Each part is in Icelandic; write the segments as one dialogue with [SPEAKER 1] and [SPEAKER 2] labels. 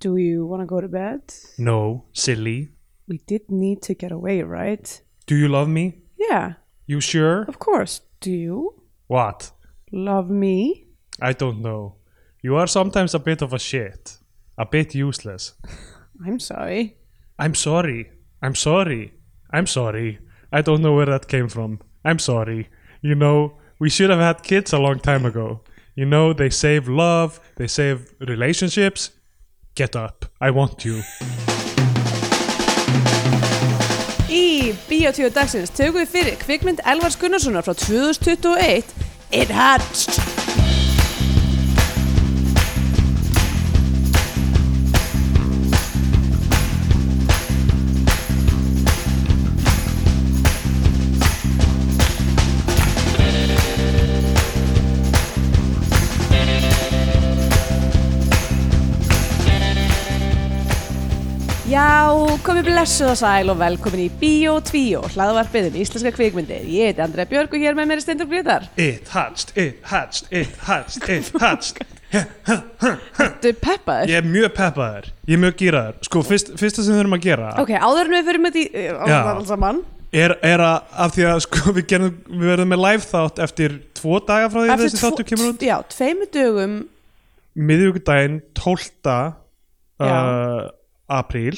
[SPEAKER 1] Do you want to go to bed?
[SPEAKER 2] No, silly.
[SPEAKER 1] We did need to get away, right?
[SPEAKER 2] Do you love me?
[SPEAKER 1] Yeah,
[SPEAKER 2] You sure?
[SPEAKER 1] of course. Do you
[SPEAKER 2] What?
[SPEAKER 1] love me?
[SPEAKER 2] I don't know. You are sometimes a bit of a shit. A bit useless.
[SPEAKER 1] I'm sorry.
[SPEAKER 2] I'm sorry. I'm sorry. I'm sorry. I don't know where that came from. I'm sorry. You know, we should have had kids a long time ago. You know, they save love, they save relationships. Get up. I want you.
[SPEAKER 1] Í Bíotíu dagsins tökum við fyrir kvikmynd Elvars Gunnarssonar frá 2021 It Hatched Já, komið blessuð og sæl og velkomin í Bíó 2, hlaðvarpið um íslenska kvikmyndir. Ég heiti Andrea Björg og hér með mér er Steindur Grétar.
[SPEAKER 2] It hatched, it hatched, it hatched, it hatched.
[SPEAKER 1] Þú peppaður?
[SPEAKER 2] Ég er mjög peppaður. Ég er mjög gýraður. Sko, fyrst, fyrsta sem við þurfum að gera
[SPEAKER 1] Ok, áður en við fyrir með því, á
[SPEAKER 2] Já.
[SPEAKER 1] það alls saman,
[SPEAKER 2] er, er að, af því að sko, við, gerum, við verðum með live þátt eftir tvo daga frá því að þessi þáttu kemur út.
[SPEAKER 1] Já, tveimur dögum
[SPEAKER 2] miðvíkudaginn 12. Uh,
[SPEAKER 1] Já.
[SPEAKER 2] apríl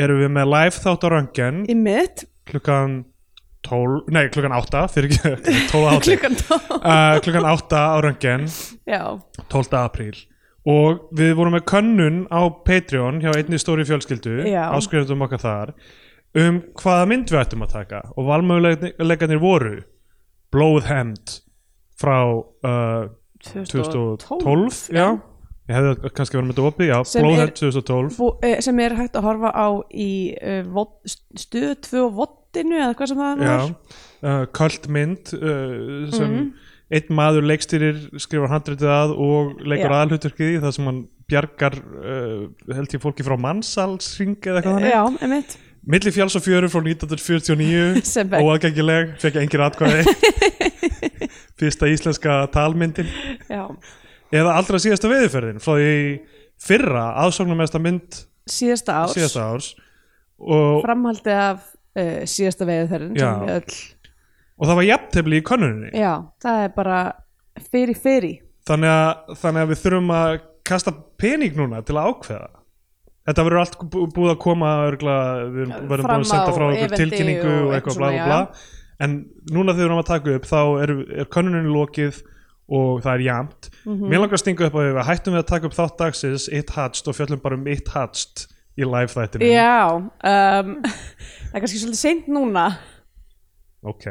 [SPEAKER 2] erum við með live þátt á röngen
[SPEAKER 1] í mitt,
[SPEAKER 2] klukkan 12, nei klukkan 8 fyrir ekki, 12 átti
[SPEAKER 1] klukkan tó.
[SPEAKER 2] uh, klukkan 8 á röngen
[SPEAKER 1] Já,
[SPEAKER 2] 12. apríl og við vorum með könnun á Patreon hjá einni stóri fjölskyldu
[SPEAKER 1] Já.
[SPEAKER 2] áskrifundum okkar þar um hvaða mynd við ættum að taka og valmöguleikarnir voru Blóðhemd frá uh, 2012 já. ég hefði kannski verið með þetta opið já,
[SPEAKER 1] Sem
[SPEAKER 2] Blóðhemd
[SPEAKER 1] er-
[SPEAKER 2] 2012
[SPEAKER 1] Bú, eh, sem er hægt að horfa á í uh, vod, stöðu 2 vottinu eða hvað sem það
[SPEAKER 2] já,
[SPEAKER 1] var
[SPEAKER 2] uh, köld mynd uh, sem
[SPEAKER 1] Mhm.
[SPEAKER 2] einn maður leikstýrir skrifar handritið að og leikur
[SPEAKER 1] Já.
[SPEAKER 2] aðalhuturkið í það sem hann bjargar uh, held ég fólki frá mannsalsring eða eitthvað þannig
[SPEAKER 1] Já, emitt
[SPEAKER 2] Milli fjáls og fjöru frá 1949
[SPEAKER 1] Sem vekk.
[SPEAKER 2] óaðgengileg, fekk engir atkvæði fyrsta íslenska talmyndin
[SPEAKER 1] já.
[SPEAKER 2] eða allra síðasta veðurferðin frá því fyrra aðsóknumesta mynd
[SPEAKER 1] Síðasta árs
[SPEAKER 2] síðasta árs og,
[SPEAKER 1] Framhaldi af uh, síðasta veiðu þeirrin
[SPEAKER 2] Já. og það var jafntefli í könnuninni
[SPEAKER 1] já, það er bara fyrir fyrir
[SPEAKER 2] þannig að, þannig að við þurfum að kasta pening núna til að ákveða þetta verður allt bú- búið að koma örgla, við erum- verðum
[SPEAKER 1] Fram
[SPEAKER 2] búin að senda
[SPEAKER 1] á
[SPEAKER 2] frá okkur
[SPEAKER 1] eventi og
[SPEAKER 2] tilkynningu og
[SPEAKER 1] eitthvað
[SPEAKER 2] eitthvað bla
[SPEAKER 1] svona,
[SPEAKER 2] bla bla en núna þegar við erum að taka upp þá er, er könnunin lokið og það er jamt
[SPEAKER 1] Mhm.
[SPEAKER 2] mér langar að stinga upp að við hættum við að taka upp þátt dagsins It Hatched og fjöllum bara um It Hatched í live þættinu
[SPEAKER 1] Já, um, það er kannski svolítið seint núna
[SPEAKER 2] ok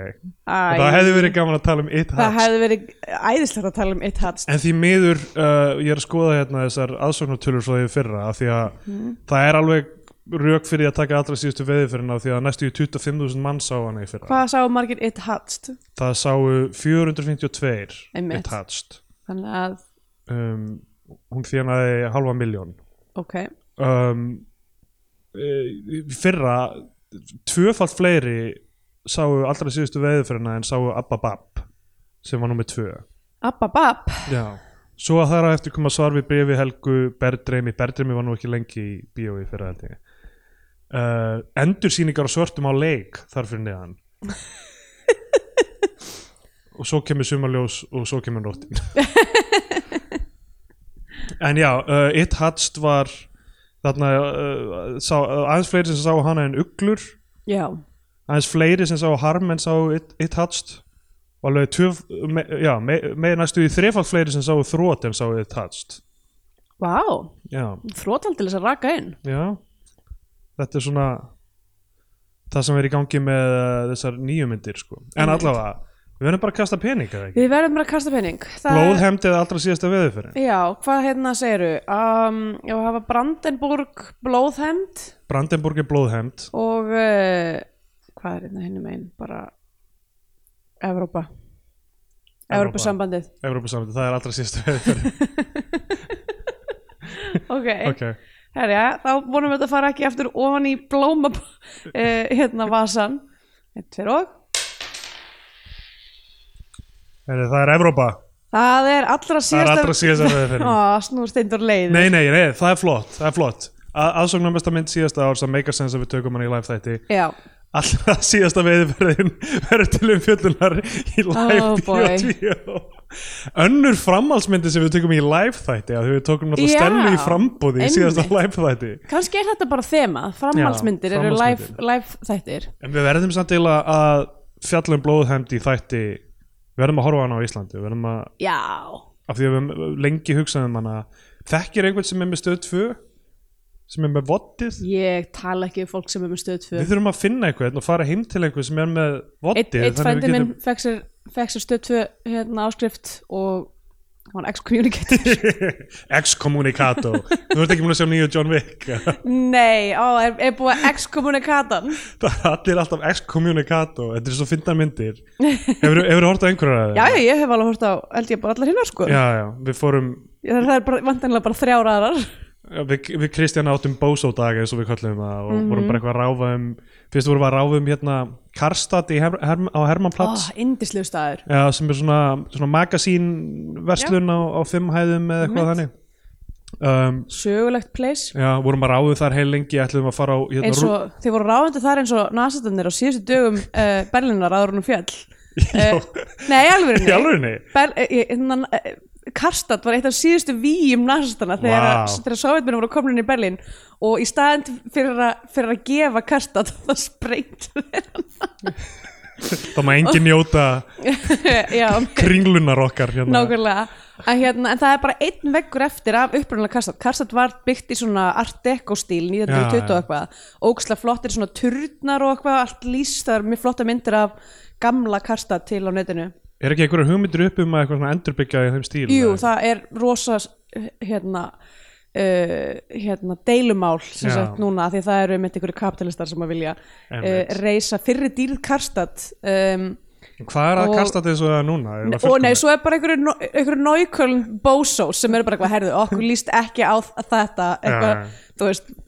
[SPEAKER 1] Æ,
[SPEAKER 2] Það hefði verið gaman að tala um It
[SPEAKER 1] það
[SPEAKER 2] Hatch
[SPEAKER 1] hefði verið æðislegt að tala um eitt hats
[SPEAKER 2] En því miður, uh, ég er að skoða hérna þessar aðsóknartölur frá því í fyrra af því að
[SPEAKER 1] Mm.
[SPEAKER 2] það er alveg rök fyrir að taka allra síðustu veðifyrina af því að næstu í 25.000 mann sá hana í fyrra
[SPEAKER 1] Hvað sá margir eitt hats?
[SPEAKER 2] Það sáu 452
[SPEAKER 1] Einmitt.
[SPEAKER 2] It Hatched
[SPEAKER 1] Þannig að,
[SPEAKER 2] um, Hún þjónaði halva miljón
[SPEAKER 1] ok,
[SPEAKER 2] um, e, í Fyrra tvöfalt fleiri sáu allra síðustu veðifyrina en sáu Abba Bab sem var nummið tvö
[SPEAKER 1] ababab
[SPEAKER 2] Já, svo að það er að eftir koma svar við brefi Helgu Berdreimi Berdreimi var nú ekki lengi í bíói fyrir held ég uh, Endursýningar á svörtum á leik þar fyrir neðan og svo kemur sumarljós og svo kemur nóttin En já, uh, It Hatched var þarna uh, sá, aðeins fleiri sem sá hana en uglur
[SPEAKER 1] Já,
[SPEAKER 2] aðeins fleiri sem sá harm en sá It, it Hatched og alveg tjöf, me, já, me, með næstu í þrefald fleiri sem sá þrót en sá It Hatched
[SPEAKER 1] vá
[SPEAKER 2] já,
[SPEAKER 1] Þrótal til þess að raka inn
[SPEAKER 2] já þetta er svona það sem er í gangi með uh, þessar nýju myndir sko. en
[SPEAKER 1] Einmitt.
[SPEAKER 2] allavega, við verðum bara að kasta pening eða ekki,
[SPEAKER 1] Við verðum bara að kasta penning Það-
[SPEAKER 2] blóðhemd eða allra síðasta veðurferðin,
[SPEAKER 1] Já, hvað hérna segiru? Um, já, það var Brandenburg blóðhemd
[SPEAKER 2] Brandenburg er blóðhemd
[SPEAKER 1] og uh, hvað er hérna henni megin? Bara Evrópa Evrópa-sambandið
[SPEAKER 2] Evrópussamviti, það er allra síðasta veðurferðin
[SPEAKER 1] Ok,
[SPEAKER 2] ok,
[SPEAKER 1] herja, þá vonum við þetta að fara ekki aftur ofan í blóma uh, hérna vasan Eitt fyrir og
[SPEAKER 2] Heyrðu, það er Evrópa
[SPEAKER 1] Það er allra
[SPEAKER 2] Það er
[SPEAKER 1] síðasta
[SPEAKER 2] allra síðast að það
[SPEAKER 1] Ó, snú steindur leið
[SPEAKER 2] Nei, nei, nei, það er flott, það er flott Aðsóknar besta mynd síðasta ár sem make a sense að við tökum hann í live þætti
[SPEAKER 1] Já,
[SPEAKER 2] Allra síðasta veiðverðin verður til um fjöldunar í live
[SPEAKER 1] Oh, boy.
[SPEAKER 2] bíotvíó Önnur framhaldsmyndi sem við tökum í live þætti að við
[SPEAKER 1] Já,
[SPEAKER 2] tökum náttúrulega stellu í frambúði í síðasta
[SPEAKER 1] einmitt.
[SPEAKER 2] live þætti
[SPEAKER 1] kannski er þetta bara þema Framhaldsmyndir eru live,
[SPEAKER 2] framhaldsmyndir.
[SPEAKER 1] live þættir
[SPEAKER 2] En við verðum samt eila að fjalla um blóðhemd í þætti Við verðum að horfa á hana á Íslandi Við verðum að,
[SPEAKER 1] Já,
[SPEAKER 2] af því að við höfum lengi hugsaðum hana Þekkir einhvern sem er með stöð 2 sem er með vottið
[SPEAKER 1] ég tala ekki um fólk sem er með stöð 2
[SPEAKER 2] Við þurfum að finna einhvern og fara heim til einhvern sem er með
[SPEAKER 1] Eitt,
[SPEAKER 2] vottið
[SPEAKER 1] eitt frændi minn fekk sér, fekk sér stöð 2 hérna áskrift og hann excommunicated
[SPEAKER 2] Excommunicato Þú ert ekki múin að sjá nýju John Wick
[SPEAKER 1] Nei, ó, er, er búið að excommunicata hann?
[SPEAKER 2] Það er allir alltaf Excommunicato Þetta er svo fyndar myndir Hefur þú hort á einhverja
[SPEAKER 1] Já, já, ég hef alveg hort á, held ég bara allar hinnar sko
[SPEAKER 2] já, já, við fórum
[SPEAKER 1] Það það er bara, vantanlega bara þrjár aðrar
[SPEAKER 2] Já, Við, við Kristján áttum bósódag eins og við köllum það og
[SPEAKER 1] Mhm.
[SPEAKER 2] vorum bara eitthvað að ráfa um fyrst vorum við að ráfa um hérna Karstad her, her, á
[SPEAKER 1] Ó,
[SPEAKER 2] Hermannplats
[SPEAKER 1] indislegu staður
[SPEAKER 2] já, sem er svona, svona magasín verslun á, á fimm hæðum eða eitthvað
[SPEAKER 1] Einmitt.
[SPEAKER 2] þannig um,
[SPEAKER 1] Sögulegt place
[SPEAKER 2] já, vorum að ráfa um þar heil lengi ætlum að fara á hérna,
[SPEAKER 1] eins og, þeir voru ráðandi þar eins og nasatannir á síðustu dögum uh, Berlinar áður hún um fjall uh, Nei, alveg
[SPEAKER 2] í alvegni
[SPEAKER 1] eh, alveg hérna, Karstad var eitt af síðustu víum nasastanna þegar,
[SPEAKER 2] Vá.
[SPEAKER 1] wow. þegar sovjetmennum voru komin inn í Berlin og í staðin fyrir, a, fyrir að gefa Karstad þá sprengtu
[SPEAKER 2] þá má engin njóta
[SPEAKER 1] þeir Já,
[SPEAKER 2] kringlunar okkar hérna.
[SPEAKER 1] nákvæmlega að, hérna, En það er bara einn veggur eftir af upprunalega Karstad Karstad var byggt í svona art deco stíl 1920
[SPEAKER 2] Já, já.
[SPEAKER 1] og eitthvað Ógislega flottir svona turnar og eitthvað allt lýst, það er mjög flotta myndir af gamla Karstad til á netinu
[SPEAKER 2] er ekki einhverja hugmyndir upp um að eitthvað svona endurbyggja í þeim stíl
[SPEAKER 1] Jú,
[SPEAKER 2] eða?
[SPEAKER 1] það er rosa hérna Uh, hérna, deilumál sem
[SPEAKER 2] Já.
[SPEAKER 1] sagt núna af því það eru með einhverju kapitalistar sem að vilja uh,
[SPEAKER 2] Einmitt.
[SPEAKER 1] reysa fyrri dýrð Karstad um,
[SPEAKER 2] hvað er að
[SPEAKER 1] og-
[SPEAKER 2] Karstad eins og það er núna Er það
[SPEAKER 1] og nei,
[SPEAKER 2] fullkomið?
[SPEAKER 1] svo er bara einhverju, no- einhverju náuköln bósó sem eru bara eitthvað herðu okkur líst ekki á þ- þetta
[SPEAKER 2] Já.
[SPEAKER 1] eitthvað, þú veist uh,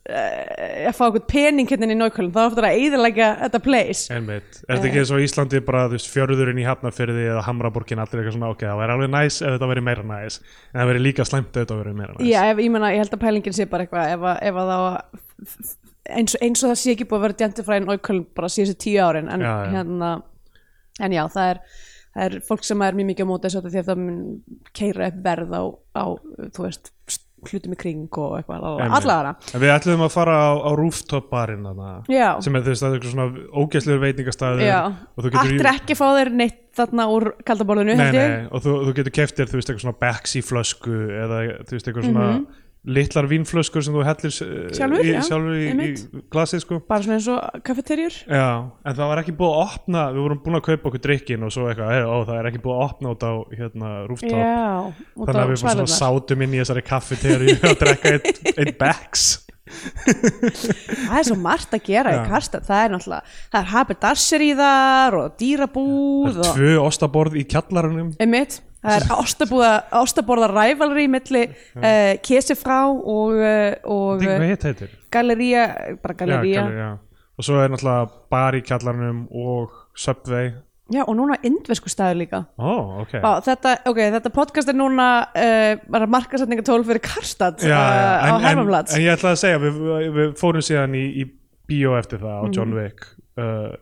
[SPEAKER 1] að fá einhvern pening hérna inn í náuköln þá er ofta að eðilega þetta place
[SPEAKER 2] Einmitt. Er þetta ekki eins og á Íslandi bara þú veist, fjörðurinn í Hafnarfyrði eða Hamraborgin allir eitthvað svona ok, það væri alveg næs ef þetta væri meira næs en það væri líka slæmt ef þetta væri meira næs
[SPEAKER 1] Já, ef, ég meina, ég held að pælingin sé bara eitthvað ef, að- ef að það eins, og- eins og það sé ekki búið að vera gentifræðin aukvöld bara síðan tíu árin en,
[SPEAKER 2] Já, já.
[SPEAKER 1] Hérna, en já, það er, það er fólk sem er mjög mikið á móti þessu því að það mun keira upp verð á, á þú veist, hlutum í kring og eitthvað,
[SPEAKER 2] Einmitt.
[SPEAKER 1] allavega
[SPEAKER 2] En við ætlum að fara á, á rooftop barinn þarna
[SPEAKER 1] Já.
[SPEAKER 2] sem er þú veist, það er eitthvað svona ógæslegur veitingastæður
[SPEAKER 1] Já,
[SPEAKER 2] og þú getur
[SPEAKER 1] allir ekki að fá þér neitt þarna úr kaldaborðinu,
[SPEAKER 2] nei,
[SPEAKER 1] held ég
[SPEAKER 2] nei, og þú, þú getur keft þér þú veist eitthvað svona Baxi flösku eða þú veist eitthvað svona litlar vínflöskur sem þú hellir eh,
[SPEAKER 1] Mhm. Sjálfur,
[SPEAKER 2] í,
[SPEAKER 1] já,
[SPEAKER 2] sjálfur í, í
[SPEAKER 1] einmitt.
[SPEAKER 2] glasið sko
[SPEAKER 1] bara svona eins og kafeterjur
[SPEAKER 2] Já, en það var ekki búið að opna við vorum búin að kaupa okkur drikkin og svo eitthvað hey, ó, það er ekki búið að opna út á hérna, rooftop
[SPEAKER 1] Já, út
[SPEAKER 2] þannig
[SPEAKER 1] á
[SPEAKER 2] að við fórum svona
[SPEAKER 1] svalirnar.
[SPEAKER 2] sátum inn í þessari kaffeteri og drekka einn ein Bex
[SPEAKER 1] það er svo margt að gera
[SPEAKER 2] Já.
[SPEAKER 1] í Karstad það er náttúrulega, það er haberdasseríðar og dýrabúð og
[SPEAKER 2] tvö ostaborð í kjallarunum
[SPEAKER 1] einmitt, það er ástabúða, ástaborða rævalri milli uh, kesifrá og, uh, og
[SPEAKER 2] hvað
[SPEAKER 1] uh,
[SPEAKER 2] hitt heitir?
[SPEAKER 1] galería bara
[SPEAKER 2] Já,
[SPEAKER 1] galería, já,
[SPEAKER 2] gallerí, já. og svo er náttúrulega bar í kjallarunum og Subway
[SPEAKER 1] og núna indversku staður líka
[SPEAKER 2] ó, ok
[SPEAKER 1] Vá, þetta, ok, þetta podcast er núna uh, bara markasetninga tól fyrir Karstad
[SPEAKER 2] já,
[SPEAKER 1] uh,
[SPEAKER 2] já,
[SPEAKER 1] á
[SPEAKER 2] en, en,
[SPEAKER 1] Hermamlats
[SPEAKER 2] en ég ætla að segja við, við fórum síðan í, í bíó eftir það á
[SPEAKER 1] Mhm.
[SPEAKER 2] John Wick uh,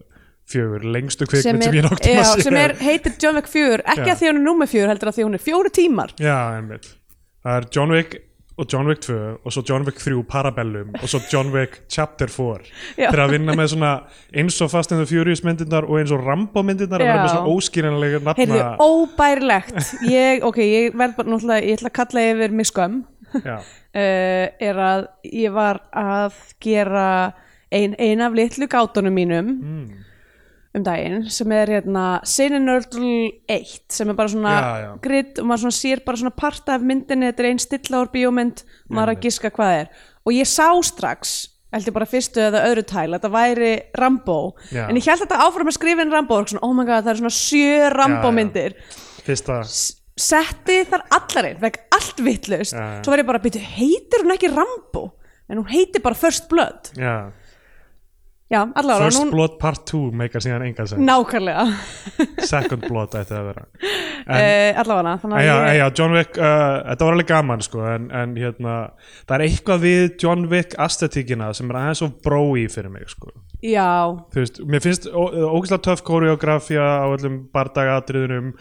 [SPEAKER 2] fjögur, lengstu kvikmynd sem, ég er
[SPEAKER 1] já,
[SPEAKER 2] nokkuð að
[SPEAKER 1] sem er, heitir John Wick 4 ekki
[SPEAKER 2] Já.
[SPEAKER 1] að því hún er númer 4 heldur að því hún er fjóri tímar
[SPEAKER 2] Já, einmitt. Það er John Wick og John Wick 2 og svo John Wick 3 Parabellum og svo John Wick Chapter 4
[SPEAKER 1] Já.
[SPEAKER 2] þeir að vinna með svona eins og Fast and the Furious myndirnar og eins og Rambo myndirnar að vera með
[SPEAKER 1] Já.
[SPEAKER 2] svona óskýranlega
[SPEAKER 1] Heyrðu,
[SPEAKER 2] nafna
[SPEAKER 1] óbærilegt ég, ok, ég verð bara náttúrulega ég ætla að kalla yfir mig skömm uh,
[SPEAKER 2] Já,
[SPEAKER 1] Eh, er að ég var að gera ein, ein af litlu gátunum mínum
[SPEAKER 2] Mm.
[SPEAKER 1] um daginn sem er hérna Sinninördl 1 sem er bara svona
[SPEAKER 2] Já, já.
[SPEAKER 1] gritt og maður svona sér bara svona parta af myndinni þetta er ein stilla úr bíómynd og maður er að giska hvað það er og ég sá strax held ég bara fyrstu eða öðru tæl að þetta væri Rambo
[SPEAKER 2] Já.
[SPEAKER 1] en ég held þetta áfram að skrifa inn Rambo og svona, oh my god það eru svona sjö Rambo myndir
[SPEAKER 2] fyrsta
[SPEAKER 1] S- setti þar allarinn veg allt vittlust,
[SPEAKER 2] Já, já.
[SPEAKER 1] svo var ég bara að heitir hún ekki Rambo en hún heitir bara First Blood
[SPEAKER 2] Já,
[SPEAKER 1] já, allavega,
[SPEAKER 2] First
[SPEAKER 1] nú,
[SPEAKER 2] Blood Part 2 meikar síðan engan sem
[SPEAKER 1] nákvæmlega
[SPEAKER 2] Second Blood ætti það að vera
[SPEAKER 1] uh, allavega, þannig
[SPEAKER 2] En já,
[SPEAKER 1] að
[SPEAKER 2] en
[SPEAKER 1] ég,
[SPEAKER 2] já, John Wick, uh, þetta var alveg gaman sko, en, en hérna, það er eitthvað við John Wick aesthetíkina sem er aðeins of brói fyrir mig sko.
[SPEAKER 1] já,
[SPEAKER 2] Þú veist, mér finnst ó- ógeðslega töff koreografía á öllum bardagatriðunum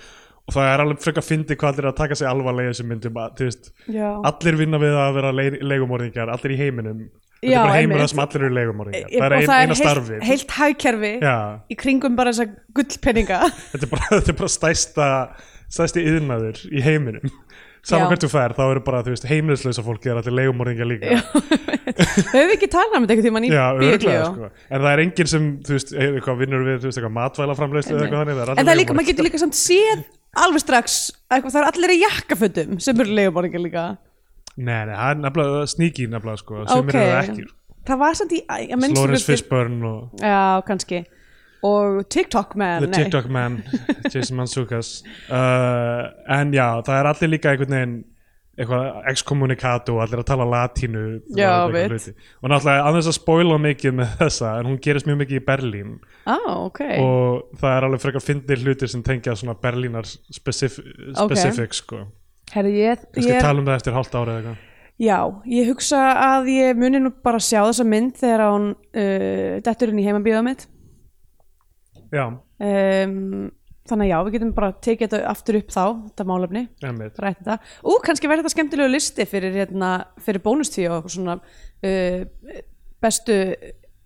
[SPEAKER 2] og það er alveg frekar fyndi hvað allir eru að taka sig alvarlega í þessum myndum að, þú veist,
[SPEAKER 1] já.
[SPEAKER 2] allir vinna við að vera le leigumorðingar, allir í heiminum þetta
[SPEAKER 1] Já,
[SPEAKER 2] er bara heimur
[SPEAKER 1] einmitt.
[SPEAKER 2] það sem allir eru leigumorðingar
[SPEAKER 1] Og
[SPEAKER 2] það er ein, eina
[SPEAKER 1] heilt-
[SPEAKER 2] starfið
[SPEAKER 1] heilt hagkerfi
[SPEAKER 2] Já.
[SPEAKER 1] í kringum bara þessa gullpenninga
[SPEAKER 2] þetta er bara, þetta er bara stæsta stæsti yðnaður í heiminum
[SPEAKER 1] Já.
[SPEAKER 2] saman hvert þú fer, þá eru bara þú veist, heimlislausa fólki er allir leigumorðingar líka já,
[SPEAKER 1] höfum við ekki talað um þetta einhvern tímann í
[SPEAKER 2] örgulega
[SPEAKER 1] bíóklefa?
[SPEAKER 2] sko. en það er enginn sem, þú veist, er eitthvað vinnur við þú veist, eitthvað matvælaframleiðslu eða eitthvað þannig
[SPEAKER 1] en það er líka, maður getur líka samt séð alveg strax, eitthvað, það er allir í jakkafötum sem eru leiguborðingar líka
[SPEAKER 2] nei, nei, það er nefnilega sníki nefnilega, sko, sem okay. eru það ekki
[SPEAKER 1] það var samt í að að minnstu
[SPEAKER 2] Lawrence
[SPEAKER 1] hluti-
[SPEAKER 2] Fishburne og
[SPEAKER 1] já, kannski og TikTok man
[SPEAKER 2] The
[SPEAKER 1] nei.
[SPEAKER 2] TikTok Man, Jason Mantzoukas uh, en já, það er allir líka einhvern veginn eitthvað excommunicato, allir að tala latínu og
[SPEAKER 1] Já,
[SPEAKER 2] eitthvað
[SPEAKER 1] veit.
[SPEAKER 2] hluti. og náttúrulega annars að spoila mikið með þessa en hún gerist mjög mikið í Berlín
[SPEAKER 1] ah, ok,
[SPEAKER 2] og það er alveg frekar fyndir hlutir sem tengja svona Berlínar specif
[SPEAKER 1] Ok.
[SPEAKER 2] specific sko,
[SPEAKER 1] herri ég,
[SPEAKER 2] kannski
[SPEAKER 1] ég
[SPEAKER 2] tala um það eftir hálft ára eða eitthvað
[SPEAKER 1] já, ég hugsa að ég muni nú bara sjá þessa mynd þegar hún uh, dettur inn í heimabíðað mitt
[SPEAKER 2] já,
[SPEAKER 1] um, þannig að já, við getum bara tekið þetta aftur upp þá, þetta málefni
[SPEAKER 2] emmitt,
[SPEAKER 1] rætt þetta, ú, kannski verður þetta skemmtilegu listi fyrir, hérna, fyrir bónuství og svona uh, bestu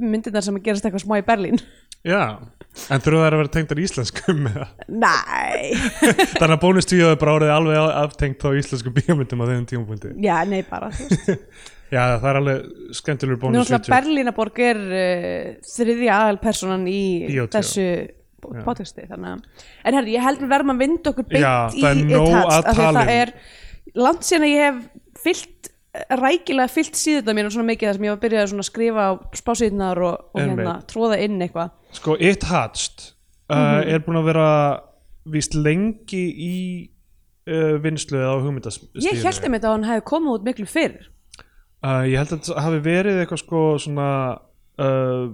[SPEAKER 1] myndirnar sem gerast eitthvað smá í Berlín
[SPEAKER 2] já en þurfa það að vera tengdar íslenskum eða?
[SPEAKER 1] Nei,
[SPEAKER 2] þannig að bónustvíu er bara orðið alveg aftengt á íslenskum bíómyndum á þeim tímapunkti
[SPEAKER 1] já, nei bara þú veist.
[SPEAKER 2] Já, það er alveg skemmtilegur
[SPEAKER 1] Nú
[SPEAKER 2] bónus
[SPEAKER 1] alltaf Berlínaborg er uh, þriðja aðalpersonan í
[SPEAKER 2] Bíótvíó.
[SPEAKER 1] þessu podcasti þannig að, en herri, ég held við verðum að vinda okkur beint
[SPEAKER 2] Já,
[SPEAKER 1] í
[SPEAKER 2] það er
[SPEAKER 1] It
[SPEAKER 2] nóg
[SPEAKER 1] Hurts,
[SPEAKER 2] að
[SPEAKER 1] af því
[SPEAKER 2] tala
[SPEAKER 1] það
[SPEAKER 2] um.
[SPEAKER 1] er langt síðan að ég hef fyllt rækilega fyllt síðuna mín og svona mikið þar sem ég var að byrja að svona skrifa á spásíðunar og, og
[SPEAKER 2] Einmitt.
[SPEAKER 1] hérna tróða inn eitthvað
[SPEAKER 2] Sko, It Hatched uh,
[SPEAKER 1] Mhm.
[SPEAKER 2] er búin að vera víst lengi í uh, vinslu eða á hugmyndastíðinu
[SPEAKER 1] Ég held einmitt að hann hefði komið út miklu fyrr
[SPEAKER 2] uh, Ég held að þetta hafi verið eitthvað sko svona uh,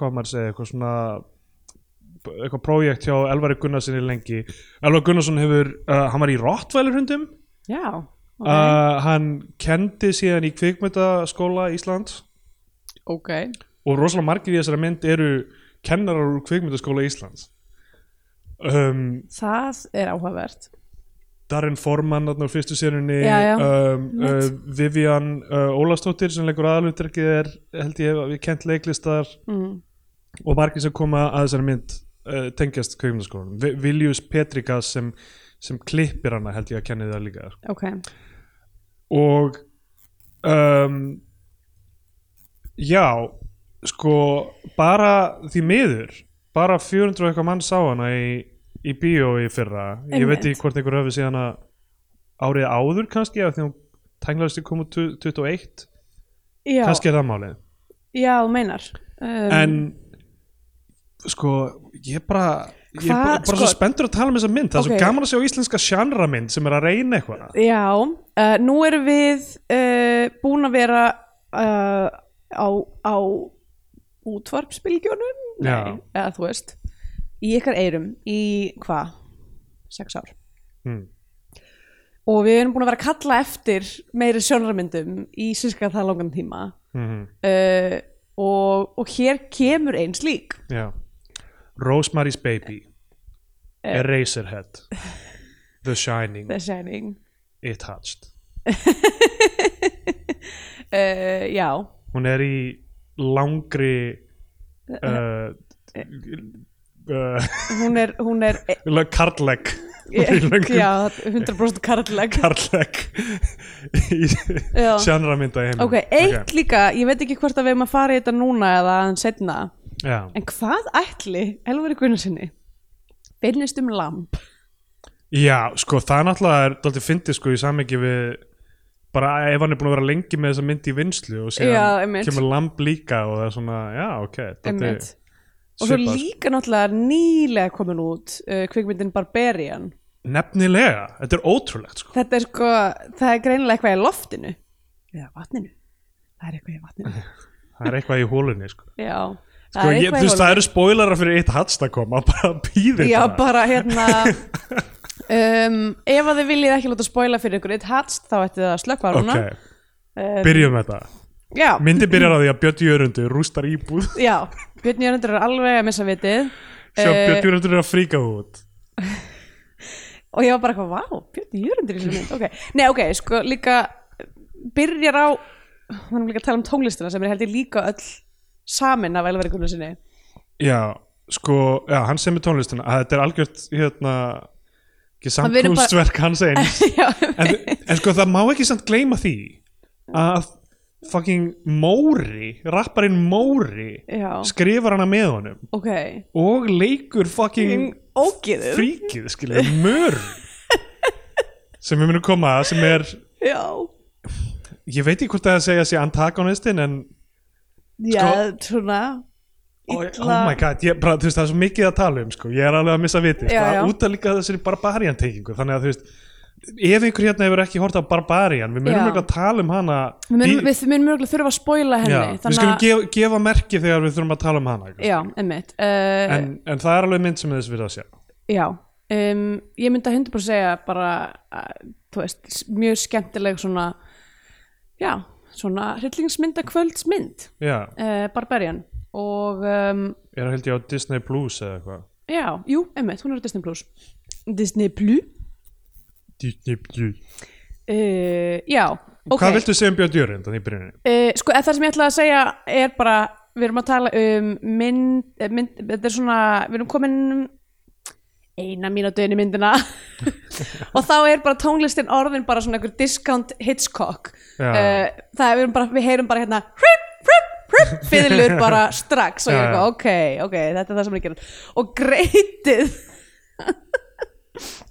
[SPEAKER 2] hvað maður segja, eitthvað svona eitthvað prójekt hjá Elvari Gunnarssoni lengi Elvar Gunnarsson hefur, uh, hann var í Rottweilerhundum
[SPEAKER 1] Já, ok,
[SPEAKER 2] uh, hann kendi síðan í kvikmyndaskóla Íslands
[SPEAKER 1] okay.
[SPEAKER 2] og rosalega margir í þessari mynd eru kennarar úr kvikmyndaskóla Íslands um,
[SPEAKER 1] Það er áhugavert
[SPEAKER 2] Darren Forman þarna úr fyrstu sérunni
[SPEAKER 1] Já, já,
[SPEAKER 2] um, uh,
[SPEAKER 1] mitt.
[SPEAKER 2] Vivian uh, Ólafsdóttir sem leikur aðalutrekið er held ég við kent leiklistar
[SPEAKER 1] mm.
[SPEAKER 2] og margir sem koma að þessari mynd uh, tengjast kvikmyndaskólanum Vi- Viljus Petrikas sem, sem klippir hana held ég að kenni það líka
[SPEAKER 1] Ok,
[SPEAKER 2] og um, já sko bara því miður bara 400 og eitthvað mann sá hana í, í bíó í fyrra ég veit
[SPEAKER 1] Einmitt.
[SPEAKER 2] ekki hvort einhver höfði síðan að árið áður kannski af því hún tenglaðist í komu 21
[SPEAKER 1] já,
[SPEAKER 2] kannski er það málið
[SPEAKER 1] já þú meinar um,
[SPEAKER 2] en sko ég bara ég er
[SPEAKER 1] Hva-
[SPEAKER 2] bara, bara svo
[SPEAKER 1] sko-
[SPEAKER 2] spenntur að tala um þessa mynd það er
[SPEAKER 1] Ok.
[SPEAKER 2] svo gaman að sjá íslenska sjánra mynd sem er að reyna eitthvað
[SPEAKER 1] Já, uh, nú erum við uh, búin að vera uh, á, á útvarpsbylgjónum,
[SPEAKER 2] Já.
[SPEAKER 1] nei, eða þú veist, í ykkar eyrum í hvað, sex ár.
[SPEAKER 2] Hmm.
[SPEAKER 1] Og við erum búin að vera að kalla eftir meiri sjónarmyndum í sérska það langan tíma
[SPEAKER 2] mm
[SPEAKER 1] uh, og, og hér kemur eins lík.
[SPEAKER 2] Já. Rosemary's Baby
[SPEAKER 1] Eh.
[SPEAKER 2] Eraserhead The Shining
[SPEAKER 1] The Shining.
[SPEAKER 2] It Hatched
[SPEAKER 1] Uh, já,
[SPEAKER 2] Hún er í
[SPEAKER 1] Eh,
[SPEAKER 2] langri uh, uh,
[SPEAKER 1] hún er, hún er,
[SPEAKER 2] eh, karleg
[SPEAKER 1] Eh, já, 100% karlæg.
[SPEAKER 2] karleg í
[SPEAKER 1] Já.
[SPEAKER 2] sjánra mynda heim
[SPEAKER 1] Ok, eitt líka, ég veit ekki hvort að við erum að fara í þetta núna eða aðeins setna
[SPEAKER 2] Já.
[SPEAKER 1] En hvað ætli, Elvari Gunnarsinni, finnist um lamp?
[SPEAKER 2] Já, sko það er náttúrulega er dálítið fyndið sko í samengi við bara ef hann er búin að vera lengi með þessa mynd í vinslu og
[SPEAKER 1] Já,
[SPEAKER 2] síðan
[SPEAKER 1] einmitt.
[SPEAKER 2] kemur lamb líka og það er svona, já, ok dálítið
[SPEAKER 1] Einmitt. Og svo
[SPEAKER 2] svipað, sko.
[SPEAKER 1] líka náttúrulega nýlega komin út uh, kvikmyndin Barbarian
[SPEAKER 2] Nefnilega, þetta er ótrúlegt sko.
[SPEAKER 1] Þetta er sko, það er greinilega eitthvað í loftinu Eða vatninu Það er eitthvað í vatninu
[SPEAKER 2] Það er eitthvað í hólunni sko.
[SPEAKER 1] Já, Það er eitthvað
[SPEAKER 2] ég,
[SPEAKER 1] í
[SPEAKER 2] þú veist,
[SPEAKER 1] hólfi.
[SPEAKER 2] það eru spoilerar fyrir eitt hats að koma, bara býðið
[SPEAKER 1] Já, bara hérna um, Ef að þið viljið ekki láta spoila fyrir ykkur eitt hatst, þá ætti það að slökva núna
[SPEAKER 2] Ok, byrjum þetta
[SPEAKER 1] Um, Já,
[SPEAKER 2] Myndi byrjar á því að Björn Jörundur rústar íbúð
[SPEAKER 1] já, Björn Jörnundur er alveg að missa vitið
[SPEAKER 2] Sjá,
[SPEAKER 1] Eh,
[SPEAKER 2] Björn Jörundur er að fríka út
[SPEAKER 1] og ég var bara eitthvað, vá, Björn Jörundur í þessu mynd, ok, nei, ok, sko, líka byrjar á hann er líka að tala um tónlistina sem er held ég líka öll samin af Elveri Gunnarsinni
[SPEAKER 2] Já, sko, já, hann sem er tónlistina að Þetta er algjört, hérna ekki
[SPEAKER 1] Hann verður bara-
[SPEAKER 2] samkúnstverk hans eins
[SPEAKER 1] Já,
[SPEAKER 2] en, en sko, það má ekki samt gleyma því að fucking Móri, rapparinn Móri
[SPEAKER 1] Já.
[SPEAKER 2] skrifar hana með honum
[SPEAKER 1] ok
[SPEAKER 2] og leikur fucking
[SPEAKER 1] Ógiður
[SPEAKER 2] fríkið, skilur, mör sem við munum koma að sem er,
[SPEAKER 1] Já,
[SPEAKER 2] ég veit ekki hvort það er að segja sé antagonistin en
[SPEAKER 1] já, svona
[SPEAKER 2] Sko- oh my god, ég, bara, þú veist, það er svo mikið að tala um sko. ég er alveg að missa viti
[SPEAKER 1] Já,
[SPEAKER 2] sko.
[SPEAKER 1] já.
[SPEAKER 2] út að líka þessari barbarian tengingu þannig að þú veist, ef einhver hérna hefur ekki hort á barbarian, við
[SPEAKER 1] Já.
[SPEAKER 2] munum ekki að tala um hana
[SPEAKER 1] Við
[SPEAKER 2] í-
[SPEAKER 1] munum, við munum mjög þurfa að spoila henni
[SPEAKER 2] Já, við skulum gefa, gefa merki þegar við þurfum að tala um hana ekki?
[SPEAKER 1] Já, emmitt uh,
[SPEAKER 2] en, en það er alveg mynd sem þess við að sjá
[SPEAKER 1] Já, um, ég myndi að hundur bara segja bara, að, þú veist, s- mjög skemmtileg svona já, svona hryllingsmynda kvöldsmynd
[SPEAKER 2] Já,
[SPEAKER 1] uh, Barbarian og um,
[SPEAKER 2] er held ég á Disney Plus eða eitthvað
[SPEAKER 1] já, jú, emmitt, hún er á Disney Plus Disney Plus
[SPEAKER 2] Disney Plus
[SPEAKER 1] uh, Já, ok
[SPEAKER 2] Hvað viltu segja um Björn Jörund í byrjunni?
[SPEAKER 1] Uh, sko, eh, það sem ég ætlaði að segja er bara við erum að tala um mynd, eh, mynd þetta er svona, við erum komin eina mínútu inn í myndina og þá er bara tónlistin orðin bara svona einhver discount Hitchcock
[SPEAKER 2] Já.
[SPEAKER 1] uh, það er, við, erum bara, við heyrum bara hérna hrip, hrip, hrip, fiðlur bara strax og ég
[SPEAKER 2] Já,
[SPEAKER 1] er
[SPEAKER 2] já.
[SPEAKER 1] eitthvað, ok, ok, þetta er það sem ég gerum og greitið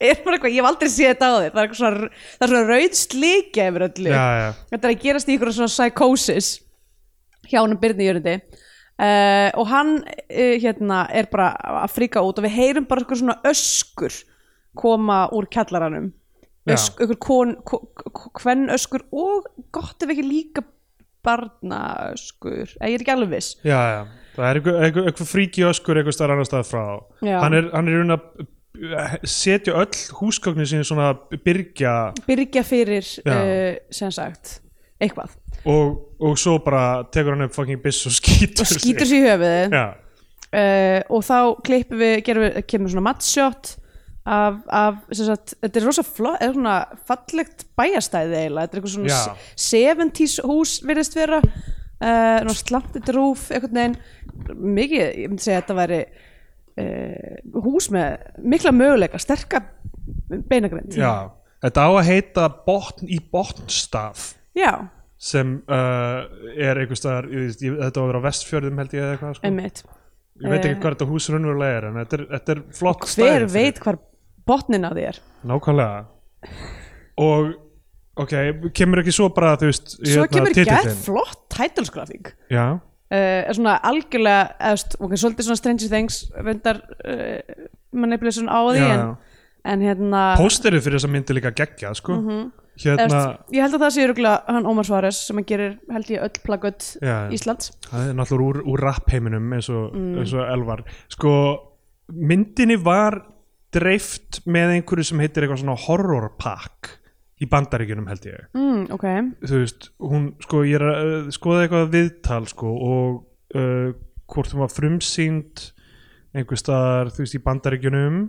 [SPEAKER 1] er bara eitthvað, ég hef aldrei séð þetta á þér það er eitthvað svona, það er svona rauð slíkja yfir öllu
[SPEAKER 2] Já, já.
[SPEAKER 1] þetta er að gerast í ykkur svona psychosis hjá hann Birni Jörundi uh, og hann uh, hérna er bara að fríka út og við heyrum bara ykkur svona öskur koma úr kjallaranum
[SPEAKER 2] Já.
[SPEAKER 1] Ösk, ykkur kon, ko, ko, kvenn öskur og gott ef ekki líka barna öskur ég er ekki alveg viss
[SPEAKER 2] Já, já, það er einhver, einhver, einhver fríki öskur einhver starf annar stað frá
[SPEAKER 1] Já.
[SPEAKER 2] Hann er, hann er raun að eh, setja öll húsgögnin sín svona byrgja
[SPEAKER 1] byrgja fyrir
[SPEAKER 2] Já.
[SPEAKER 1] uh, sem sagt eitthvað
[SPEAKER 2] og, og svo bara tekur hann upp fucking biss og skýtur
[SPEAKER 1] og skýtur sér í höfuðið
[SPEAKER 2] Já,
[SPEAKER 1] uh, og þá klippum við, gerum við kemur svona matshot af, af sem sagt, þetta er rosa flott er svona fallegt bæjastæði eiginlega, þetta er eitthvað svona
[SPEAKER 2] Já.
[SPEAKER 1] se- 70s hús virðist vera uh, slantið rúf, einhvern veginn mikið, ég myndi segja að þetta væri uh, hús með mikla möguleika, sterka beinagrind
[SPEAKER 2] já Þetta á að heita botn í botnstaf
[SPEAKER 1] Já,
[SPEAKER 2] sem uh, er einhver staðar, ég veist, ég- þetta á að vera á vestfjörðum held ég eða eitthvað sko.
[SPEAKER 1] einmitt
[SPEAKER 2] Ég veit ekki hvað þetta hús raunverulega er en þetta er, þetta er flott
[SPEAKER 1] eh. hver
[SPEAKER 2] stæði fyrir-
[SPEAKER 1] veit hvar botnin á því er
[SPEAKER 2] Nákvæmlega Og ok, kemur ekki svo bara þú veist
[SPEAKER 1] svo
[SPEAKER 2] hérna,
[SPEAKER 1] kemur
[SPEAKER 2] titillinn?
[SPEAKER 1] gerð flott tætalsgrafík
[SPEAKER 2] Já,
[SPEAKER 1] uh, er svona algjörlega eðst, ok, svolítið svona Stranger Things reyndar uh, manipulation á því
[SPEAKER 2] Já,
[SPEAKER 1] en, en hérna
[SPEAKER 2] pósterið fyrir þess að myndi líka geggja sko
[SPEAKER 1] Mhm.
[SPEAKER 2] Hérna,
[SPEAKER 1] eðst, ég held að það sé öruglega hann Ómar Svares sem hann gerir held ég öll plaggöt
[SPEAKER 2] Já, já.
[SPEAKER 1] Íslands
[SPEAKER 2] það er náttúrulega úr, úr rappheiminum eins og,
[SPEAKER 1] Mm.
[SPEAKER 2] eins og Elvar Sko, myndinni var dreift með einhverju sem heitir eitthvað svona horrorpack í bandaríkjunum held ég
[SPEAKER 1] mm, ok,
[SPEAKER 2] þú veist, hún, sko, ég er að uh, skoða eitthvað viðtal, sko, og uh, hvort hún var frumsýnd einhver staðar, þú veist, í bandaríkjunum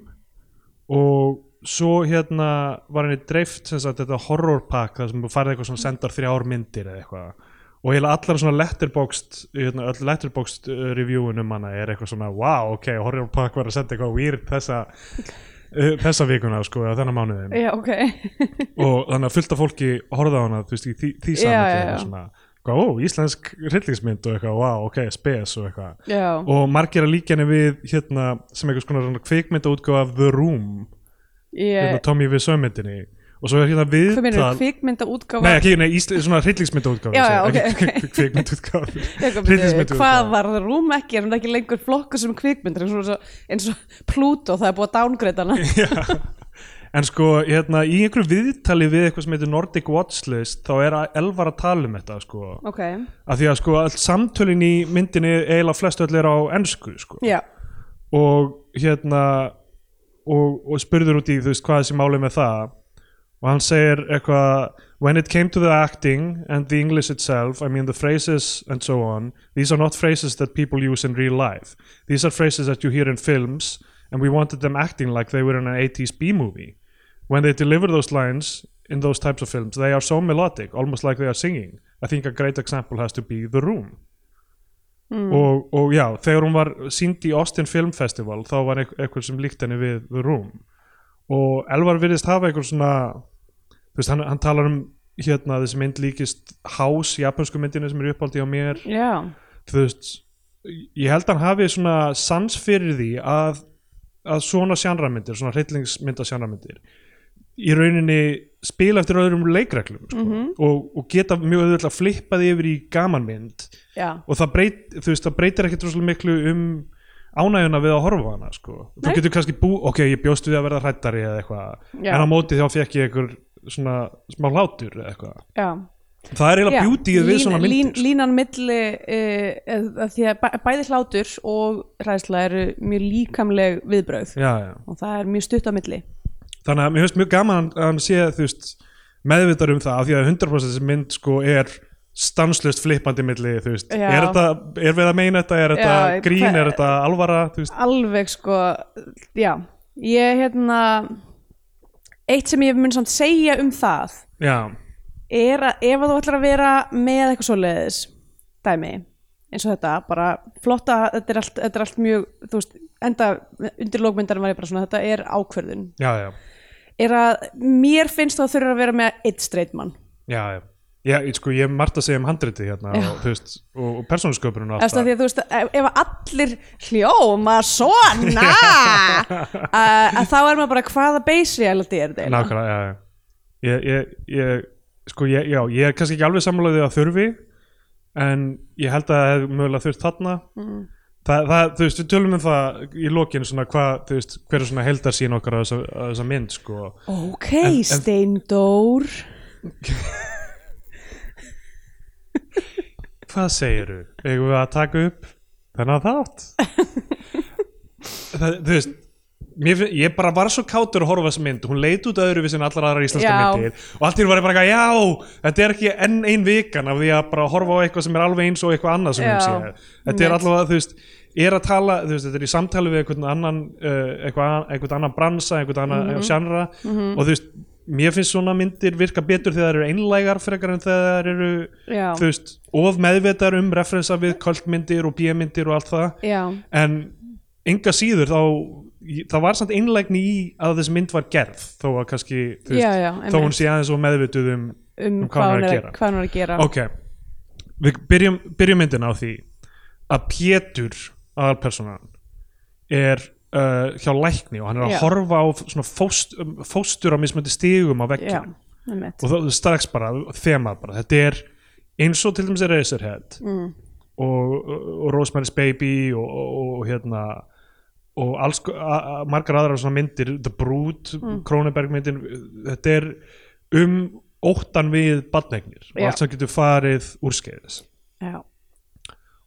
[SPEAKER 2] og svo hérna var henni dreift sem sagt þetta horrorpack þar sem þú farið eitthvað svona sendar þrjár myndir eða eitthvað og heila allar svona letterboxd hérna, öll letterboxd uh, reviewin um hana er eitthvað svona, wow, ok, horrorpack var að senda eitthvað weird þessa uh, þessa vikuna, sko, eða þennan mánuðin
[SPEAKER 1] já, ok
[SPEAKER 2] og þannig að fullt af fólki horfða á hana þú veist, í því, því
[SPEAKER 1] Já,
[SPEAKER 2] saman
[SPEAKER 1] já, já.
[SPEAKER 2] svona, hvað, ó, íslensk hryllingsmynd og eitthvað, wow, ok, spes og eitthvað
[SPEAKER 1] já,
[SPEAKER 2] og margir að líka henni við hérna, sem einhvers konar kvikmynda útgáfa af The Room, hérna,
[SPEAKER 1] ég
[SPEAKER 2] Tommy við sömmyndinni og svo er hérna
[SPEAKER 1] Eh. hvað meina,
[SPEAKER 2] viðtal
[SPEAKER 1] kvikmynda útgáfa
[SPEAKER 2] Nei, ekki, nei, ísl, svona hryllingsmynda útgáfa
[SPEAKER 1] Já, já, ok, eh,
[SPEAKER 2] Kvikmynda útgáfa
[SPEAKER 1] hvað var það rúm ekki, er hún ekki lengur flokku sem kvikmyndir eins og, eins og Pluto, það er búið að dángreita hana
[SPEAKER 2] Já. en sko, hérna, í einhverju viðtali við eitthvað sem heitir Nordic Watchlist þá er að Elvar að tala um þetta sko.
[SPEAKER 1] ok,
[SPEAKER 2] af því að sko, allt samtölin í myndinni eiginlega flest öll er á ennsku sko.
[SPEAKER 1] já,
[SPEAKER 2] og hérna og, og spurður út í þú veist hvað þessi máli með það og hann segir eitthvað when it came to the acting and the English itself I mean the phrases and so on these are not phrases that people use in real life these are phrases that you hear in films and we wanted them acting like they were in an 80s B-movie when they deliver those lines in those types of films they are so melodic almost like they are singing I think a great example has to be The Room og, og já, þegar hún var sínd í Austin Film Festival þá var eit- eitthvað sem líkt henni við The Room og Elvar virðist hafa eitthvað svona þú veist, hann, hann talar um hérna þessi mynd líkist House, japansku myndinu sem er uppáldi á mér
[SPEAKER 1] já
[SPEAKER 2] þú veist, ég held hann hafi svona sans fyrir því að, að svona sjanramyndir, svona hryllingsmynda sjanramyndir í rauninni spila eftir öðrum leikreglum sko, og, og geta mjög auðvitað að flippa því yfir í gamanmynd
[SPEAKER 1] já,
[SPEAKER 2] og það, breyt, þú veist, það breytir ekkert rosalega miklu um ánægjuna við að horfa á hana sko. þú
[SPEAKER 1] Nei.
[SPEAKER 2] getur kannski bú, ok, ég bjóst við að verða hrættari eða eitthvað,
[SPEAKER 1] Já.
[SPEAKER 2] en á móti þá fekk ég einhver svona smá hlátur eða eitthvað,
[SPEAKER 1] já
[SPEAKER 2] það er
[SPEAKER 1] Já,
[SPEAKER 2] eiginlega bjútið við
[SPEAKER 1] lín-
[SPEAKER 2] svona myndir,
[SPEAKER 1] lín,
[SPEAKER 2] sko.
[SPEAKER 1] línan milli uh, að því að bæ, bæði hlátur og hræðsla eru mjög líkamleg viðbrögð
[SPEAKER 2] já, já.
[SPEAKER 1] og það er mjög stutt á milli
[SPEAKER 2] þannig að mér finnst mjög gaman að hann sé þú veist, meðvitar um það af því að 100% þessi mynd sko er stanslust flippandi milli þú veist,
[SPEAKER 1] Já.
[SPEAKER 2] er, þetta, er við að meina þetta, er þetta
[SPEAKER 1] Já,
[SPEAKER 2] grín,
[SPEAKER 1] hva-
[SPEAKER 2] er þetta alvara þú veist,
[SPEAKER 1] alveg sko já, ég hérna eitt sem ég mun samt segja um það
[SPEAKER 2] já,
[SPEAKER 1] er að ef að þú ætlar að vera með eitthvað svoleiðis dæmi eins og þetta, bara flotta þetta er allt, þetta er allt mjög, þú veist enda undir lókmyndar var ég bara svona þetta er ákverðun,
[SPEAKER 2] já, já,
[SPEAKER 1] er að mér finnst þú að þurfa að vera með eitt straight man
[SPEAKER 2] já, já. Ég, sko, ég er margt að segja um handriti hérna
[SPEAKER 1] Já.
[SPEAKER 2] og, þú veist, og, og persónusköpunum og allt
[SPEAKER 1] Eftir
[SPEAKER 2] það
[SPEAKER 1] því að þú veist, ef, ef allir hljóma svona að, að þá er maður bara hvaða base reality er þetta eiginlega?
[SPEAKER 2] Nákvæmlega, já, já. Ég, ég, ég, sko, ég, já, ég er kannski ekki alveg sammálaðið að þurfi en ég held að það hefði mögulega þurft þarna
[SPEAKER 1] Mm.
[SPEAKER 2] Þa, það, þú veist, við tölum um það í lokinu svona hvað, þú veist, hver er svona heldarsýn okkar á þessa, á þessa mynd, sko
[SPEAKER 1] Ok,
[SPEAKER 2] en-
[SPEAKER 1] Steindór
[SPEAKER 2] Hvað segiru? Eigum við að taka upp þennan þátt? það, þú veist Mér, finn- ég bara var svo kátur að horfa á þessa mynd hún leit út öðru við sinni allar aðra íslenska
[SPEAKER 1] Já.
[SPEAKER 2] myndir og allt í hún var ég bara eitthvað, já, þetta er ekki enn ein vikan af því að bara horfa á eitthvað sem er alveg eins og eitthvað annað sem
[SPEAKER 1] Já.
[SPEAKER 2] hún séð þetta er
[SPEAKER 1] Mitt.
[SPEAKER 2] allavega, þú veist, er að tala þú veist, þetta er í samtali við einhvern annan uh, eitthvað, einhvern annan bransa, einhvern annan
[SPEAKER 1] Mhm.
[SPEAKER 2] mm genre og þú veist, mér finnst svona myndir virka betur þegar þær eru einlægar frekar en þegar þær eru
[SPEAKER 1] Já.
[SPEAKER 2] þú veist, of meðvetar um referensa við kvöldmyndir og bíamyndir og allt það
[SPEAKER 1] Já,
[SPEAKER 2] en enga síður þá það var samt einlægni í að þessi mynd var gerð þó að kannski, þú
[SPEAKER 1] Já, já,
[SPEAKER 2] þó
[SPEAKER 1] einmitt.
[SPEAKER 2] hún sé aðeins og meðvituð um,
[SPEAKER 1] um, hvað hún er að, hvað hún er að gera
[SPEAKER 2] ok, við byrjum, byrjum myndina á því að Pétur aðalpersonan er uh, hjá lækni og hann er að
[SPEAKER 1] Já.
[SPEAKER 2] horfa á svona fóst, fóstur á mismöndi stigum á
[SPEAKER 1] Já,
[SPEAKER 2] vekkinu
[SPEAKER 1] einmitt
[SPEAKER 2] og þá strax bara þemað bara, þetta er eins og til dæmis er Razorhead mm. og, og Rosemary's Baby og, og, og hérna og alls, ko- a, a, margar aðra svona myndir The Brood, mm. Kronenberg myndin þetta er um óttan við badnegnir og
[SPEAKER 1] Já.
[SPEAKER 2] allt sem getur farið úr skeiðis
[SPEAKER 1] Já,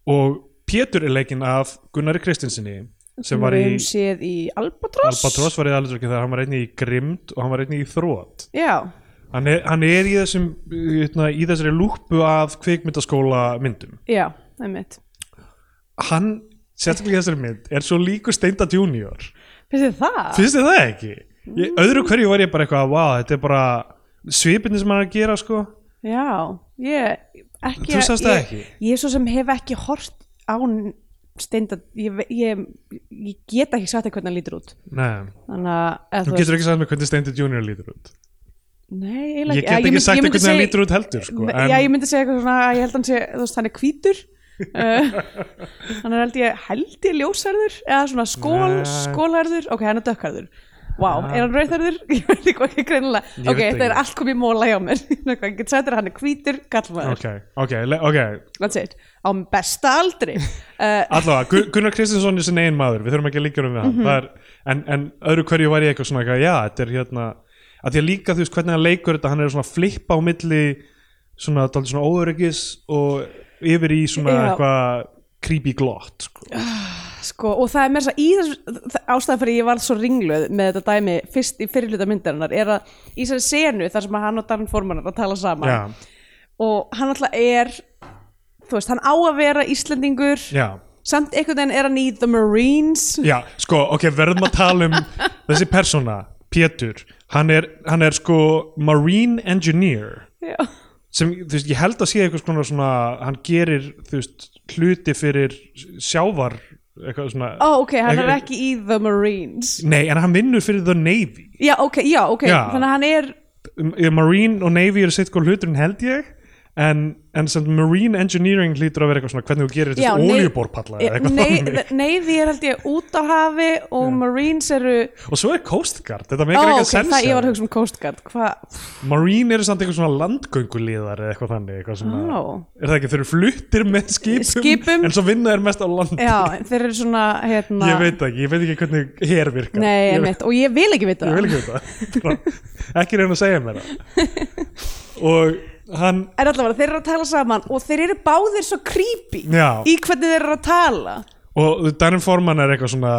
[SPEAKER 2] og Pétur er leikinn af Gunnari Kristinsinni sem
[SPEAKER 1] sem
[SPEAKER 2] var í
[SPEAKER 1] séð í Albatross
[SPEAKER 2] Albatross var í Albatross þegar hann var einnig í Grimd og hann var einnig í Þrótt
[SPEAKER 1] Já,
[SPEAKER 2] hann er, hann er í, þessum, hérna, í þessari lúpu af kvikmyndaskóla myndum
[SPEAKER 1] já, einmitt
[SPEAKER 2] hann, sérstaklega í þessari mynd er svo líku Steinda Junior
[SPEAKER 1] Finnst þið það?
[SPEAKER 2] finnst þið það ekki? Ég, öðru hverju var ég bara eitthvað wow, þetta er bara svipinni sem hann er að gera sko
[SPEAKER 1] Já, ég ekki,
[SPEAKER 2] Þú sást það
[SPEAKER 1] ég-
[SPEAKER 2] ekki?
[SPEAKER 1] Ég svo sem hef ekki hort á steinda ég, ve- ég, ég get ekki sagt þér hvernig hann lítur út
[SPEAKER 2] Nei,
[SPEAKER 1] Þannig að eða
[SPEAKER 2] þú
[SPEAKER 1] þú
[SPEAKER 2] getur ekki sagt mér hvernig Steinda Junior lítur út
[SPEAKER 1] Nei,
[SPEAKER 2] ég get ekki sagt þér hvernig hann lítur út heldur sko, en
[SPEAKER 1] Já, ég myndi segja eitthvað svona að ég held hann sé, þú veist, hann er hvítur uh, hann er held ég held ég ljósarður eða svona skól,
[SPEAKER 2] Nei. Ah.
[SPEAKER 1] skólarður ok, hann er dökkarður wow, er hann rauðarður? ég veit ekki hvað ekki greinilega
[SPEAKER 2] Ég
[SPEAKER 1] ok,
[SPEAKER 2] veit
[SPEAKER 1] þetta er
[SPEAKER 2] ekki.
[SPEAKER 1] allt komið í móla hjá mér ég get sagt þér að hann er hvítur kallmaður
[SPEAKER 2] ok, ok, le- ok
[SPEAKER 1] that's it, á besta aldri uh,
[SPEAKER 2] Allavega, Gun- Gunnar Kristinsson er sinn eigin maður, við þurfum ekki að líka um við hann mm er, en, en öðru hverju var ég eitthvað svona eitthvað, já, þetta er hérna að því að líka þú veist hvernig hann leikur þetta hann er svona að flippa á milli svona, dálítið svona óöryggis og yfir í svona
[SPEAKER 1] Já.
[SPEAKER 2] eitthvað creepy glott sko.
[SPEAKER 1] sko, og það er með þess að í þess ástæðan fyrir ég varð svo ringluð með þetta dæmi fyrst í fyrirluta myndarinnar er að í þessari senu þar sem að hann og Dan Forman er að tala saman
[SPEAKER 2] Já,
[SPEAKER 1] og hann alltaf er þú veist, hann á að vera Íslendingur
[SPEAKER 2] já,
[SPEAKER 1] samt einhvern veginn er hann í The Marines
[SPEAKER 2] já, sko, ok, verðum að tala um þessi persóna, Pétur hann er, hann er sko marine engineer
[SPEAKER 1] Já.
[SPEAKER 2] sem, þú veist, ég held að sé eitthvað svona, svona hann gerir, þú veist, hluti fyrir sjávar eitthvað svona
[SPEAKER 1] ó ok, hann er ekki í The Marines
[SPEAKER 2] Nei, en hann vinnur fyrir The Navy
[SPEAKER 1] já ok, já ok,
[SPEAKER 2] Já.
[SPEAKER 1] þannig að hann er
[SPEAKER 2] Um, Marine og Navy eru sitt hvað hluturinn held ég en, en sem Marine Engineering hlýtur að vera eitthvað svona hvernig þú gerir
[SPEAKER 1] Já,
[SPEAKER 2] þetta
[SPEAKER 1] nei-
[SPEAKER 2] oljubórpalla eða eitthvað þannig.
[SPEAKER 1] neyði er held ég út á hafi og Marines eru
[SPEAKER 2] og svo er Coast Guard,
[SPEAKER 1] ó
[SPEAKER 2] þetta meikir
[SPEAKER 1] ok,
[SPEAKER 2] eitthvað sens
[SPEAKER 1] það ég var að
[SPEAKER 2] hérna.
[SPEAKER 1] hugsa um Coast Guard hvað,
[SPEAKER 2] Marine eru samt eitthvað svona landgönguliðar eða eitthvað þannig eitthvað svona,
[SPEAKER 1] Ó.
[SPEAKER 2] er það ekki, þeir eru fluttir með skipum,
[SPEAKER 1] Skipum.
[SPEAKER 2] en svo vinna þeir mest á land
[SPEAKER 1] já, en þeir eru svona hérna,
[SPEAKER 2] ég veit ekki, ég veit ekki hvernig hér virkar
[SPEAKER 1] nei,
[SPEAKER 2] ég,
[SPEAKER 1] einmitt, og ég vil ekki vita
[SPEAKER 2] ég
[SPEAKER 1] það
[SPEAKER 2] vil ekki veit það ekki reyna að segja mér það og hann
[SPEAKER 1] er allavega, þeir eru að tala saman og þeir eru báðir svo creepy
[SPEAKER 2] Já.
[SPEAKER 1] í hvernig þeir eru að tala
[SPEAKER 2] og Darren Forman er eitthvað svona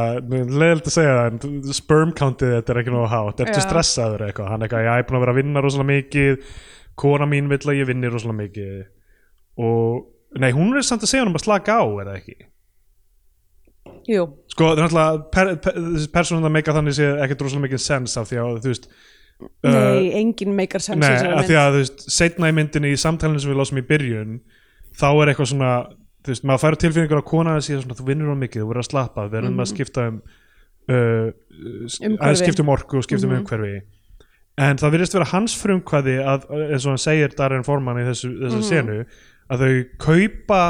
[SPEAKER 2] leðilt að segja það, en sperm countið þetta er ekki nógu hátt, ertu
[SPEAKER 1] Já.
[SPEAKER 2] stressaður eitthvað hann er eitthvað, já, ég er búin að vera að vinna rosalega mikið kona mín vill að ég vinni rosalega mikið og, nei, hún er samt að segja hann um að slaka á, er það ekki
[SPEAKER 1] jú,
[SPEAKER 2] sko, það er náttúrulega per, per, þessi persónum það meika þannig sé ekkert rosalega mikið sens af því að, þú veist uh,
[SPEAKER 1] nei, engin meikar sens í
[SPEAKER 2] Nei,
[SPEAKER 1] þessari
[SPEAKER 2] af
[SPEAKER 1] mynd.
[SPEAKER 2] því að þú veist, setna í myndinni í samtalinu sem við lásum í byrjun þá er eitthvað svona, þú veist, maður færi tilfinningur á konan að síðan svona, þú vinnur á mikið, þú verður að slappa við verðum að skipta um uh, s-
[SPEAKER 1] Mhm. Umhverfi. Mhm.
[SPEAKER 2] að skipta um orku og skipta um umhverfi en það virðist vera hans frumkvæði að, eins og hann segir Darren Forman í þessu, þessu
[SPEAKER 1] Mhm.
[SPEAKER 2] senu að þau kaupa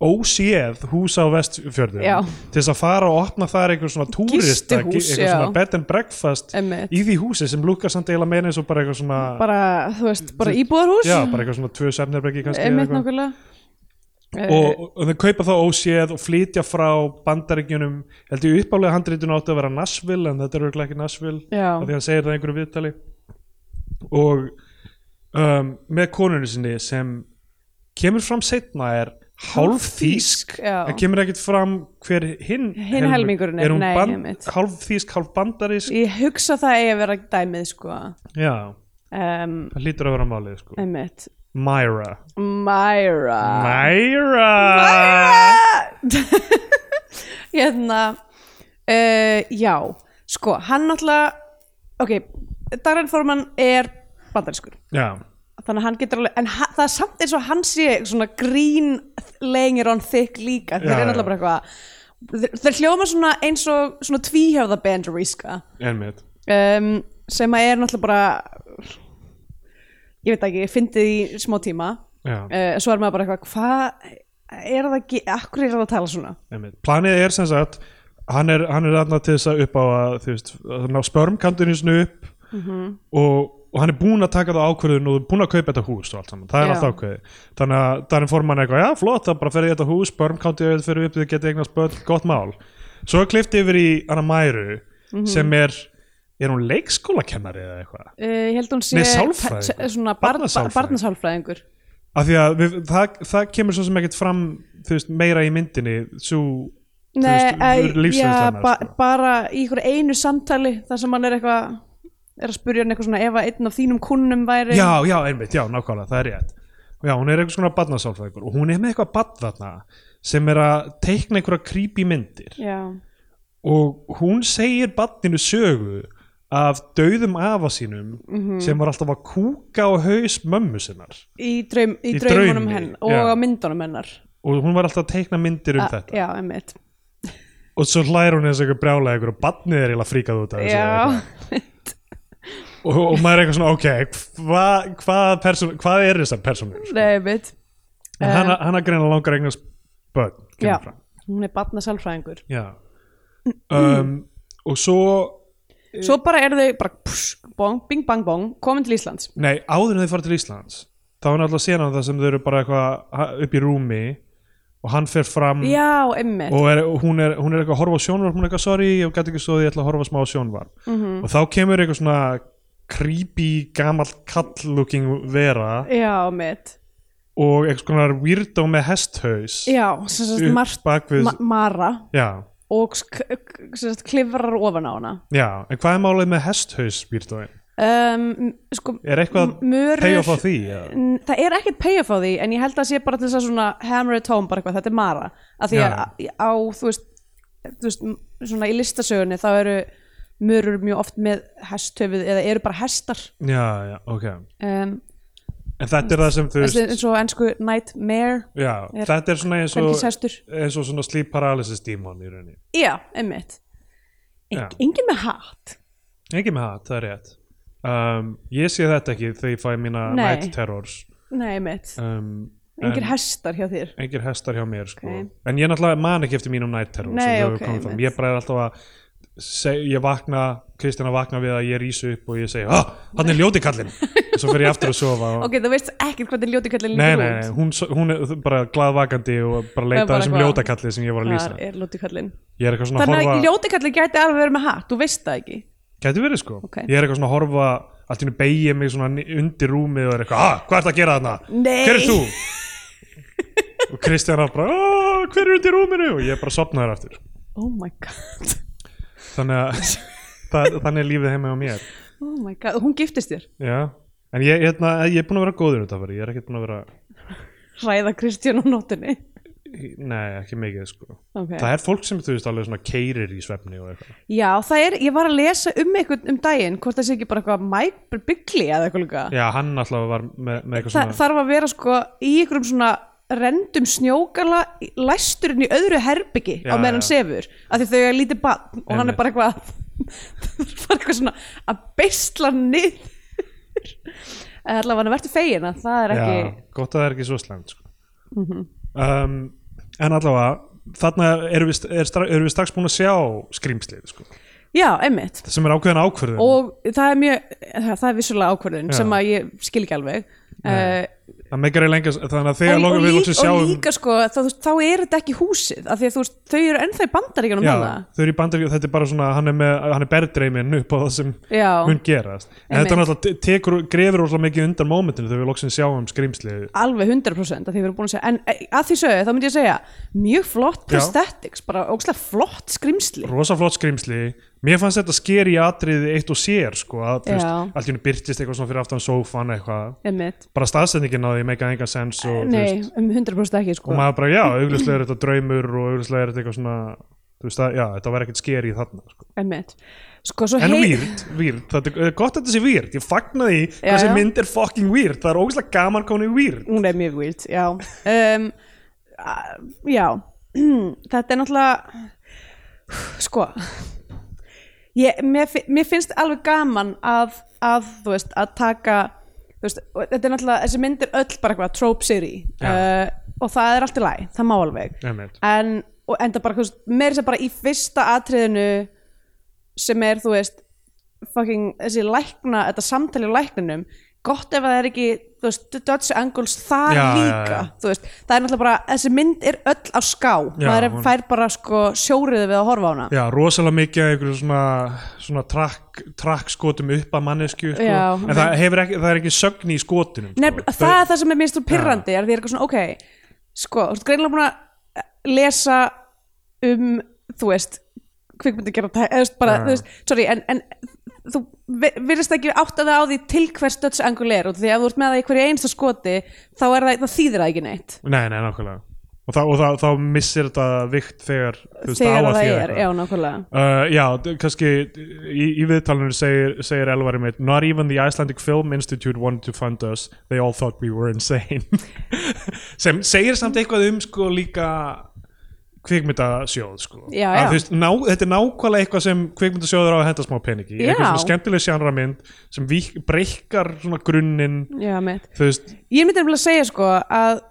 [SPEAKER 2] óséð hús á vestfjörðum
[SPEAKER 1] Já.
[SPEAKER 2] til þess að fara og opna þar einhver svona túrista,
[SPEAKER 1] Gistihús,
[SPEAKER 2] einhver
[SPEAKER 1] já.
[SPEAKER 2] svona bed and breakfast
[SPEAKER 1] Einmitt.
[SPEAKER 2] í því húsi sem lúkar samt eiginlega meina eins og bara eitthvað svona
[SPEAKER 1] bara, þú veist, bara íbúðarhús
[SPEAKER 2] Já, bara eitthvað svona tvö svefnherbyggi kannski eða
[SPEAKER 1] einmitt
[SPEAKER 2] eitthvað.
[SPEAKER 1] nákvæmlega Eh,
[SPEAKER 2] og, og þau kaupa þá óséð og flytja frá bandaríkjunum held ég uppálega handritun átti að vera Nashville en þetta er auðvitað ekki Nashville
[SPEAKER 1] Eh, já,
[SPEAKER 2] af því hann segir það í einhverju viðtali og um, með konunni sinni sem kemur fram setna er hálf
[SPEAKER 1] Hálfþýsk,
[SPEAKER 2] þýsk
[SPEAKER 1] já.
[SPEAKER 2] en kemur ekkert fram hver hinn
[SPEAKER 1] Hinn helmingurinn er,
[SPEAKER 2] er hún
[SPEAKER 1] nei,
[SPEAKER 2] ban-
[SPEAKER 1] einmitt.
[SPEAKER 2] hálf þýsk, hálf bandarísk
[SPEAKER 1] ég hugsa það eigi að vera dæmið sko
[SPEAKER 2] já,
[SPEAKER 1] um,
[SPEAKER 2] það hlýtur að vera málið sko.
[SPEAKER 1] einmitt
[SPEAKER 2] Myra
[SPEAKER 1] Myra
[SPEAKER 2] Myra
[SPEAKER 1] hérna uh, já, sko, hann náttúrulega ok, Darren Forman er bandariskur
[SPEAKER 2] Já,
[SPEAKER 1] þannig að hann getur alveg, en ha, það er samt eins og hann sé svona grín lengir on thick líka, þeir
[SPEAKER 2] Já,
[SPEAKER 1] eru
[SPEAKER 2] já.
[SPEAKER 1] náttúrulega bara eitthvað þeir, þeir hljóma svona eins og svona tvíhjöfða bandaríska
[SPEAKER 2] einmitt
[SPEAKER 1] um, sem að er náttúrulega bara ég veit ekki, fyndið í smá tíma
[SPEAKER 2] Já,
[SPEAKER 1] uh, svo er maður bara eitthvað hvað er það ekki, akkur er það að tala svona
[SPEAKER 2] einmitt. Planið er sem sagt hann er, hann er aðna til þess að upp á að þú veist, að ná spörmkantinu sinu upp
[SPEAKER 1] Mhm.
[SPEAKER 2] og, og hann er búinn að taka það ákvörðun og búinn að kaupa þetta hús og allt saman, það er
[SPEAKER 1] Já.
[SPEAKER 2] allt ákveði þannig að þannig fór mann eitthvað, já flott það bara ferði þetta hús, spörmkantinu fyrir upp þið getið eignast börn, gott mál svo er klift yfir í Anna Mæru
[SPEAKER 1] Mhm.
[SPEAKER 2] sem er, er hún leikskólakennari eða eitthvað
[SPEAKER 1] uh, ég held hún sé
[SPEAKER 2] Nei, sálfræðingur.
[SPEAKER 1] t- t- svona barn,
[SPEAKER 2] Barnasálfræðingur.
[SPEAKER 1] barnasálfræðingur
[SPEAKER 2] af því að við, það, það kemur svo sem ekkert fram þú veist, meira í myndinni svo
[SPEAKER 1] Nei,
[SPEAKER 2] veist,
[SPEAKER 1] eh,
[SPEAKER 2] lífsreynsla
[SPEAKER 1] já,
[SPEAKER 2] hennar,
[SPEAKER 1] ba
[SPEAKER 2] sko.
[SPEAKER 1] bara í einhverju einu samtali þar sem hann er eitthvað er að spurja hann eitthvað svona ef að einn af þínum kunnum væri
[SPEAKER 2] já, já, einmitt, já, nákvæmlega, það er rétt já, hún er eitthvað svona badnasálfræðingur og hún er með eitthvað badn þarna sem er að teikna einhverja creepy myndir
[SPEAKER 1] já,
[SPEAKER 2] og hún segir badninu sögu af dauðum afa sínum
[SPEAKER 1] Mhm.
[SPEAKER 2] sem var alltaf að kúka á haus mömmu sinnar
[SPEAKER 1] í, draum, í,
[SPEAKER 2] Í
[SPEAKER 1] draumunum
[SPEAKER 2] draumi,
[SPEAKER 1] henn
[SPEAKER 2] já.
[SPEAKER 1] og á myndunum hennar
[SPEAKER 2] og hún var alltaf að teikna myndir
[SPEAKER 1] A-
[SPEAKER 2] um
[SPEAKER 1] Ah,
[SPEAKER 2] þetta
[SPEAKER 1] já, emmitt
[SPEAKER 2] og svo hlær hún eins og eitthvað brjálega eitthvað og badnið er eiginlega fríkað út af þessu eða
[SPEAKER 1] já,
[SPEAKER 2] eitthvað. og, og maður er eitthvað svona, ok, hva, hvað, persón, hvað er þessar persónur?
[SPEAKER 1] nei, emmitt
[SPEAKER 2] Um, hana, hana greina langar eignast börn, kemur
[SPEAKER 1] Eh. já,
[SPEAKER 2] fram.
[SPEAKER 1] hún er barnasálfræðingur
[SPEAKER 2] Já um, og svo
[SPEAKER 1] svo bara eru þau bara pss, bong, bing bang bong, komin til Íslands
[SPEAKER 2] Nei, áður en þau fara til Íslands þá er náttúrulega séna það sem þau eru bara eitthvað ha- upp í rúmi og hann fer fram
[SPEAKER 1] já, emmi,
[SPEAKER 2] Mm. og er, og hún, er, hún er eitthvað að horfa á sjónvarp hún er eitthvað, sorry, ég gæti ekki svo því, ég ætla að horfa smá á sjónvarp
[SPEAKER 1] Mm-hmm.
[SPEAKER 2] -hmm. og þá kemur eitthvað svona creepy, gamall kall-looking vera
[SPEAKER 1] já, mitt
[SPEAKER 2] og eitthvað svona weirdo með hesthaus
[SPEAKER 1] já, sem sagt,
[SPEAKER 2] Upp
[SPEAKER 1] margt
[SPEAKER 2] bak við-
[SPEAKER 1] ma Mara
[SPEAKER 2] já,
[SPEAKER 1] og sk- k- sem sagt, klifrar ofan á hana
[SPEAKER 2] já, en hvað er málið með hesthaus weirdoin?
[SPEAKER 1] um, sko,
[SPEAKER 2] Er eitthvað
[SPEAKER 1] M- mörur-
[SPEAKER 2] pay off á því? eða?
[SPEAKER 1] N- það er ekkert payoff á því en ég held að það sé bara til þess að svona hammer it home bara eitthvað, þetta er Mara af því að á, þú veist, þú veist m- svona í listasögunni þá eru mörur mjög oft með hesthöfuð eða eru bara hestar
[SPEAKER 2] Já, já, ok
[SPEAKER 1] um,
[SPEAKER 2] En þetta er það sem þú
[SPEAKER 1] þessi-
[SPEAKER 2] veist
[SPEAKER 1] eins og ennsku nightmare
[SPEAKER 2] Já,
[SPEAKER 1] er-
[SPEAKER 2] þetta er svona eins og
[SPEAKER 1] kvenkishestur.
[SPEAKER 2] eins og svona sleep paralysis dímon í rauninni
[SPEAKER 1] já, einmitt
[SPEAKER 2] Já.
[SPEAKER 1] Eng, engin með hatt
[SPEAKER 2] Ekki með það, það er rétt um, Ég sé þetta ekki þegar ég fæ mína
[SPEAKER 1] Nei.
[SPEAKER 2] night terrors
[SPEAKER 1] nei, einmitt,
[SPEAKER 2] um,
[SPEAKER 1] engin
[SPEAKER 2] en-
[SPEAKER 1] hestar hjá þér
[SPEAKER 2] engir hestar hjá mér sko.
[SPEAKER 1] Ok.
[SPEAKER 2] en ég náttúrulega man ekki eftir mínum night terror
[SPEAKER 1] Nei,
[SPEAKER 2] sem þau
[SPEAKER 1] ok,
[SPEAKER 2] komið fram.
[SPEAKER 1] einmitt.
[SPEAKER 2] ég bara er alltaf að seg, ég vakna, Kristjana vakna við að ég rýsu upp og ég segi, ah, hann er ljóti kallinn og svo fer ég aftur að sofa og...
[SPEAKER 1] ok, þú veist ekkert hvað þetta ljóti kallin
[SPEAKER 2] nei, nei, nei, hún, s- hún er bara glaðvakandi og bara leita
[SPEAKER 1] bara
[SPEAKER 2] að þessum
[SPEAKER 1] eitthvað.
[SPEAKER 2] ljóta kalli sem ég var að lýsa
[SPEAKER 1] Hvar er ljóti kallin
[SPEAKER 2] ég er eitthvað svona að
[SPEAKER 1] þannig
[SPEAKER 2] horfa,
[SPEAKER 1] að ljóti kallin gæti alveg verið með hatt þú veist það ekki
[SPEAKER 2] gæti verið sko
[SPEAKER 1] Ok.
[SPEAKER 2] ég er eitthvað svona að horfa, allt í hennu beigja mig svona ni- undir rúmið og er eitthvað, ah, hvað ertu að gera þarna
[SPEAKER 1] Nei.
[SPEAKER 2] hver er þú? og Kristjana bara, "Ah, hver er undir rúminu? og ég er bara sopnaður aftur
[SPEAKER 1] oh my god
[SPEAKER 2] þannig að það, þannig er lífið heima á mér
[SPEAKER 1] Oh my god, hún giftist þér
[SPEAKER 2] já. en ég, hérna, ég er búin að vera góður þetta fyrir, ég er ekkert búin að vera
[SPEAKER 1] Ræða Kristján á nóttunni
[SPEAKER 2] nei, ekki mikið sko
[SPEAKER 1] okay.
[SPEAKER 2] það er fólk sem þú veist alveg svona keirir í svefni og eitthvað
[SPEAKER 1] Já, það er, ég var að lesa um eitthvað um daginn Hvort það sé ekki bara eitthvað Mike Bigley eða eitthvað líka
[SPEAKER 2] já, hann alltaf var með, með eitthvað
[SPEAKER 1] Þa,
[SPEAKER 2] svona
[SPEAKER 1] Þarf að vera sko í einhverjum svona rendum snjókala læsturinn í öðru herbyggi
[SPEAKER 2] Já,
[SPEAKER 1] á meðan
[SPEAKER 2] já.
[SPEAKER 1] hann sefur af því þau er lítið bann og hann
[SPEAKER 2] Einmitt.
[SPEAKER 1] er bara eitthvað bara eitthvað svona að beisla hann niður eða allavega hann verður fegin að það er ekki Mhm.
[SPEAKER 2] já, gott að það er ekki svo slæmt sko. um, en allavega þarna erum við, er, stra- erum við strax búin að sjá skrýmslið sko.
[SPEAKER 1] já einmitt
[SPEAKER 2] það sem er ákveðin ákvörðun
[SPEAKER 1] og það er mjög það, það er vissulega ákvörðun sem að ég skil ekki alveg uh,
[SPEAKER 2] það meikar í lengi þannig að um- þegar
[SPEAKER 1] og,
[SPEAKER 2] lokum
[SPEAKER 1] og,
[SPEAKER 2] við
[SPEAKER 1] lík,
[SPEAKER 2] loksins
[SPEAKER 1] og
[SPEAKER 2] sjáum
[SPEAKER 1] líka sko þá, þú veist, þá er þetta ekki húsið af því að þú veist, þau eru ennþá í bandaríkjunum
[SPEAKER 2] Já,
[SPEAKER 1] hana.
[SPEAKER 2] þau eru í bandaríkjum, þetta er bara svona hann er, með, hann er berðdreimin upp á það sem
[SPEAKER 1] Já.
[SPEAKER 2] mun gerast en
[SPEAKER 1] Einmitt.
[SPEAKER 2] þetta er náttúrulega te- tekur, grefur óslega mikið undan mómentinu þegar við loksin sjáum skrýmsli
[SPEAKER 1] alveg 100% af því við erum búin að segja en eh, að því sögðu þá myndi ég segja mjög flott
[SPEAKER 2] Já.
[SPEAKER 1] prosthetics, bara ógslag flott skrimsli
[SPEAKER 2] rosa flott skrýmsli mér fannst þetta skeri í atriði eitt og sér sko, að þú veist,
[SPEAKER 1] Já.
[SPEAKER 2] allt í hennu byrtist eitthvað svona fyrir aftan sófan eitthvað,
[SPEAKER 1] einmitt,
[SPEAKER 2] bara staðsendingin á því meika engan sens og, þú
[SPEAKER 1] nei,
[SPEAKER 2] veist,
[SPEAKER 1] um 100% ekki
[SPEAKER 2] og
[SPEAKER 1] sko
[SPEAKER 2] maður bara já, auglislega er þetta draumur og auglislega er þetta eitthvað svona þú veist, að, já, þetta var ekkert skeri þarna sko.
[SPEAKER 1] einmitt, sko svo
[SPEAKER 2] En
[SPEAKER 1] hei-
[SPEAKER 2] weird, weird, þetta er eh, gott að þetta sé weird Ég fagna því hvað
[SPEAKER 1] Já,
[SPEAKER 2] þessi
[SPEAKER 1] já.
[SPEAKER 2] mynd er fucking weird Það er ógeðslega gaman konu weird
[SPEAKER 1] hún er mjög vild, já um, a- já þetta er náttúrulega sko ég, mér, fi- mér finnst alveg gaman að, að þú veist, að taka þú veist, og þetta er náttúrulega, þessi mynd er öll bara eitthvað, tropes er í uh,
[SPEAKER 2] Já.
[SPEAKER 1] og það er allt í læg, það má alveg
[SPEAKER 2] Einmitt.
[SPEAKER 1] en, og enda bara, þú veist, meir sem bara í fyrsta atriðinu sem er, þú veist fucking, þessi lækna, þetta samtali á lækninum, gott ef það er ekki þú veist, Dutch Angles þar
[SPEAKER 2] Já, já,
[SPEAKER 1] líka
[SPEAKER 2] já.
[SPEAKER 1] þú veist, það er náttúrulega bara, þessi mynd er öll á ská,
[SPEAKER 2] Já,
[SPEAKER 1] maður er,
[SPEAKER 2] hún-
[SPEAKER 1] fær bara sko sjóriði við að horfa á hana
[SPEAKER 2] Já, rosalega mikið af einhverju svona, svona trakk, trakk skotum upp að mannesku sko.
[SPEAKER 1] Já,
[SPEAKER 2] en það, hefur ekki, það er ekki sögn í skotunum sko.
[SPEAKER 1] Nefn, það er það sem er minnst úr pyrrandi er því er eitthvað svona, ok, sko þú ert greinlega búin að lesa um, þú veist kvikmyndi gera það, eða þú veist, bara
[SPEAKER 2] Já.
[SPEAKER 1] þú veist, sorry, en, en þú vi- virðist ekki átt að það á því til hvers döds angul er og því ef þú ert með það í hverju einsta skoti þá er það, það þýðir það ekki neitt
[SPEAKER 2] Nei, nei, nákvæmlega Og, það, og það, þá missir þetta vikt þegar þú veist, á
[SPEAKER 1] þegar
[SPEAKER 2] að
[SPEAKER 1] það
[SPEAKER 2] þýða
[SPEAKER 1] er,
[SPEAKER 2] eitthvað.
[SPEAKER 1] já, nákvæmlega
[SPEAKER 2] Uh, já, d- kannski í, í viðtalinu segir, segir Elvari mitt Not even the Icelandic Film Institute wanted to fund us They all thought we were insane sem segir samt eitthvað um sko líka kvikmyndasjóð sko
[SPEAKER 1] Já,
[SPEAKER 2] Að
[SPEAKER 1] já.
[SPEAKER 2] þú veist, ná, þetta er nákvæmlega eitthvað sem kvikmyndasjóður á að henda smá peningi
[SPEAKER 1] Já.
[SPEAKER 2] eitthvað svona skemmtileg sjanramynd sem vík, breykar svona grunninn
[SPEAKER 1] já, mitt.
[SPEAKER 2] þú veist,
[SPEAKER 1] ég myndi nefnilega að segja sko að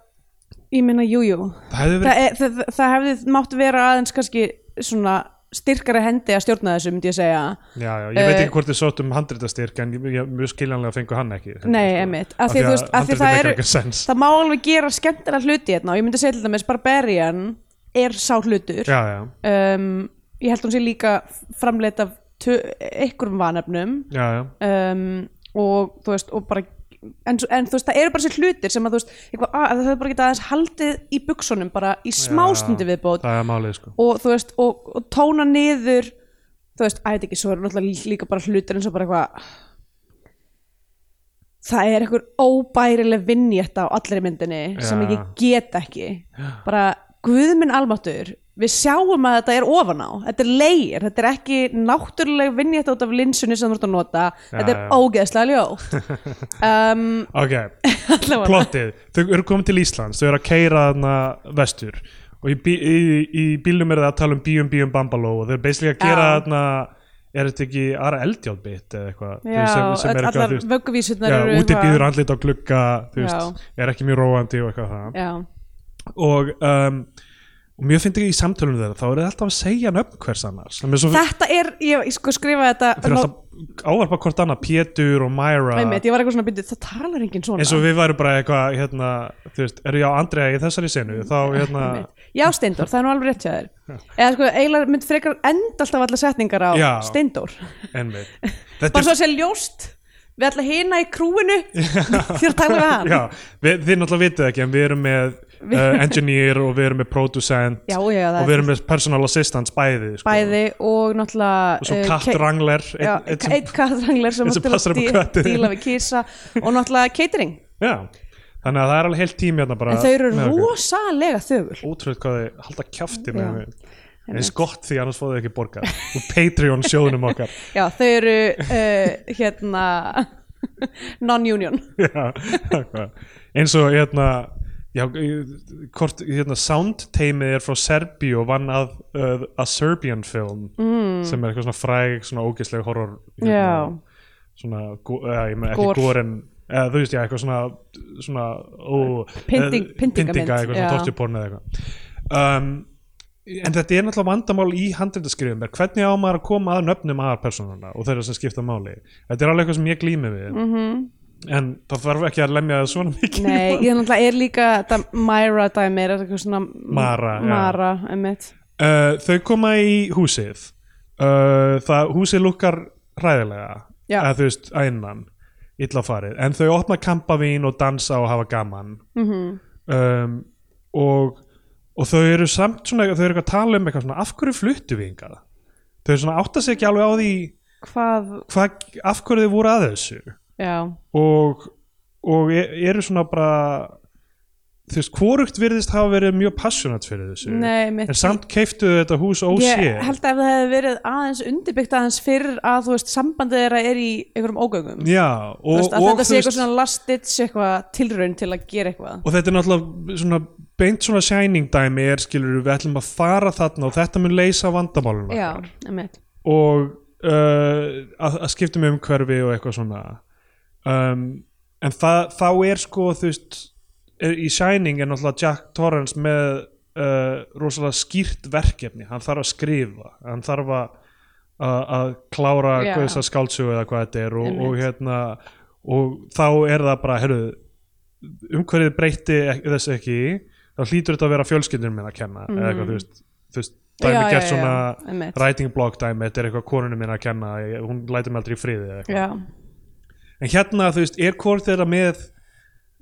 [SPEAKER 1] ég meina, jújú, jú,
[SPEAKER 2] það hefur verið
[SPEAKER 1] það, er, það, það- það hefði mátt vera aðeins kannski svona styrkari hendi að stjórna þessu myndi ég segja
[SPEAKER 2] já, já, ég
[SPEAKER 1] uh,
[SPEAKER 2] veit ekki hvort þið sótt um handritastyrk en ég, ég, mjög skiljanlega fengu hann ekki sko.
[SPEAKER 1] Nei, emitt, af því að þú veist, af því að
[SPEAKER 2] handritið
[SPEAKER 1] það
[SPEAKER 2] meikar
[SPEAKER 1] eru
[SPEAKER 2] ekki sens
[SPEAKER 1] það má alveg gera skemmtilega hluti hérna og ég myndi segja til dæmis Barbarian er sá hlutur
[SPEAKER 2] já, já,
[SPEAKER 1] um, ég held hún sé líka framleitt af tö- einhverjum vanefnum
[SPEAKER 2] já, já,
[SPEAKER 1] um, og þú veist og bara En, en þú veist, það eru bara sér hlutir sem að þú veist, eitthvað, að það er bara geta aðeins haldið í buksunum bara í smástundi
[SPEAKER 2] Já,
[SPEAKER 1] viðbót
[SPEAKER 2] það er málið sko
[SPEAKER 1] og þú veist, og, og tóna niður þú veist, að þetta ekki, svo eru náttúrulega líka bara hlutir eins og bara eitthvað það er einhver óbærileg vinnjætt á allri myndinni sem
[SPEAKER 2] Já.
[SPEAKER 1] ég get ekki bara, guðminn almáttur við sjáum að þetta er ofan á þetta er leir, þetta er ekki náttúrulega vinnjætt út af linsunni sem þú ert að nota þetta er
[SPEAKER 2] já.
[SPEAKER 1] ógeðslega ljótt um,
[SPEAKER 2] ok,
[SPEAKER 1] allavega.
[SPEAKER 2] plottið, þau eru komin til Íslands þau eru að keira þarna vestur og í, bí, í, í bílnum eru það að tala um bíum bíum bambaló og þau eru basically að gera
[SPEAKER 1] Já.
[SPEAKER 2] þarna er þetta ekki aðra eldjálbit eða eitthvað þú
[SPEAKER 1] Já,
[SPEAKER 2] veist,
[SPEAKER 1] öll-
[SPEAKER 2] er
[SPEAKER 1] allar
[SPEAKER 2] þú veist,
[SPEAKER 1] vögguvísurnar
[SPEAKER 2] já,
[SPEAKER 1] eru
[SPEAKER 2] úti
[SPEAKER 1] eitthvað-
[SPEAKER 2] býður andlit á glugga þú veist,
[SPEAKER 1] Já.
[SPEAKER 2] er ekki mjög róandi og eitthvað það
[SPEAKER 1] Já,
[SPEAKER 2] og, um, og mjög fyndi ekki í samtölunum þeirra þá eru það alltaf að segja nöfn hvers annars það er svo
[SPEAKER 1] þetta er, ég, ég sko skrifa þetta
[SPEAKER 2] þau eru alltaf að ávarpa hvort annað Pétur og Myra
[SPEAKER 1] Einmitt, ég var eitthvað svona byrjuð, það talar enginn svona
[SPEAKER 2] eins og við værum bara eitthvað hérna, þú veist, eru ég á Andrea í þessari senu
[SPEAKER 1] Mm.
[SPEAKER 2] þá hérna
[SPEAKER 1] Einmitt. Já, Steindór, það er nú alveg rétt hjá þér Eða sko, eiginlega mynd frekar enda alltaf alla setningar á
[SPEAKER 2] Já.
[SPEAKER 1] Steindór
[SPEAKER 2] Einmitt. Þetta
[SPEAKER 1] Bara svo að segja ljóst Við ætla hina í krúinu Þér tala við hann
[SPEAKER 2] já, við, þið náttúrulega vitið ekki en við erum með uh, engineer og við erum með producent
[SPEAKER 1] já, já, það
[SPEAKER 2] og
[SPEAKER 1] er
[SPEAKER 2] við erum með personal assistance bæði, sko.
[SPEAKER 1] bæði og náttúrulega
[SPEAKER 2] og svo
[SPEAKER 1] eh, Kate-
[SPEAKER 2] kattrangler
[SPEAKER 1] Já,
[SPEAKER 2] einn- einn sem-
[SPEAKER 1] Eitt kattrangler sem
[SPEAKER 2] einn sem
[SPEAKER 1] átti að
[SPEAKER 2] passar upp á
[SPEAKER 1] dí-
[SPEAKER 2] köttinn.
[SPEAKER 1] díla við kísa og náttúrulega catering
[SPEAKER 2] já, þannig að það er alveg heilt tími hérna bara
[SPEAKER 1] En þau eru
[SPEAKER 2] með okkur.
[SPEAKER 1] rosalega þögul
[SPEAKER 2] ótrúlega hvað þið halda kjafti
[SPEAKER 1] Já,
[SPEAKER 2] með mig en eins gott því annars fóðu þau ekki borgað og Patreon sjóðunum okkar
[SPEAKER 1] Já, þau eru uh, hérna non-union
[SPEAKER 2] Já, nákvæmlega. eins og hérna já, í- hvort hérna soundteimið er frá Serbíu og vann að uh, a Serbian film mm. sem er eitthvað svona fræg, svona ógisleg horror
[SPEAKER 1] Já.
[SPEAKER 2] hérna, svona, go- eða, ég með
[SPEAKER 1] Gore.
[SPEAKER 2] ekki góren eða þú veist, já, eitthvað svona, svona ó,
[SPEAKER 1] Pynding-
[SPEAKER 2] eða-
[SPEAKER 1] pyndingamynd,
[SPEAKER 2] pyndinga, eitthvað
[SPEAKER 1] já.
[SPEAKER 2] svona tortuporn eða eitthvað um, en þetta er náttúrulega vandamál í handrindaskrifum er hvernig á maður að koma að nöfnum aðarpersónuna og þeirra sem skipta máli þetta er alveg eitthvað sem ég glými við -hmm.
[SPEAKER 1] Mhm.
[SPEAKER 2] en það þarf ekki að lemja það svona mikið
[SPEAKER 1] Nei, ég náttúrulega er líka þetta Myra dæmi er eitthvað svona
[SPEAKER 2] Mara, já.
[SPEAKER 1] Mara, einmitt
[SPEAKER 2] uh, þau koma í húsið uh, það, húsið lukkar hræðilega
[SPEAKER 1] Já.
[SPEAKER 2] að þú veist, að innan illa farið, en þau opna kampavín og dansa og hafa gaman mm
[SPEAKER 1] Mhm.
[SPEAKER 2] -hmm. um, og og þau eru samt svona, þau eru eitthvað að tala um eitthvað svona, af hverju fluttu við hingað þau eru svona átta sig ekki alveg á því
[SPEAKER 1] Hvað,
[SPEAKER 2] hvað, af hverju þau voru að þessu
[SPEAKER 1] já,
[SPEAKER 2] og, og e- eru svona bara þú veist, hvorugt virðist hafa verið mjög passionate fyrir þessu
[SPEAKER 1] nei, einmitt
[SPEAKER 2] en samt keiftuðu þetta hús
[SPEAKER 1] Ég
[SPEAKER 2] óséð
[SPEAKER 1] held að ef það hefði verið aðeins undirbyggt aðeins fyrir að þú veist sambandið þeirra er í einhverjum ógöngum
[SPEAKER 2] Já,
[SPEAKER 1] Þú
[SPEAKER 2] og,
[SPEAKER 1] veist, að
[SPEAKER 2] og,
[SPEAKER 1] þetta
[SPEAKER 2] þú
[SPEAKER 1] sé
[SPEAKER 2] veist,
[SPEAKER 1] eitthvað svona last ditch eitthvað tilraun til að gera eitthvað
[SPEAKER 2] og þetta er náttúrulega svona, beint svona shining dæmi er skilur við ætlum að fara þarna og þetta mun leysa vandamálun
[SPEAKER 1] Já, einmitt
[SPEAKER 2] og uh, að, að skipta um umhverfi og eitthvað svona um, en það, þá er sko þú veist er, í Shining er náttúrulega Jack Torrance með uh, rosalega skýrt verkefni hann þarf að skrifa hann þarf að að að klára
[SPEAKER 1] Já.
[SPEAKER 2] yeah. þess að skáldsögu eða hvað þetta er og, og
[SPEAKER 1] Einmitt.
[SPEAKER 2] hérna og þá er það bara heyrðu, umhverfið breytti ek- þess ekki þá hlýtur þetta að vera fjölskyldunum minn að kenna eða eitthvað þú veist, þú veist dæmi
[SPEAKER 1] Mm. Já, já,
[SPEAKER 2] gert
[SPEAKER 1] já,
[SPEAKER 2] svona
[SPEAKER 1] einmitt.
[SPEAKER 2] writing block dæmi, þetta er eitthvað konunum minn að kenna ég- hún lætur mig aldrei í friði eða eitthvað.
[SPEAKER 1] Já,
[SPEAKER 2] en hérna þú veist, er hvort þeirra með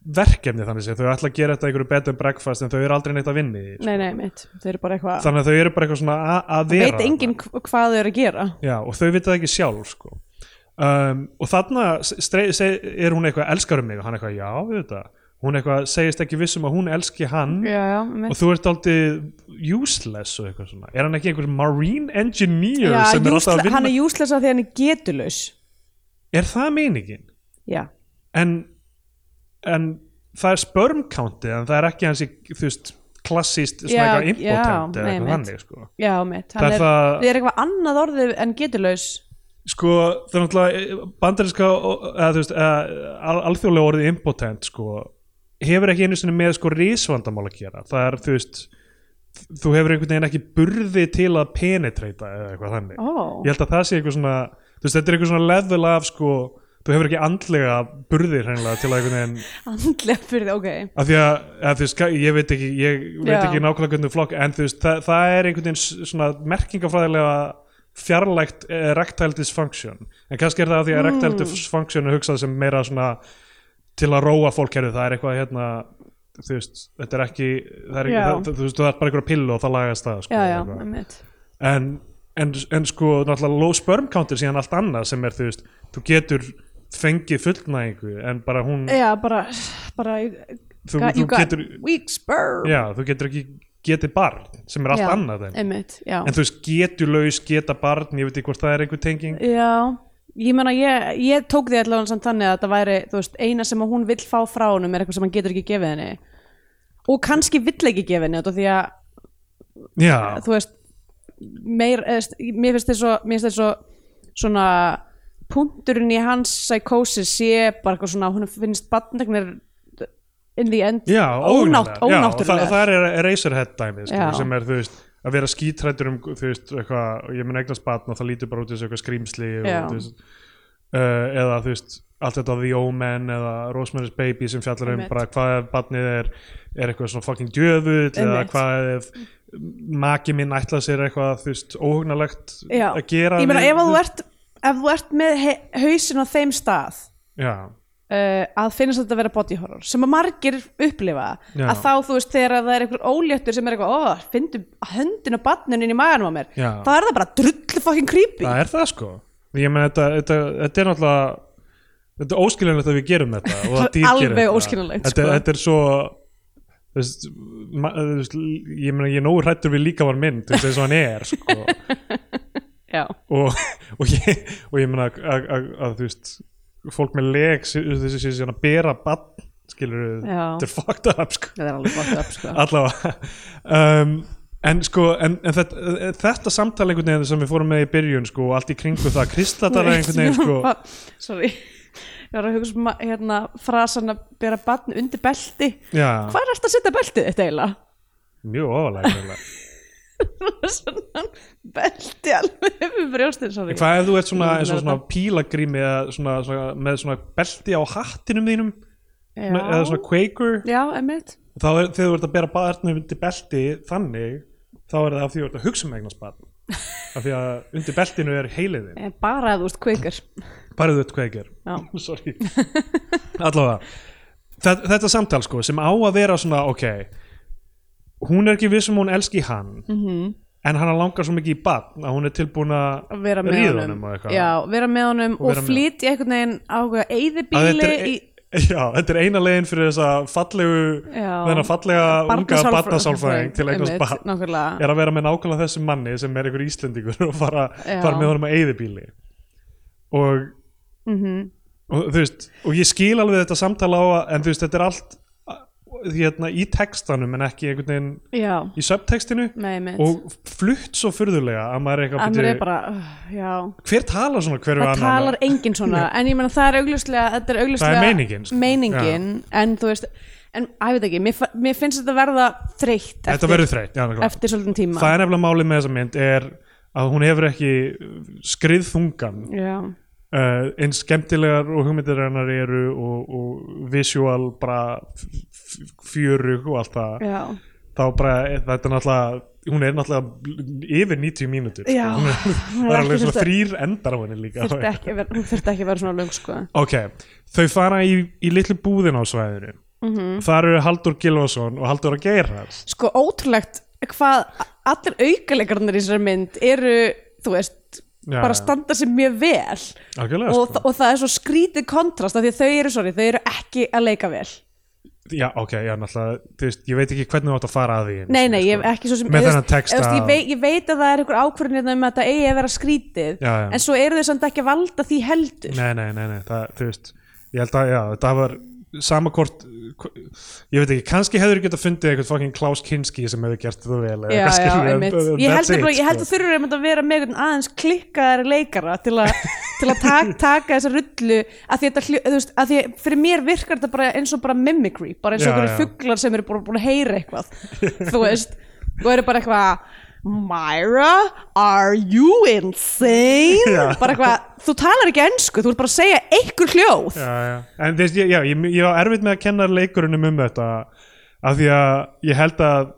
[SPEAKER 2] verkefni þannig sem þau ætla að gera þetta einhverju bed and breakfast en þau eru aldrei neitt að vinni í, sko.
[SPEAKER 1] nei, nei, einmitt Þau eru bara eitthvað
[SPEAKER 2] þannig að þau eru bara eitthvað svona a- að vera
[SPEAKER 1] Veit enginn hv- hvað þau eru að gera
[SPEAKER 2] Já, og þau vita það ekki sjálf sko. um, og þarna strei, seg, er hún eitthvað elskar um mig og hann eitthvað já, við þetta hún eitthvað segist ekki vissum að hún elski hann
[SPEAKER 1] Já, já, einmitt
[SPEAKER 2] og þú ert aldrei useless og eitthvað svona er hann ekki einhver marine engineer
[SPEAKER 1] Já,
[SPEAKER 2] sem er alltaf
[SPEAKER 1] useless-
[SPEAKER 2] að vinna
[SPEAKER 1] hann er useless af því að hann er getulaus
[SPEAKER 2] er það meiningin?
[SPEAKER 1] Já,
[SPEAKER 2] En, en það er sperm countið en það er ekki hans í þú veist, klassist svona
[SPEAKER 1] Já,
[SPEAKER 2] eitthvað
[SPEAKER 1] já,
[SPEAKER 2] impotent eða
[SPEAKER 1] einmitt.
[SPEAKER 2] eitthvað þannig sko.
[SPEAKER 1] já, mitt
[SPEAKER 2] Það
[SPEAKER 1] Hann
[SPEAKER 2] er
[SPEAKER 1] er,
[SPEAKER 2] það-
[SPEAKER 1] það er eitthvað annað orðið en getulaus
[SPEAKER 2] sko það er náttúrulega bandarinska eða, þú veist, eða, al- alþjóðlega orðið impotent sko hefur ekki einu sinni með sko risvandamál að gera það er þú veist þú hefur einhvern veginn ekki burði til að penetreita eða eitthvað þannig
[SPEAKER 1] Ó.
[SPEAKER 2] ég held að það sé eitthvað svona þú veist, þetta er eitthvað svona level af sko þú hefur ekki andlega burði hreinlega til að einhvern veginn
[SPEAKER 1] andlega fyrir það, ok
[SPEAKER 2] af því að, að þú veist, ka- ég veit ekki ég
[SPEAKER 1] Já.
[SPEAKER 2] veit ekki nákvæmlega hvernig flokk en þú veist, það, það er einhvern veginn s- svona merkingafræðilega fjarlægt eh, rectile dysfunction en kannski er það af því að
[SPEAKER 1] Hmm.
[SPEAKER 2] rectile dysfunction er hugsað sem meira svona til að róa fólk herri, það er eitthvað hérna þú veist, þetta er ekki það er,
[SPEAKER 1] Já.
[SPEAKER 2] það, þú veist, það er bara einhverja pillu og það lagast það sko,
[SPEAKER 1] já, já,
[SPEAKER 2] eitthvað
[SPEAKER 1] einmitt
[SPEAKER 2] en, en, en sko náttúrulega low sperm count er síðan allt annað sem er þú veist, þú getur fengið fullnægingu en bara hún
[SPEAKER 1] já, bara, bara
[SPEAKER 2] þú,
[SPEAKER 1] got-
[SPEAKER 2] þú
[SPEAKER 1] you got
[SPEAKER 2] getur,
[SPEAKER 1] weak sperm
[SPEAKER 2] já, þú getur ekki getið barn sem er allt
[SPEAKER 1] Já,
[SPEAKER 2] annað en,
[SPEAKER 1] einmitt, já
[SPEAKER 2] en þú veist, getur laus, geta barn ég veit ekki hvort það er einhver tenging
[SPEAKER 1] Já, ég meina ég, ég tók því allavega samt þannig að þetta væri, þú veist, eina sem að hún vill fá frá honum er eitthvað sem hann getur ekki gefið henni og kannski vill ekki gefið henni út af því að,
[SPEAKER 2] já,
[SPEAKER 1] þú veist meir, eðst, mér finnst þess svo, mér finnst þess svo svona punkturinn í hans psychosis sé bara eitthvað svona, hún finnst barnegnir in the end
[SPEAKER 2] já
[SPEAKER 1] ónátt,
[SPEAKER 2] ónægilega. já, og það,
[SPEAKER 1] ónáttúrulega
[SPEAKER 2] það er eraserhead dæmið sko,
[SPEAKER 1] Já.
[SPEAKER 2] sem er þú veist að vera skítrættur um þú veist, eitthvað, ég mun eignast barn og það lítur bara út þessu eitthvað skrýmsli og,
[SPEAKER 1] Já.
[SPEAKER 2] þú veist, uh, eða þú veist allt þetta The Omen eða Rosemary's Baby sem fjallar um
[SPEAKER 1] Einmitt.
[SPEAKER 2] bara hvað ef barnið er er eitthvað svona fucking djöfull eða
[SPEAKER 1] Einmitt.
[SPEAKER 2] hvað ef maki minn ætla sér eitthvað þú veist óhugnalegt
[SPEAKER 1] Já.
[SPEAKER 2] að gera
[SPEAKER 1] ég meina
[SPEAKER 2] við-
[SPEAKER 1] ef að þú ert, ef þú ert með he- hausinn á þeim stað
[SPEAKER 2] já,
[SPEAKER 1] uh, að finnast þetta að vera body horror sem að margir upplifa
[SPEAKER 2] Já.
[SPEAKER 1] að þá þú veist þegar að það er einhver óléttur sem er eitthvað, ó, finndu höndin og badnin inn í maganum á mér,
[SPEAKER 2] Já.
[SPEAKER 1] þá er það bara drullu fucking creepy
[SPEAKER 2] það er það sko ég meina þetta, þetta, þetta er náttúrulega þetta er óskiljanlegt að við gerum þetta og að dýr
[SPEAKER 1] Alveg
[SPEAKER 2] gerum þetta.
[SPEAKER 1] óskiljanlegt,
[SPEAKER 2] þetta,
[SPEAKER 1] sko.
[SPEAKER 2] þetta er svo þú veist, ma- þú veist, ég meina ég er nógu hrættur við líka var minn þú veist eins og hann er sko
[SPEAKER 1] Já,
[SPEAKER 2] og, og, ég, og ég meina að, að, að, að þú veist fólk með leg sé- þessi sé síðan að bera bann skilur við,
[SPEAKER 1] Já.
[SPEAKER 2] þetta er fucked up sko.
[SPEAKER 1] það er alveg gott upp sko.
[SPEAKER 2] allavega um, en sko en, en þetta, þetta samtal einhvern veginn sem við fórum með í byrjun sko, og allt í kringu það kristallar einhvern veginn sko,
[SPEAKER 1] Sorry Ég var að hugsa um að, hérna, frasan að bera badn undir belti
[SPEAKER 2] já,
[SPEAKER 1] Hvað er eftir að setja beltið þetta eiginlega?
[SPEAKER 2] mjög ofalega
[SPEAKER 1] Svona belti alveg yfir brjóstin, sorry
[SPEAKER 2] hvað ef þú ert svona,
[SPEAKER 1] Ég
[SPEAKER 2] eins og
[SPEAKER 1] meina
[SPEAKER 2] svona
[SPEAKER 1] þetta.
[SPEAKER 2] pílagrými eða svona, svona, með svona belti á hattinum þínum eða
[SPEAKER 1] Já,
[SPEAKER 2] svona Quaker
[SPEAKER 1] já emmitt
[SPEAKER 2] þá er, þegar þú ert að bera barnum undir belti þannig, þá er það af því þú ert að hugsa um eignast barn af því að undir beltinu er heiliðin
[SPEAKER 1] Bara að þú veist kvikar
[SPEAKER 2] bara þú ert kveikir
[SPEAKER 1] Já.
[SPEAKER 2] sorry, allavega þetta, þetta samtal sko, sem á að vera svona ok, hún er ekki vissum hún elski hann -hmm.
[SPEAKER 1] Mhm.
[SPEAKER 2] en hann langar svo mikið í barn að hún er tilbúin að
[SPEAKER 1] að vera með
[SPEAKER 2] ríða
[SPEAKER 1] honum
[SPEAKER 2] honum og eitthvað.
[SPEAKER 1] já, vera með honum og,
[SPEAKER 2] vera með-
[SPEAKER 1] flytja einhvern veginn á
[SPEAKER 2] Að þetta
[SPEAKER 1] eðibíli
[SPEAKER 2] er, e-
[SPEAKER 1] í
[SPEAKER 2] já, þetta er eina leiðin fyrir þessa fallegu
[SPEAKER 1] Já.
[SPEAKER 2] þennan fallega unga
[SPEAKER 1] barnasálfr-
[SPEAKER 2] barnasálfræðing til eignast
[SPEAKER 1] einmitt,
[SPEAKER 2] barn
[SPEAKER 1] nákvæmlega.
[SPEAKER 2] er að vera með nákvæmlega þessum manni sem er einhver Íslendingur og fara,
[SPEAKER 1] Já.
[SPEAKER 2] fara með honum að eyðibíli og,
[SPEAKER 1] Mhm.
[SPEAKER 2] og þú veist og ég skil alveg þetta samtala á að en þú veist þetta er allt uh, hérna, í textanum en ekki einhvern veginn
[SPEAKER 1] já,
[SPEAKER 2] í subtextinu
[SPEAKER 1] Nei, einmitt.
[SPEAKER 2] og flutt svo furðulega að maður er eitthvað
[SPEAKER 1] að mér er
[SPEAKER 2] byrju,
[SPEAKER 1] bara uh, já,
[SPEAKER 2] hver talar svona hverju
[SPEAKER 1] það
[SPEAKER 2] annan
[SPEAKER 1] talar enginn svona en ég meina það er augljóslega þetta er augljóslega
[SPEAKER 2] Það er meiningin, sko.
[SPEAKER 1] meiningin, en þú veist en að ég veit ekki, mér, fa- mér finnst þetta verða þreytt
[SPEAKER 2] þetta verður þreytt já, nákvæmlega.
[SPEAKER 1] eftir svolítið tíma
[SPEAKER 2] það er nefnilega málið með þessa mynd er að hún hefur ekki skriðþungan
[SPEAKER 1] já,
[SPEAKER 2] uh, eins skemmtilegar og hugmyndir hennar eru og, og visual bara f- f- fjöru og allt það
[SPEAKER 1] já,
[SPEAKER 2] þá bara er- þetta er náttúrulega hún er náttúrulega yfir 90 mínútur
[SPEAKER 1] Já,
[SPEAKER 2] hún er,
[SPEAKER 1] hún
[SPEAKER 2] það
[SPEAKER 1] er
[SPEAKER 2] er alveg
[SPEAKER 1] ekki
[SPEAKER 2] svona
[SPEAKER 1] fyrst-
[SPEAKER 2] þrýr endar á henni líka
[SPEAKER 1] þurfti ekki, að vera- hún þurfti ekki að vera svona löng sko
[SPEAKER 2] ok, þau fara í, í litlu búðin á svæðinu
[SPEAKER 1] Mhm.
[SPEAKER 2] -hmm. þar eru Haldur Gilvason og Haldur að geira
[SPEAKER 1] sko ótrúlegt hvað allir aukalegarnir í þessari mynd eru, þú veist
[SPEAKER 2] Já,
[SPEAKER 1] bara
[SPEAKER 2] já.
[SPEAKER 1] standa sér mjög vel
[SPEAKER 2] algjörlega
[SPEAKER 1] og,
[SPEAKER 2] sko.
[SPEAKER 1] og það er svo skrítið kontrast af því að þau eru, sorry, þau eru ekki að leika vel
[SPEAKER 2] já, ok, já, náttúrulega, þú veist, ég veit ekki hvernig þú átt að fara að því einu
[SPEAKER 1] nei,
[SPEAKER 2] sinni,
[SPEAKER 1] nei,
[SPEAKER 2] sko.
[SPEAKER 1] ég hef ekki svo sem
[SPEAKER 2] Með
[SPEAKER 1] þú
[SPEAKER 2] þennan
[SPEAKER 1] veist-
[SPEAKER 2] texta
[SPEAKER 1] þú veist, ég,
[SPEAKER 2] og-
[SPEAKER 1] veit, ég veit að það er einhver ákvörðin hérna um að þetta eigi að vera skrítið
[SPEAKER 2] Já, já.
[SPEAKER 1] en svo eru þau samt ekki að valda því heldur
[SPEAKER 2] Nei, nei, nei, nei, það, þú veist ég held að, já, það var sama hvort ég veit ekki, kannski hefur getað fundið eitthvað fucking Klaus Kinski sem hefur gert það vel eða
[SPEAKER 1] Já,
[SPEAKER 2] eitthvað,
[SPEAKER 1] já,
[SPEAKER 2] skilurðu, en-
[SPEAKER 1] einmitt.
[SPEAKER 2] en
[SPEAKER 1] Ég held
[SPEAKER 2] that's it,
[SPEAKER 1] nefnilega- ég held að
[SPEAKER 2] sko.
[SPEAKER 1] þurfur einmitt að vera með einhvern aðeins klikkaðari leikara til að, til að tak, taka þessa rullu að því, þetta, hljó- þú veist, að því fyrir mér virkar þetta bara eins og bara mimicry bara eins og
[SPEAKER 2] Já,
[SPEAKER 1] einhverju
[SPEAKER 2] já.
[SPEAKER 1] fuglar sem eru búin, búin að heyra eitthvað þú veist og eru bara eitthvað Myra, are you insane?
[SPEAKER 2] Já.
[SPEAKER 1] bara eitthvað, þú talar ekki ensku þú ert bara að segja einhver hljóð
[SPEAKER 2] já, já. En þess, já, ég, ég var erfitt með að kenna leikurunum um þetta af því að ég held að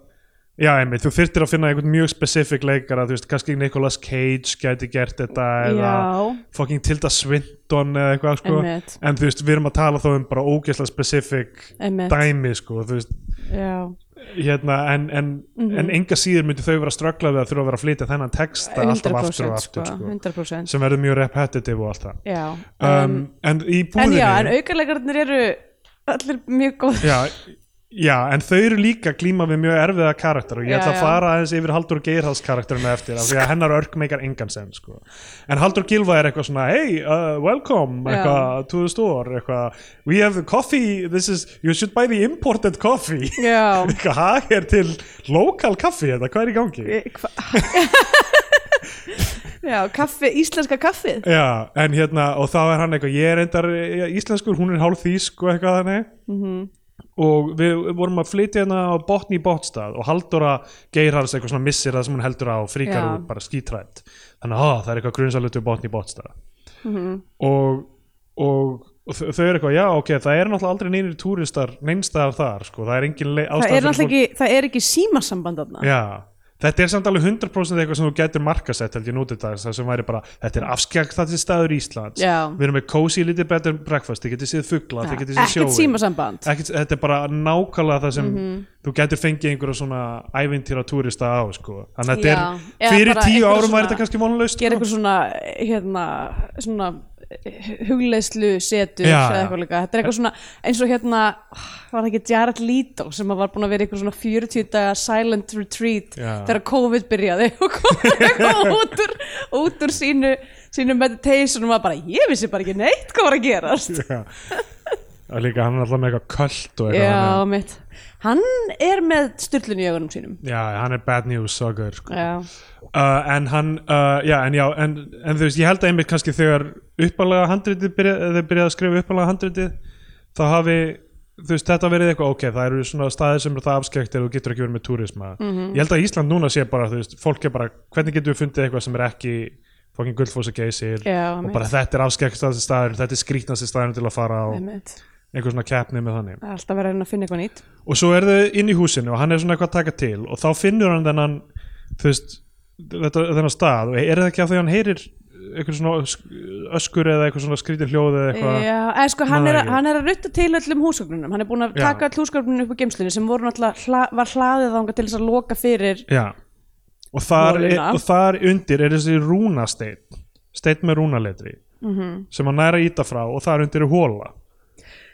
[SPEAKER 2] já, einmitt, þú þyrtir að finna einhvern mjög specifík leikara, þú veist, kannski Nicolas Cage gæti gert þetta eða
[SPEAKER 1] Já.
[SPEAKER 2] fucking Tilda Swinton eða eitthvað, sko,
[SPEAKER 1] Einmitt.
[SPEAKER 2] en þú veist, við erum að tala þá um bara ógeðslega specifík
[SPEAKER 1] Einmitt.
[SPEAKER 2] dæmi, sko, þú veist
[SPEAKER 1] já,
[SPEAKER 2] hérna, en, en,
[SPEAKER 1] Mhm.
[SPEAKER 2] en enga síður myndi þau vera að ströggla við að þurfa að vera að flytja þennan texta alltaf aftur og
[SPEAKER 1] 100%
[SPEAKER 2] aftur,
[SPEAKER 1] sko,
[SPEAKER 2] sko,
[SPEAKER 1] 100%
[SPEAKER 2] sem verður mjög repetitive og allt það
[SPEAKER 1] já
[SPEAKER 2] um, en í
[SPEAKER 1] en
[SPEAKER 2] búðinni
[SPEAKER 1] já, en aukarleikarnir eru allir mjög góð
[SPEAKER 2] já, já, en þau eru líka glíma við mjög erfiða karakter og ég
[SPEAKER 1] Já,
[SPEAKER 2] ætla að
[SPEAKER 1] já.
[SPEAKER 2] fara aðeins yfir Haldur Geirhals karakterinu eftir af því að hennar örk meikar engan sem sko. en Haldur Gilva er eitthvað svona hey, uh, welcome
[SPEAKER 1] Já.
[SPEAKER 2] eitthvað, to the store eitthvað, we have coffee this is, you should buy the imported coffee
[SPEAKER 1] já,
[SPEAKER 2] eitthvað, hæ, er til lokal kaffi þetta, hvað er í gangi?
[SPEAKER 1] Hva? já, kaffi, íslenska kaffið
[SPEAKER 2] Já, en hérna, og þá er hann eitthvað, ég er reyndar eh, íslenskur, hún er hálf þýsk og eitthvað þannig
[SPEAKER 1] Mhm.
[SPEAKER 2] og við vorum að flytja hérna á botni í botstað og Halldóra Geirhals eitthvað svona missir það sem hún heldur á og fríkar
[SPEAKER 1] Já.
[SPEAKER 2] út bara skítrætt þannig að "Ah, það er eitthvað grunsalut við botni í botstað
[SPEAKER 1] Mhm.
[SPEAKER 2] og, og og þau þau eru eitthvað, já ok, það er náttúrulega aldrei neynir túristar neinstaðar þar, sko, það er engin le- ástæða
[SPEAKER 1] það
[SPEAKER 2] fyrir
[SPEAKER 1] er náttúrulega
[SPEAKER 2] fólk-
[SPEAKER 1] ekki, það er ekki símasamband þarna
[SPEAKER 2] Já, þetta er samt alveg 100% eitthvað sem þú getur markasett held ég nútið dags það sem væri bara, þetta er afskjagstætti staður Íslands
[SPEAKER 1] Já.
[SPEAKER 2] við erum með cozy little bed and breakfast þið getur séð fugla, þið getur séð
[SPEAKER 1] ekkert
[SPEAKER 2] sjóin
[SPEAKER 1] símasamband
[SPEAKER 2] ekkert, þetta er bara nákvæmlega það sem
[SPEAKER 1] Mhm.
[SPEAKER 2] þú getur fengið einhverja svona ævintýra túrista á sko. þannig að þetta
[SPEAKER 1] Já.
[SPEAKER 2] er,
[SPEAKER 1] Eða
[SPEAKER 2] fyrir
[SPEAKER 1] bara
[SPEAKER 2] tíu
[SPEAKER 1] einhverja
[SPEAKER 2] árum væri
[SPEAKER 1] svona-
[SPEAKER 2] þetta kannski vonlaust
[SPEAKER 1] gera
[SPEAKER 2] sko.
[SPEAKER 1] eitthvað svona hérna, svona hugleislu setur
[SPEAKER 2] Já,
[SPEAKER 1] eða
[SPEAKER 2] já.
[SPEAKER 1] eitthvað líka, þetta er eitthvað svona eins og hérna, var það ekki Jared Leto sem að var búin að vera í eitthvað svona 40 daga silent retreat
[SPEAKER 2] Já.
[SPEAKER 1] þegar COVID byrjaði og kom eitthvað út úr, út úr sínu, sínu meditation og maður bara, ég vissi bara ekki neitt hvað var að gerast
[SPEAKER 2] Já. og líka hann er alltaf með eitthvað köld og eitthvað
[SPEAKER 1] Já,
[SPEAKER 2] þannig.
[SPEAKER 1] mitt Hann er með styrlun í augunum sínum
[SPEAKER 2] Já, hann er bad news sucker sko.
[SPEAKER 1] Já,
[SPEAKER 2] uh, en hann uh, já, en já, en, en þú veist, ég held að einmitt kannski þegar uppalega handritið byrja, þeir byrjaði að skrifa uppalega handritið þá hafi, þú veist, þetta verið eitthvað ok, það eru svona staðir sem eru það afskekt eða þú getur ekki verið með túrisma
[SPEAKER 1] Mhm.
[SPEAKER 2] ég held að Ísland núna sé bara, þú veist, fólk er bara hvernig getur við fundið eitthvað sem er ekki fokkin gullfósa geysir
[SPEAKER 1] Já,
[SPEAKER 2] og
[SPEAKER 1] einmitt.
[SPEAKER 2] bara þetta er afskektast staðurinn, þetta er skrítnast staðurinn til að fara á
[SPEAKER 1] einmitt
[SPEAKER 2] einhver svona keppni með þannig
[SPEAKER 1] Það er alltaf verið að reyna að finna eitthvað nýtt
[SPEAKER 2] og svo er þau inn í húsinu og hann er svona eitthvað að taka til og þá finnur hann þennan þú veist, þetta, þennan stað og er það ekki að því hann heyrir eitthvað svona ösk- öskur eða eitthvað svona skrítir hljóð eða eitthvað
[SPEAKER 1] Já, eða sko, hann
[SPEAKER 2] Maður
[SPEAKER 1] er, að-
[SPEAKER 2] ekki.
[SPEAKER 1] hann er að rutta til öllum húsgögnunum Hann er búin að
[SPEAKER 2] Já.
[SPEAKER 1] taka öll húsgögnunum upp á geimslunni sem voru náttúrulega, hla, var hlaðið þangað til þess að loka fyrir
[SPEAKER 2] Já. Og, þar er,
[SPEAKER 1] Lólina.
[SPEAKER 2] og þar undir er þessi rúnasteinn steinn með rúnaletri
[SPEAKER 1] Mhm.
[SPEAKER 2] -hmm. sem hann næra íta frá og þar undir er hóla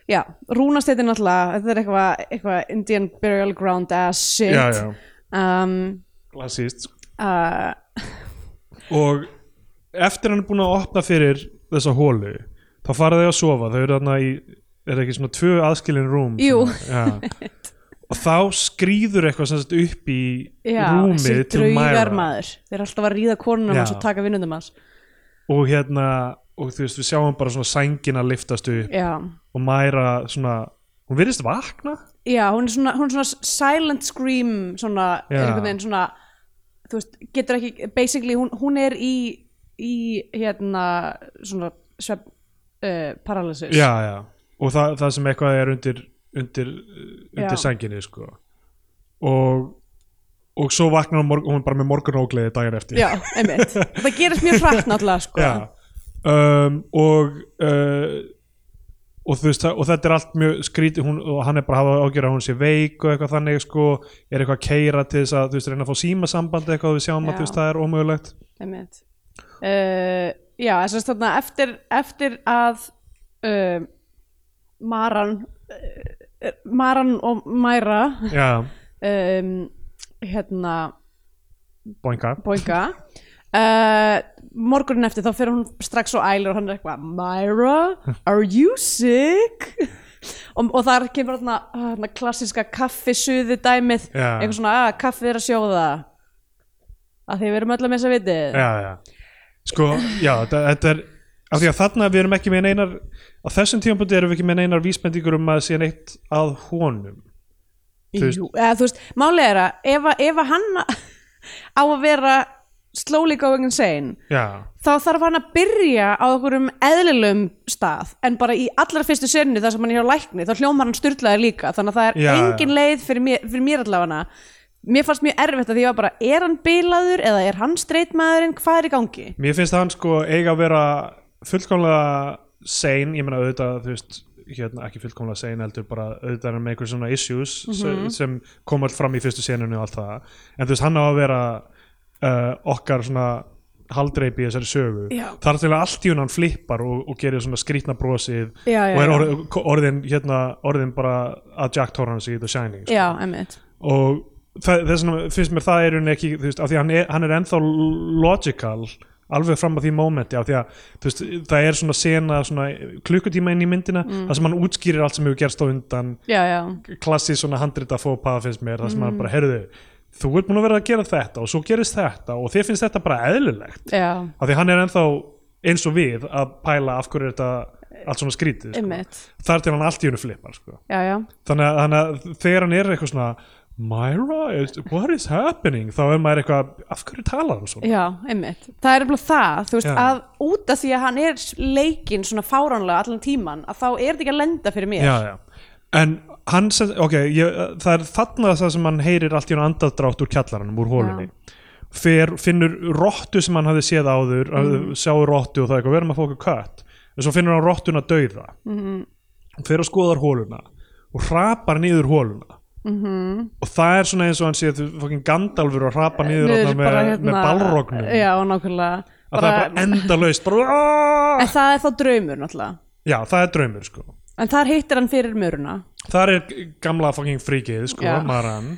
[SPEAKER 1] Já, rúnasteitin náttúrulega Þetta er eitthvað, eitthvað Indian burial ground ass shit
[SPEAKER 2] Já, já,
[SPEAKER 1] Um,
[SPEAKER 2] klassíst
[SPEAKER 1] uh,
[SPEAKER 2] og eftir hann er búin að opna fyrir þessa hólu þá fara þau að sofa, þau eru þarna í er ekki svona tvö aðskilin rúm
[SPEAKER 1] Jú.
[SPEAKER 2] svona, já. og þá skrýður eitthvað sem sagt upp í
[SPEAKER 1] já,
[SPEAKER 2] rúmið
[SPEAKER 1] þessi
[SPEAKER 2] til
[SPEAKER 1] draugar
[SPEAKER 2] Myra
[SPEAKER 1] maður Þeir eru alltaf að ríða konunum
[SPEAKER 2] Já.
[SPEAKER 1] hans og taka vinnundum hans
[SPEAKER 2] og hérna og þú veist við sjáum bara svona sængina liftast upp
[SPEAKER 1] Já,
[SPEAKER 2] og Myra svona hún virðist vakna
[SPEAKER 1] Já, hún er svona, hún er svona silent scream svona,
[SPEAKER 2] Já.
[SPEAKER 1] er einhvern veginn svona þú veist, getur ekki, basically hún, hún er í, í hérna svona svefn uh, paralysis
[SPEAKER 2] já, já. og það, það sem eitthvað er undir undir,
[SPEAKER 1] Já.
[SPEAKER 2] undir sænginni sko. og og svo vaknar hún, morgun, hún er bara með morgunógleði daginn eftir
[SPEAKER 1] Já, einmitt það gerist mjög hratt náttúrulega sko
[SPEAKER 2] Já. um, og uh, og þú veist það- og þetta er allt mjög skrítið hún, og hann er bara að hafa ágjör að hún sé veik og eitthvað þannig sko, er eitthvað að keira til þess að þú veist reyna að fá símasambandi eitthvað og við sjáum
[SPEAKER 1] Já.
[SPEAKER 2] að þú veist það er ómögulegt
[SPEAKER 1] einmitt uh, Já, þess að þarna eftir, eftir að uh, Maran uh, Maran og Mæra
[SPEAKER 2] já,
[SPEAKER 1] um, hérna
[SPEAKER 2] boinga
[SPEAKER 1] boinga uh, morgunin eftir þá fer hún strax og ælir og hann er eitthvað Myra, are you sick? og, og þar kemur hann að klassiska kaffisuði dæmið
[SPEAKER 2] Já.
[SPEAKER 1] eitthvað svona að kaffið er að sjóða að því við erum öll að missa vitið
[SPEAKER 2] já, já. sko, já, þetta, þetta er af því að þarna við erum ekki með neinar á þessum tímapunkti erum við ekki með neinar vísbendingur um að sé neitt að honum Þú veist-
[SPEAKER 1] Jú, eða, þú veist, málið er að ef, að- ef að hann á að vera slowly going insane
[SPEAKER 2] Já,
[SPEAKER 1] þá þarf hann að byrja á einhverjum eðlilegum stað en bara í allra fyrstu sönni þar sem hann er á lækni þá hljómar hann styrlaður líka þannig að það er
[SPEAKER 2] Já,
[SPEAKER 1] engin leið fyrir mér, fyrir mér allafana mér fannst mjög erfitt að því ég var bara er hann bilaður eða er hann streitmaðurinn hvað er í gangi?
[SPEAKER 2] mér finnst að hann sko eiga að vera fullkomlega sein, ég meina auðvitað þú veist, hérna ekki fullkomlega sein heldur bara auðvitað er hann með einhver svona issues
[SPEAKER 1] Mhm.
[SPEAKER 2] sem, sem kom all fram í fyrstu senunni og allt það, en þú veist hann á að vera uh, okkar svona haldreipi í þessari sögu
[SPEAKER 1] Já.
[SPEAKER 2] þar til að allt í hún hann flippar og, og gerir svona skrýtna brosið
[SPEAKER 1] Já, já,
[SPEAKER 2] og er
[SPEAKER 1] já.
[SPEAKER 2] orð, orðin, hérna, orðin bara að Jack Torrance í The Shining sko
[SPEAKER 1] Já, emmitt
[SPEAKER 2] og það- þess vegna finnst mér það er unni ekki, þú veist, af því að hann er, hann er ennþá logical alveg fram að því mómenti af því að þú veist, það er svona sena svona klukkutíma inn í myndina þar sem hann útskýrir allt sem hefur gerst á undan
[SPEAKER 1] Já, já,
[SPEAKER 2] klassið svona handrita fópa finnst mér, þar sem hann bara, heyrðu þú ert búin að vera að gera þetta og svo gerist þetta og þér finnst þetta bara eðlilegt
[SPEAKER 1] já,
[SPEAKER 2] af því hann er ennþá eins og við að pæla af hverju er þetta allt svona skrítið sko.
[SPEAKER 1] emmitt
[SPEAKER 2] þar til hann allt í hennu flippar sko
[SPEAKER 1] Já, já,
[SPEAKER 2] þannig að, þannig að þegar hann er eitthvað svona Myra, is, what is happening þá er maður eitthvað, af hverju talar hann svona
[SPEAKER 1] já, emmitt Það er eftir það, þú veist,
[SPEAKER 2] Já.
[SPEAKER 1] að út af því að hann er leikinn svona fáránlega allan tíman að þá er þetta ekki að lenda fyrir mér
[SPEAKER 2] já, já. en hann sem, ok, ég, það er þarna það sem hann heyrir allt í hann andadrátt úr kjallaranum, úr hólunni Fer, finnur rottu sem hann hafði séð áður
[SPEAKER 1] Mhm.
[SPEAKER 2] mm. sjáur rottu og það er eitthvað, verðum að fóka kött en svo finnur hann rottuna dauða mm.
[SPEAKER 1] Mhm.
[SPEAKER 2] fer og skoðar hóluna og hrapar niður hóluna
[SPEAKER 1] Mhm.
[SPEAKER 2] mm -hmm. og það er svona eins og hann sé þú fucking Gandalfur og hrapar niður,
[SPEAKER 1] Niður
[SPEAKER 2] niður með,
[SPEAKER 1] bara, hérna
[SPEAKER 2] með balrognum
[SPEAKER 1] já, nákvæmlega
[SPEAKER 2] að það er bara endalaust bara,
[SPEAKER 1] en það er þá draumur náttúrulega
[SPEAKER 2] já, það er draumur sko
[SPEAKER 1] en þar hittir hann fyrir möruna
[SPEAKER 2] þar er gamla fucking fríkið sko,
[SPEAKER 1] Já.
[SPEAKER 2] Maran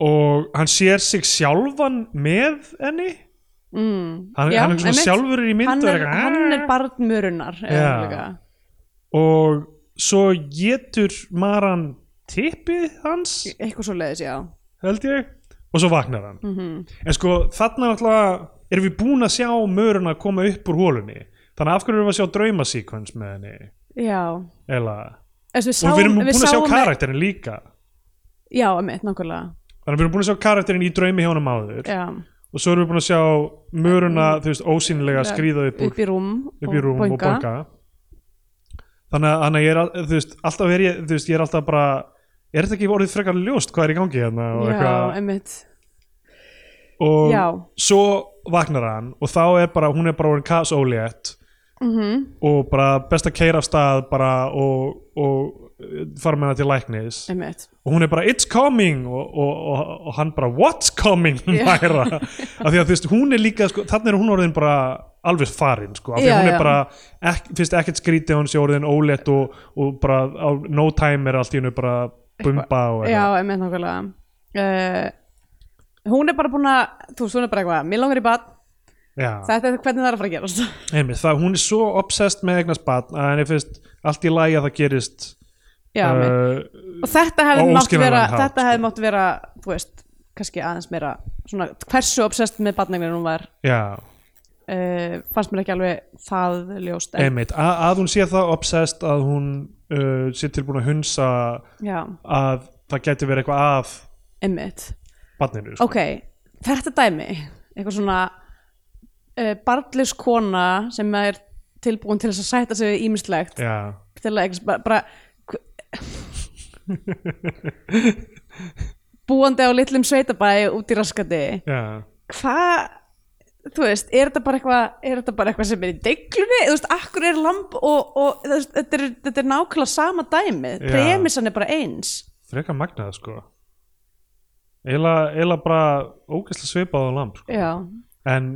[SPEAKER 2] og hann sér sig sjálfan með henni mm, hann,
[SPEAKER 1] já,
[SPEAKER 2] hann er svona
[SPEAKER 1] einmitt.
[SPEAKER 2] sjálfur í mynd
[SPEAKER 1] hann
[SPEAKER 2] og, er
[SPEAKER 1] er,
[SPEAKER 2] eitthvað, "Ah."
[SPEAKER 1] hann er barn mörunar
[SPEAKER 2] Já.
[SPEAKER 1] já.
[SPEAKER 2] og svo getur Maran tippið hans
[SPEAKER 1] eitthvað svo leiðis, já Mhm.
[SPEAKER 2] held ég og svo vaknar hann
[SPEAKER 1] Mm.
[SPEAKER 2] en sko þarna náttúrulega erum við búin að sjá möruna koma upp úr hólunni þannig að af hverju erum við að sjá draumasíkvens með henni
[SPEAKER 1] já
[SPEAKER 2] eða
[SPEAKER 1] Þess, við
[SPEAKER 2] og við erum búin að sjá
[SPEAKER 1] sáum- e-
[SPEAKER 2] karakterin líka
[SPEAKER 1] já, emitt, nákvæmlega
[SPEAKER 2] þannig að við erum búin að sjá karakterin í draumi hjá honum áður
[SPEAKER 1] já.
[SPEAKER 2] og svo erum við búin að sjá möruna þú veist, ósýnilega skríða upp,
[SPEAKER 1] upp í rúm
[SPEAKER 2] úr, upp í rúm og bonga þannig að, þannig að ég er, al- þú veist, alltaf er ég þú veist, ég er alltaf bara er þetta ekki orðið frekar ljóst hvað er í gangi hérna og,
[SPEAKER 1] já,
[SPEAKER 2] eitthvað,
[SPEAKER 1] emitt
[SPEAKER 2] og
[SPEAKER 1] já.
[SPEAKER 2] svo vaknar hann og þá er bara, hún er bara orðin kas ólétt -hmm.
[SPEAKER 1] Mhm,
[SPEAKER 2] og bara best að keira af stað bara og, og eh, fara með hana til læknis
[SPEAKER 1] emitt
[SPEAKER 2] og hún er bara it's coming og, og, og, og hann bara what's coming mæra af því að þú veist hún er líka sko, þannig er hún orðin bara alveg farin sko, af því
[SPEAKER 1] Já,
[SPEAKER 2] að hún er
[SPEAKER 1] já.
[SPEAKER 2] bara ek, fyrst ekkert skrítið að hún sé orðin ólétt og, og bara á no time er allt í hennu bara bumba og
[SPEAKER 1] já,
[SPEAKER 2] eitthvað.
[SPEAKER 1] emitt, nákvæmlega uh, hún er bara búin að þú veist, hún er bara eitthvað, mér langar í bad
[SPEAKER 2] já.
[SPEAKER 1] þetta er hvernig það er að fara að gerast
[SPEAKER 2] Einmitt, það, hún er svo obsessed með eignast batn að henni finnst allt í lagi að það gerist
[SPEAKER 1] já, emitt
[SPEAKER 2] uh,
[SPEAKER 1] og þetta
[SPEAKER 2] Á
[SPEAKER 1] hefði mátt
[SPEAKER 2] óskiljanlegan
[SPEAKER 1] vera
[SPEAKER 2] hátt,
[SPEAKER 1] þetta
[SPEAKER 2] sko.
[SPEAKER 1] hefði mátt vera, þú veist kannski aðeins meira, svona hversu obsessed með barnegnir hún var
[SPEAKER 2] já
[SPEAKER 1] uh, fannst mér ekki alveg það ljóst en,
[SPEAKER 2] Einmitt, að, að hún sé það obsessed að hún uh, sé tilbúin að hunsa
[SPEAKER 1] já,
[SPEAKER 2] að það gæti verið eitthvað af
[SPEAKER 1] einmitt
[SPEAKER 2] barninu sko.
[SPEAKER 1] ok, þetta dæmi eitthvað svona uh, barnlis kona sem er tilbúin til þess að sæta sig við ímislegt
[SPEAKER 2] Já,
[SPEAKER 1] til að eitthvað bara, bara hv- búandi á litlum sveitabæ út í raskandi
[SPEAKER 2] já,
[SPEAKER 1] hvað þú veist, er þetta bara eitthvað er þetta bara eitthvað sem er í deiglunni þú veist, akkur er lamp og, og þú veist, þetta, er, þetta er nákvæmlega sama dæmi
[SPEAKER 2] Já.
[SPEAKER 1] premissan er bara eins
[SPEAKER 2] frekar magnað sko Eila, eila bara ógæslega svipað á lamp sko.
[SPEAKER 1] já,
[SPEAKER 2] en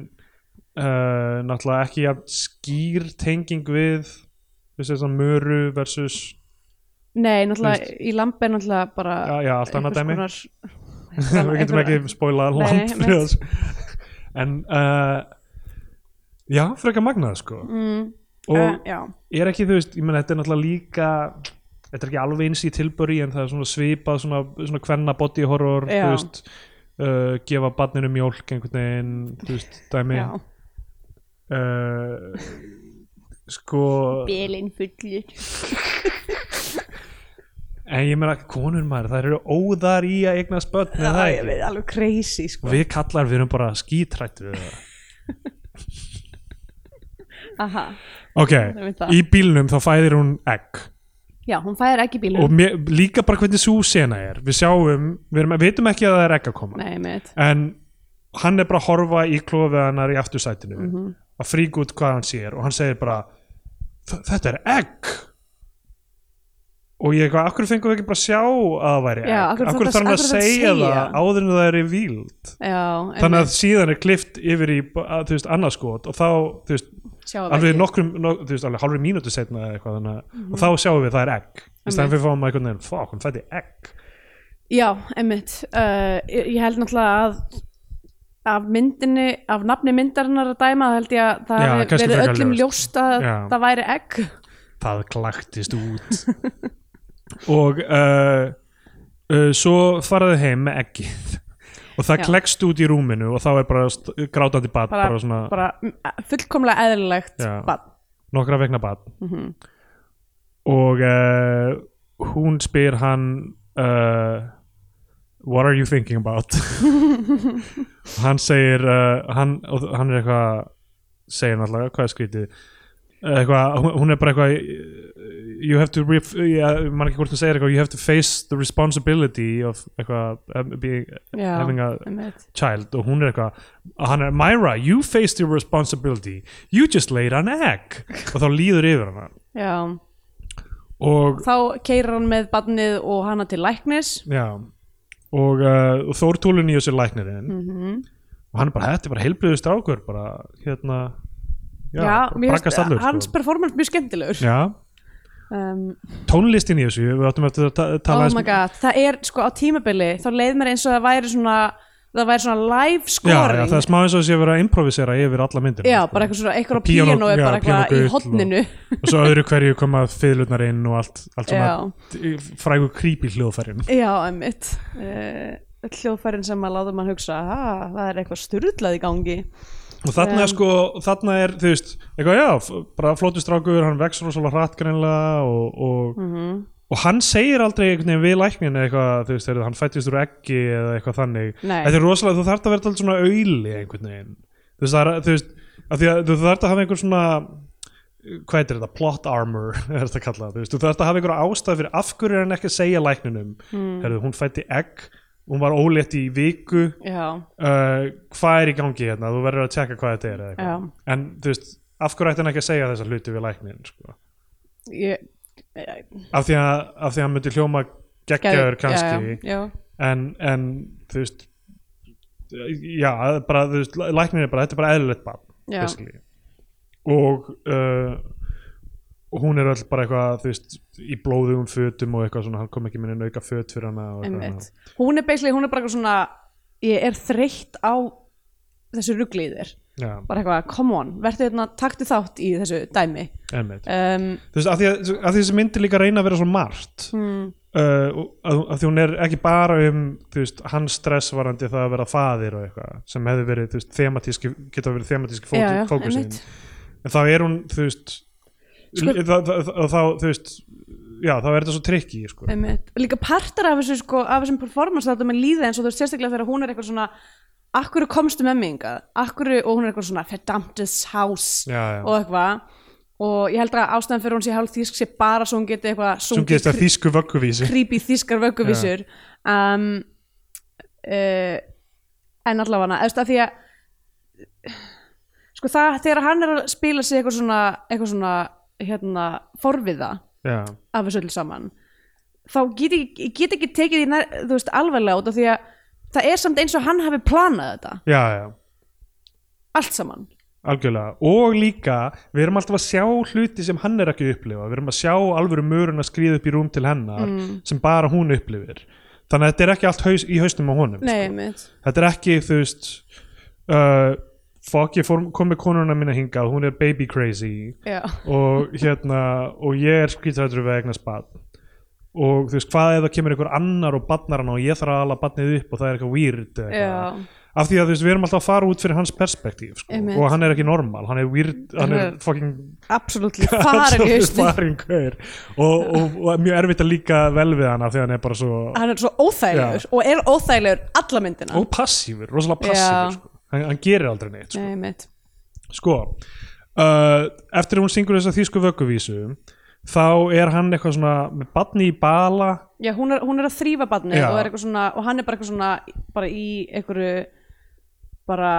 [SPEAKER 2] uh, náttúrulega ekki jafn skýr tenging við þess að möru versus
[SPEAKER 1] nei,
[SPEAKER 2] Þú
[SPEAKER 1] náttúrulega í lamp er náttúrulega bara
[SPEAKER 2] já, já, allt annað dæmi
[SPEAKER 1] einhvers konar-
[SPEAKER 2] við getum ekki spoilað
[SPEAKER 1] Nei,
[SPEAKER 2] lamp fyrir
[SPEAKER 1] einmitt.
[SPEAKER 2] þessu. en uh, já, frekar magnað sko
[SPEAKER 1] mm,
[SPEAKER 2] og
[SPEAKER 1] eh, já,
[SPEAKER 2] er ekki þú veist, ég meina þetta er náttúrulega líka þetta er ekki alveg eins í tilböri en það er svona svipað svona, svona kvenna body horror
[SPEAKER 1] Já.
[SPEAKER 2] þú veist uh, gefa barninu mjólk einhvern veginn þú veist, dæmi
[SPEAKER 1] já,
[SPEAKER 2] uh, sko
[SPEAKER 3] Bilin fullur
[SPEAKER 2] en ég meina konur maður, þær eru óðar í að eignast börn eða það
[SPEAKER 1] Það
[SPEAKER 2] ekki
[SPEAKER 1] er alveg crazy sko
[SPEAKER 2] og við kallar við erum bara skítrætt við það
[SPEAKER 1] Aha.
[SPEAKER 2] ok,
[SPEAKER 1] er mitt það.
[SPEAKER 2] í bílnum þá fæðir hún egg
[SPEAKER 1] Já, hún fæðir ekki
[SPEAKER 2] og
[SPEAKER 1] bílum
[SPEAKER 2] mér, líka bara hvernig svo sena er við sjáum, við erum, vitum ekki að það er egg að koma
[SPEAKER 1] Nei, mitt
[SPEAKER 2] en hann er bara að horfa í klófið hennar í aftursætinu
[SPEAKER 1] Mhm.
[SPEAKER 2] að fríka út hvað hann sér og hann segir bara "Þ- þetta er egg og ég eitthvað, akkur fengum við ekki bara að sjá að það væri
[SPEAKER 1] Já,
[SPEAKER 2] egg
[SPEAKER 1] af hverju
[SPEAKER 2] akkur
[SPEAKER 1] þarf
[SPEAKER 2] þarf hann
[SPEAKER 1] að- af
[SPEAKER 2] að
[SPEAKER 1] hverju þarf
[SPEAKER 2] segja
[SPEAKER 1] hann að
[SPEAKER 2] það
[SPEAKER 1] segja?
[SPEAKER 2] áður en það er í víld
[SPEAKER 1] Já,
[SPEAKER 2] þannig að síðan er klift yfir í að, þú veist, annarskot og þá, þú veist,
[SPEAKER 1] að
[SPEAKER 2] alveg nokkrum, nok, þú veist, alveg halvri mínútu setna eða eitthvað, þannig að,
[SPEAKER 1] Mhm.
[SPEAKER 2] og þá sjáum við það er egg í stæðan fyrir fáum að einhvern veginn, fuck, hún fætti egg
[SPEAKER 1] Já, emmitt uh, ég ég held náttúrulega að af myndinni, af nafni myndarinnar að dæma, þá held ég að það
[SPEAKER 2] Já,
[SPEAKER 1] hafi
[SPEAKER 2] kannski
[SPEAKER 1] verið
[SPEAKER 2] frekar
[SPEAKER 1] öllum
[SPEAKER 2] ljóst.
[SPEAKER 1] ljóst að
[SPEAKER 2] Já.
[SPEAKER 1] það væri egg
[SPEAKER 2] það klaktist út og uh, uh, svo faraði heim með eggið og það
[SPEAKER 1] Já.
[SPEAKER 2] klekst út í rúminu og þá er bara st- grátandi bat bara,
[SPEAKER 1] bara,
[SPEAKER 2] svona
[SPEAKER 1] bara mm, fullkomlega eðlilegt
[SPEAKER 2] Já.
[SPEAKER 1] barn.
[SPEAKER 2] nokkra vegna bat og uh, hún spyr hann uh, what are you thinking about hann segir uh, hann, og hann er eitthvað segir náttúrulega, hvað er skrítið Eh, eitthvað, hún- hún er bara eitthvað eh, you have to ref, yeah, man ekki hvort hún segir eitthvað, you have to face the responsibility of eitthvað um, being,
[SPEAKER 1] Já,
[SPEAKER 2] having a
[SPEAKER 1] einmitt.
[SPEAKER 2] child og hún er eitthvað og hann er, Myra, you faced your responsibility you just laid an egg og þá líður yfir hana
[SPEAKER 1] Já.
[SPEAKER 2] og,
[SPEAKER 1] Þá keirir hann með barnið og hana til læknis
[SPEAKER 2] já, og, uh, og Þór Tólun í þessu læknirinn
[SPEAKER 1] Mhm.
[SPEAKER 2] og hann er bara, þetta er bara heilbriður strákur bara, hérna já,
[SPEAKER 1] mér
[SPEAKER 2] bara braggast
[SPEAKER 1] finnst
[SPEAKER 2] allur
[SPEAKER 1] hans
[SPEAKER 2] sko.
[SPEAKER 1] performance mjög skemmtilegur
[SPEAKER 2] já,
[SPEAKER 1] um,
[SPEAKER 2] tónlistin í þessu, við áttum eftir að ta-
[SPEAKER 1] Oh
[SPEAKER 2] tala aðeins- um-
[SPEAKER 1] my god, það er sko á tímabili þá leið mér eins og það væri svona það væri svona live
[SPEAKER 2] já, já,
[SPEAKER 1] scoring
[SPEAKER 2] það er smá eins og sé verið að improvisera yfir alla myndina
[SPEAKER 1] Já,
[SPEAKER 2] sko.
[SPEAKER 1] bara eitthvað svona, eitthvað á
[SPEAKER 2] Píanó-
[SPEAKER 1] píanói
[SPEAKER 2] já,
[SPEAKER 1] bara eitthvað í
[SPEAKER 2] píanógull og-
[SPEAKER 1] hotninu
[SPEAKER 2] og svo öðru hverju koma fiðlurnar inn og allt, allt
[SPEAKER 1] Já.
[SPEAKER 2] svona frægur creepy hljóðfærin
[SPEAKER 1] Já, emmitt uh, Hljóðfærin sem að láta mann hugsa ah, það er eitthvað styrlað í gangi
[SPEAKER 2] og þarna er sko, þarna er þú veist, eitthvað já, f- bara flótu strákur hann vex rosalega hratt greinlega og, og, og hann segir aldrei einhvern veginn við læknin eitthvað, þú veist, þegar hann fættist úr ekki eða eitthvað þannig
[SPEAKER 1] Nei.
[SPEAKER 2] þetta er rosalega, þú þarft að vera alltaf svona auðli einhvern veginn, þú veist, það er, þú veist af því að þú þarft að hafa einhver svona hvað heitir þetta, plot armor er þetta að kalla, það, þú veist, þú þarft að hafa einhver ástæð fyrir af hverju er hann ekki að segja lækninum mm. Herðu, hún fætti egg, hún var ólétt í viku
[SPEAKER 1] Já,
[SPEAKER 2] uh, hvað er í gangi hérna þú verður að tjekka hvað þetta er eða eitthvað. en þú veist, af hverju ætti hann ekki að segja þessa hluti við læknin sko?
[SPEAKER 1] ég eh,
[SPEAKER 2] af, því að, af því að hann myndi hljóma geggjaður
[SPEAKER 1] geð-
[SPEAKER 2] kannski
[SPEAKER 1] já, já,
[SPEAKER 2] En, en þú veist já, bara, þú veist, læ- læknin er bara þetta er bara eðlilegt barn
[SPEAKER 1] Já.
[SPEAKER 2] basically. og uh, hún er öll bara eitthvað þú veist, í blóðugum fötum og eitthvað svona, hann kom ekki minni nauka föt fyrir hana og
[SPEAKER 1] já,
[SPEAKER 2] eitthvað
[SPEAKER 1] emmitt Hún er basically, hún er bara eitthvað svona ég er þreytt á þessu rugliðir
[SPEAKER 2] svona.
[SPEAKER 1] bara eitthvað, come on, verður þetta taktu þátt í þessu dæmi
[SPEAKER 2] já, einmitt
[SPEAKER 1] um,
[SPEAKER 2] þú veist, af því, að, af því þessi myndi líka reyna að vera svo margt mm. uh, og- af, af því hún er ekki bara um þú veist, hans stressvarandi það að vera faðir og eitthvað, sem hefði verið þú veist, thematíski, geta verið thematíski
[SPEAKER 1] Já, já,
[SPEAKER 2] fókus- fókusinn,
[SPEAKER 1] einmitt.
[SPEAKER 2] en þá er hún þú veist
[SPEAKER 1] Sko-
[SPEAKER 2] l- þá- þá- þá- þá, þú veist já, þá er þetta svo trikki, sko
[SPEAKER 1] Einmitt. Líka partar af þessu sko, af þessum performance þetta með líða eins og þú veist sérstaklega þegar hún er eitthvað svona Akkur komstu með mig hingað Akkur, og hún er eitthvað svona verdammtes hás
[SPEAKER 2] Já, já.
[SPEAKER 1] og eitthvað og ég held að ástæðan fyrir hún sé hálf þýsk sé bara svo hún geti eitthvað
[SPEAKER 2] sem
[SPEAKER 1] sungið
[SPEAKER 2] gerist að þýsku vögguvísi
[SPEAKER 1] creepy þýskar vögguvísur um, uh, en allavega eða því að sko það þegar hann er að spila sig eitthvað svona, eitthvað svona hérna, forviða
[SPEAKER 2] já,
[SPEAKER 1] af þessu öllu saman þá get ég, ég get ekki tekið því nær, þú veist, alvarlega út af því að það er samt eins og hann hafi planað þetta
[SPEAKER 2] já, já
[SPEAKER 1] allt saman
[SPEAKER 2] Algjörlega, og líka við erum alltaf að sjá hluti sem hann er ekki að upplifa við erum að sjá alvöru mörun að skriða upp í rúm til hennar
[SPEAKER 1] Mm.
[SPEAKER 2] sem bara hún upplifir þannig að þetta er ekki allt haus, í hausnum á honum
[SPEAKER 1] Nei, mitt
[SPEAKER 2] þetta er ekki þú veist uh, fuck ég fór, kom með konuna mína hingað hún er baby crazy
[SPEAKER 1] Já,
[SPEAKER 2] og hérna og ég er skrítrættur við að eignast barn og þú veist hvað ef það kemur einhver annar og barnar hann og ég þarf að ala barnið upp og það er eitthvað weird eða eitthvað
[SPEAKER 1] já,
[SPEAKER 2] af því að þú veist, við erum alltaf að fara út fyrir hans perspektív sko.
[SPEAKER 1] Einmitt.
[SPEAKER 2] og hann er ekki normal, hann er weird hann er
[SPEAKER 1] Hann er
[SPEAKER 2] fucking
[SPEAKER 1] absolutt farin í
[SPEAKER 2] Absolutt
[SPEAKER 1] haustin
[SPEAKER 2] farinn gaur. og, og, og mjög erfitt að líka vel við hana þegar hann er bara svo
[SPEAKER 1] hann er svo óþægilegur
[SPEAKER 2] Já.
[SPEAKER 1] og er óþægilegur alla myndina
[SPEAKER 2] og passífur,
[SPEAKER 1] Ah.
[SPEAKER 2] rosalega
[SPEAKER 1] Já.
[SPEAKER 2] passífur sko. hann, hann gerir aldrei neitt sko,
[SPEAKER 1] Nei, mitt.
[SPEAKER 2] sko uh, eftir að hún syngur þessa þýsku vögguvísu þá er hann eitthvað svona með badni í bala
[SPEAKER 1] Já, hún, er, hún er að þrýfa barnið
[SPEAKER 2] Já.
[SPEAKER 1] og, er eitthvað svona, og hann er bara eitthvað svona bara í einhverju bara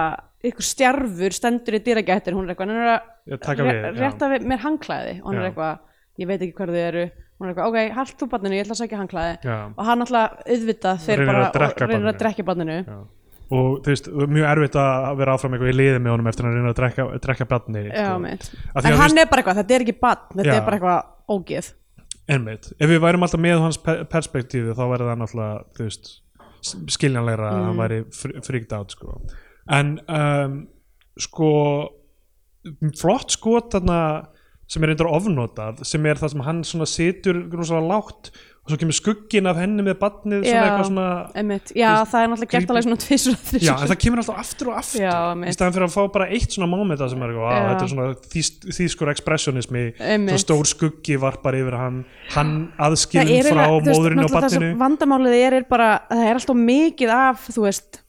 [SPEAKER 1] einhver stjarfur stendur í dýragættir hún er eitthvað, hann er
[SPEAKER 2] Já,
[SPEAKER 1] að
[SPEAKER 2] taka við,
[SPEAKER 1] ré-
[SPEAKER 2] já.
[SPEAKER 1] rétta við mér hangklæði og hann
[SPEAKER 2] Já.
[SPEAKER 1] er eitthvað, ég veit ekki hvar þau eru hún er eitthvað, ok, halt þú barninu, ég ætla að sækja hangklæði
[SPEAKER 2] Já.
[SPEAKER 1] og hann alltaf auðvitað þeir
[SPEAKER 2] Reynir
[SPEAKER 1] bara
[SPEAKER 2] að drekka
[SPEAKER 1] og reynir
[SPEAKER 2] barninu.
[SPEAKER 1] að drekja barninu
[SPEAKER 2] Já. og þú veist, mjög erfitt að vera áfram eitthvað í liði með honum eftir að hann reyna að drekka, drekka badni
[SPEAKER 1] Já, mitt.
[SPEAKER 2] sko. Af því
[SPEAKER 1] en
[SPEAKER 2] að
[SPEAKER 1] hann
[SPEAKER 2] þú
[SPEAKER 1] er bara eitthvað, þetta er ekki barn þetta
[SPEAKER 2] Já.
[SPEAKER 1] er bara eitthvað ógeð
[SPEAKER 2] Einmitt. Ef við værum alltaf með hans per- perspektífi þá væri það náttúrulega, þú veist, s- skiljanlegra að
[SPEAKER 1] Mm.
[SPEAKER 2] hann væri fr- freaked out, sko. En, um, sko, flott skot þarna sem er reyndar ofnotað, sem er það sem hann svona situr grúslega lágt og svo kemur skugginn af henni með barnið svona
[SPEAKER 1] Já.
[SPEAKER 2] eitthvað svona...
[SPEAKER 1] Einmitt. Já,
[SPEAKER 2] Þú veist,
[SPEAKER 1] það er náttúrulega gert
[SPEAKER 2] creepy.
[SPEAKER 1] alveg svona tvisur að
[SPEAKER 2] Já,
[SPEAKER 1] þrisur
[SPEAKER 2] en það kemur alltaf aftur og aftur
[SPEAKER 1] Já,
[SPEAKER 2] í
[SPEAKER 1] einmitt.
[SPEAKER 2] staðan fyrir að fá bara eitt svona moment það sem er, wow,
[SPEAKER 1] Já.
[SPEAKER 2] þetta er svona þýst- þýskur expressionismi,
[SPEAKER 1] Einmitt.
[SPEAKER 2] svo stór skuggi varpar yfir hann, hann
[SPEAKER 1] það
[SPEAKER 2] aðskilin
[SPEAKER 1] er
[SPEAKER 2] frá
[SPEAKER 1] eiginlega- þú veist,
[SPEAKER 2] móðurinn og
[SPEAKER 1] náttúrulega það
[SPEAKER 2] barninu
[SPEAKER 1] sem vandamálið er, er bara að það er alltaf mikið af þú veist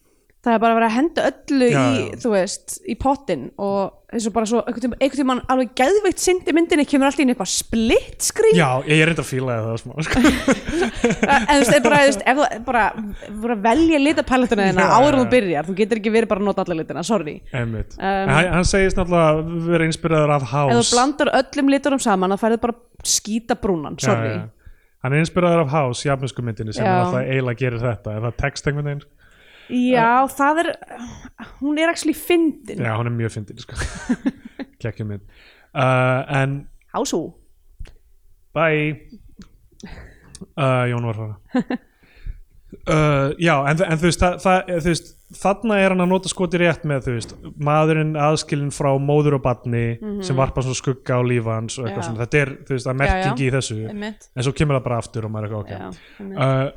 [SPEAKER 1] það er bara að vera að henda öllu
[SPEAKER 2] Já,
[SPEAKER 1] í
[SPEAKER 2] já.
[SPEAKER 1] þú veist, í pottin og eins og bara svo, einhvern tímann- einhvern tímann alveg geðveikt syndi myndinni kemur alltaf inn eitthvað split screen
[SPEAKER 2] Já, ég er reyndar að fíla það smá sko.
[SPEAKER 1] en þú veist, er bara, þú veist, ef það er bara, bara velja litapalettuna þína
[SPEAKER 2] Já,
[SPEAKER 1] áður
[SPEAKER 2] já,
[SPEAKER 1] en
[SPEAKER 2] já.
[SPEAKER 1] þú byrjar, þú getur ekki verið bara að nota alla litina, sorry
[SPEAKER 2] Einmitt,
[SPEAKER 1] Um,
[SPEAKER 2] um, hann segist náttúrulega vera inspiraður af
[SPEAKER 1] ef þú
[SPEAKER 2] House
[SPEAKER 1] blandar öllum litunum saman þá færðu bara skýta brúnan,
[SPEAKER 2] Já,
[SPEAKER 1] sorry
[SPEAKER 2] já. Hann er inspiraður af House, jafnusku myndinu sem
[SPEAKER 1] Já.
[SPEAKER 2] er alltaf eiginlega gerir þetta, er það text einhvern veginn?
[SPEAKER 1] Já, það er hún er actually fyndin,
[SPEAKER 2] Já, hann er mjög fyndin sko. Kekkjum mynd uh, En,
[SPEAKER 1] hású
[SPEAKER 2] bye uh, Jón var fara uh, Já, en, en þú, veist, það, það, þú veist þarna er hann að nota skoti rétt með þú veist, maðurinn aðskilinn frá móður og barni sem varpa svona skugga á lífa hans og eitthvað
[SPEAKER 1] Mhm. Já.
[SPEAKER 2] svona, þetta er þú veist, það er merkingi í þessu,
[SPEAKER 1] Einmitt.
[SPEAKER 2] en svo kemur það bara aftur og maður
[SPEAKER 1] Já,
[SPEAKER 2] er eitthvað, ok
[SPEAKER 1] einmitt.
[SPEAKER 2] uh,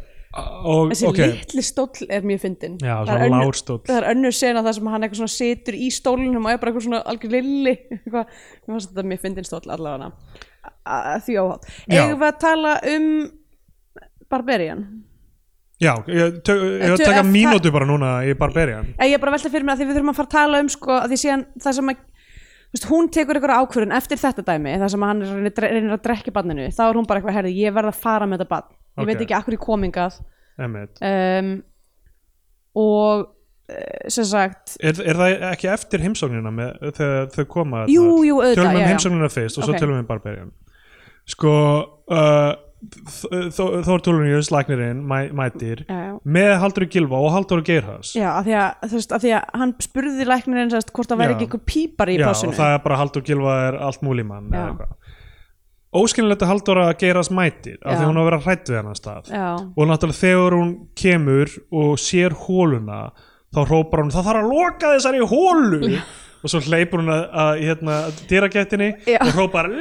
[SPEAKER 2] og,
[SPEAKER 1] þessi
[SPEAKER 2] ok,
[SPEAKER 1] litli stóll er mjög fyndin
[SPEAKER 2] já,
[SPEAKER 1] það, er
[SPEAKER 2] svona
[SPEAKER 1] önnur-
[SPEAKER 2] lárstótt
[SPEAKER 1] það er önnur sena þar sem hann eitthvað svona situr í stólunum og er bara eitthvað svona algjör lilli eitthvað, mér finnst þetta mjög fyndin stóll allavega A- því óhátt
[SPEAKER 2] Já.
[SPEAKER 1] eigum við að tala um Barbarian
[SPEAKER 2] Já, ég, tök, ég
[SPEAKER 1] Ertu-
[SPEAKER 2] taka
[SPEAKER 1] er það-
[SPEAKER 2] mínútu bara núna í Barbarian
[SPEAKER 1] Eða ég er bara að velta fyrir mér að því við þurfum að fara að tala um sko, að því síðan það sem að þú veist, hún tekur einhverja ákvörðun eftir þetta dæmi það sem að hann er að reyna- reynir að drekja barninu þá er hún bara eitthvað, herði, ég verð að fara með þetta barn ég
[SPEAKER 2] Ok.
[SPEAKER 1] veit ekki akkur í komingað
[SPEAKER 2] Einmitt.
[SPEAKER 1] um, og eh, sem sagt
[SPEAKER 2] Er, er það ekki eftir heimsóknina með, þegar þau koma? þarna?
[SPEAKER 1] Jú, jú, auðvitað,
[SPEAKER 2] Tölum
[SPEAKER 1] já,
[SPEAKER 2] um
[SPEAKER 1] já.
[SPEAKER 2] heimsóknina fyrst og svo
[SPEAKER 1] Ok.
[SPEAKER 2] tölum við um Barbarian. Sko, uh, Þór Tólunjus, læknirinn, mæ, mætir,
[SPEAKER 1] já, já.
[SPEAKER 2] með Haldur Gilva og Haldur Geirhás.
[SPEAKER 1] Já, af því að, þú veist, af því að hann spurði læknirinn sérst, hvort það væri
[SPEAKER 2] Já.
[SPEAKER 1] ekki einhver pípar í
[SPEAKER 2] Já,
[SPEAKER 1] passinu
[SPEAKER 2] og það er bara Haldur Gilva er allt múlimann eða
[SPEAKER 1] Já.
[SPEAKER 2] eitthvað. Óskiljanlegt að Haldur að Geirhás mætir, af
[SPEAKER 1] Já.
[SPEAKER 2] því hún á að vera hrætt við hennar stað.
[SPEAKER 1] Já,
[SPEAKER 2] Og náttúrulega þegar hún kemur og sér hóluna, þá hrópar hún, það þarf að loka þessari hólu. og svo hleypur hún að, að hérna, dýragættinni
[SPEAKER 1] Já.
[SPEAKER 2] og hrópar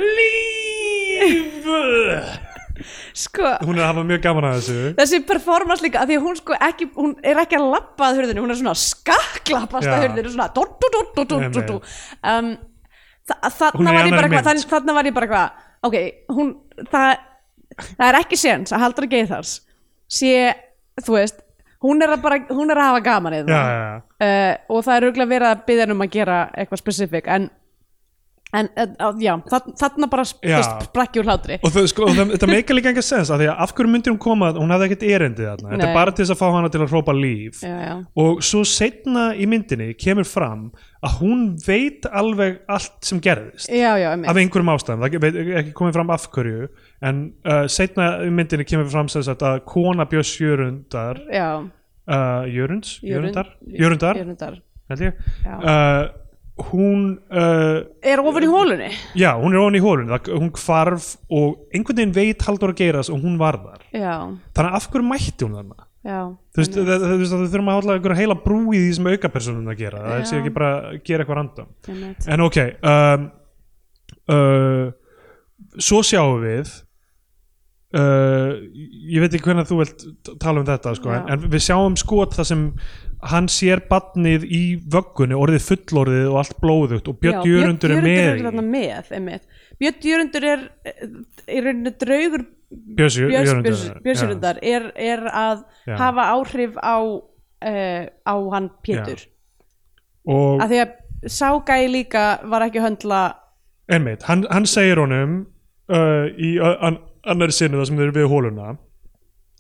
[SPEAKER 2] líf
[SPEAKER 1] sko,
[SPEAKER 2] hún er að hafa mjög gaman að þessu
[SPEAKER 1] þessi performance líka af því að hún sko ekki, hún er ekki að lappa að hurðinu, hún er svona að skakklappast
[SPEAKER 2] Já.
[SPEAKER 1] að hurðinu, svona dú, dú, dú, dú, dú,
[SPEAKER 2] Nei,
[SPEAKER 1] dú,
[SPEAKER 2] nei.
[SPEAKER 1] dú. Um, þa
[SPEAKER 2] Hún
[SPEAKER 1] þarna var
[SPEAKER 2] er í
[SPEAKER 1] ég
[SPEAKER 2] annarri
[SPEAKER 1] bara
[SPEAKER 2] mynd.
[SPEAKER 1] hvað þann, þarna var ég bara hvað, ok hún, það, það er ekki séns að Halldóra Geithars sé, þú veist hún er að, bara, hún er að hafa gaman í
[SPEAKER 2] já,
[SPEAKER 1] það
[SPEAKER 2] já, já.
[SPEAKER 1] uh, og það er auðvitað verið að byggja um að gera eitthvað spesifik en, en uh, já, það, þarna bara
[SPEAKER 2] Já.
[SPEAKER 1] fyrst sprakki úr hlátri
[SPEAKER 2] og, þau, sko, og það, þetta meikar líka enga sens af því að af hverju myndi hún koma, hún hafði ekkert erindi þarna þetta
[SPEAKER 1] Nei.
[SPEAKER 2] er bara til þess að fá hana til að hrópa líf
[SPEAKER 1] já, já.
[SPEAKER 2] og svo setna í myndinni kemur fram að hún veit alveg allt sem gerðist
[SPEAKER 1] já, já, einmitt.
[SPEAKER 2] af einhverjum ástæðum, það veit ekki komið fram af hverju en uh, setna í myndinni kemur fram sem sagt að kona Björns Jörundar
[SPEAKER 1] já,
[SPEAKER 2] uh, Jörunds,
[SPEAKER 1] Jörund-
[SPEAKER 2] Jörundar Jörundar,
[SPEAKER 1] jörundar
[SPEAKER 2] held ég
[SPEAKER 1] Já.
[SPEAKER 2] uh, hún uh,
[SPEAKER 1] er ofin í hólunni
[SPEAKER 2] já, hún er ofan í hólun hún hvarf og einhvern veginn veit Halldór að geiras og hún var þar
[SPEAKER 1] já,
[SPEAKER 2] þannig að af hverju mætti hún þarna
[SPEAKER 1] já,
[SPEAKER 2] þú veist, það, það, þú veist, að þau þurfum að halla einhverja heila brú í því sem aukapersonum að gera það
[SPEAKER 1] Já.
[SPEAKER 2] sé ekki bara að gera eitthvað random
[SPEAKER 1] einmitt.
[SPEAKER 2] en ok um, uh, svo sjáum við uh, ég veit ekki hvernig þú vilt t- tala um þetta sko,
[SPEAKER 1] Já.
[SPEAKER 2] en, en við sjáum skot það sem hann sér badnið í vöggunni orðið fullorðið og allt blóðugt og Björn Jörundur er
[SPEAKER 1] Björn Jörundur er
[SPEAKER 2] með í.
[SPEAKER 1] þarna með, einmitt. Björn Jörundur er eh, í rauninni draugur
[SPEAKER 2] Björns Jö- Jörundur já.
[SPEAKER 1] Björnsjörundar er, er að
[SPEAKER 2] Já.
[SPEAKER 1] hafa áhrif á, uh, á hann Pétur.
[SPEAKER 2] og
[SPEAKER 1] Af því að ságæi líka var ekki að höndla
[SPEAKER 2] einmitt, hann, hann segir honum uh, í ö- an, annari sinni þar sem þeir eru við hóluna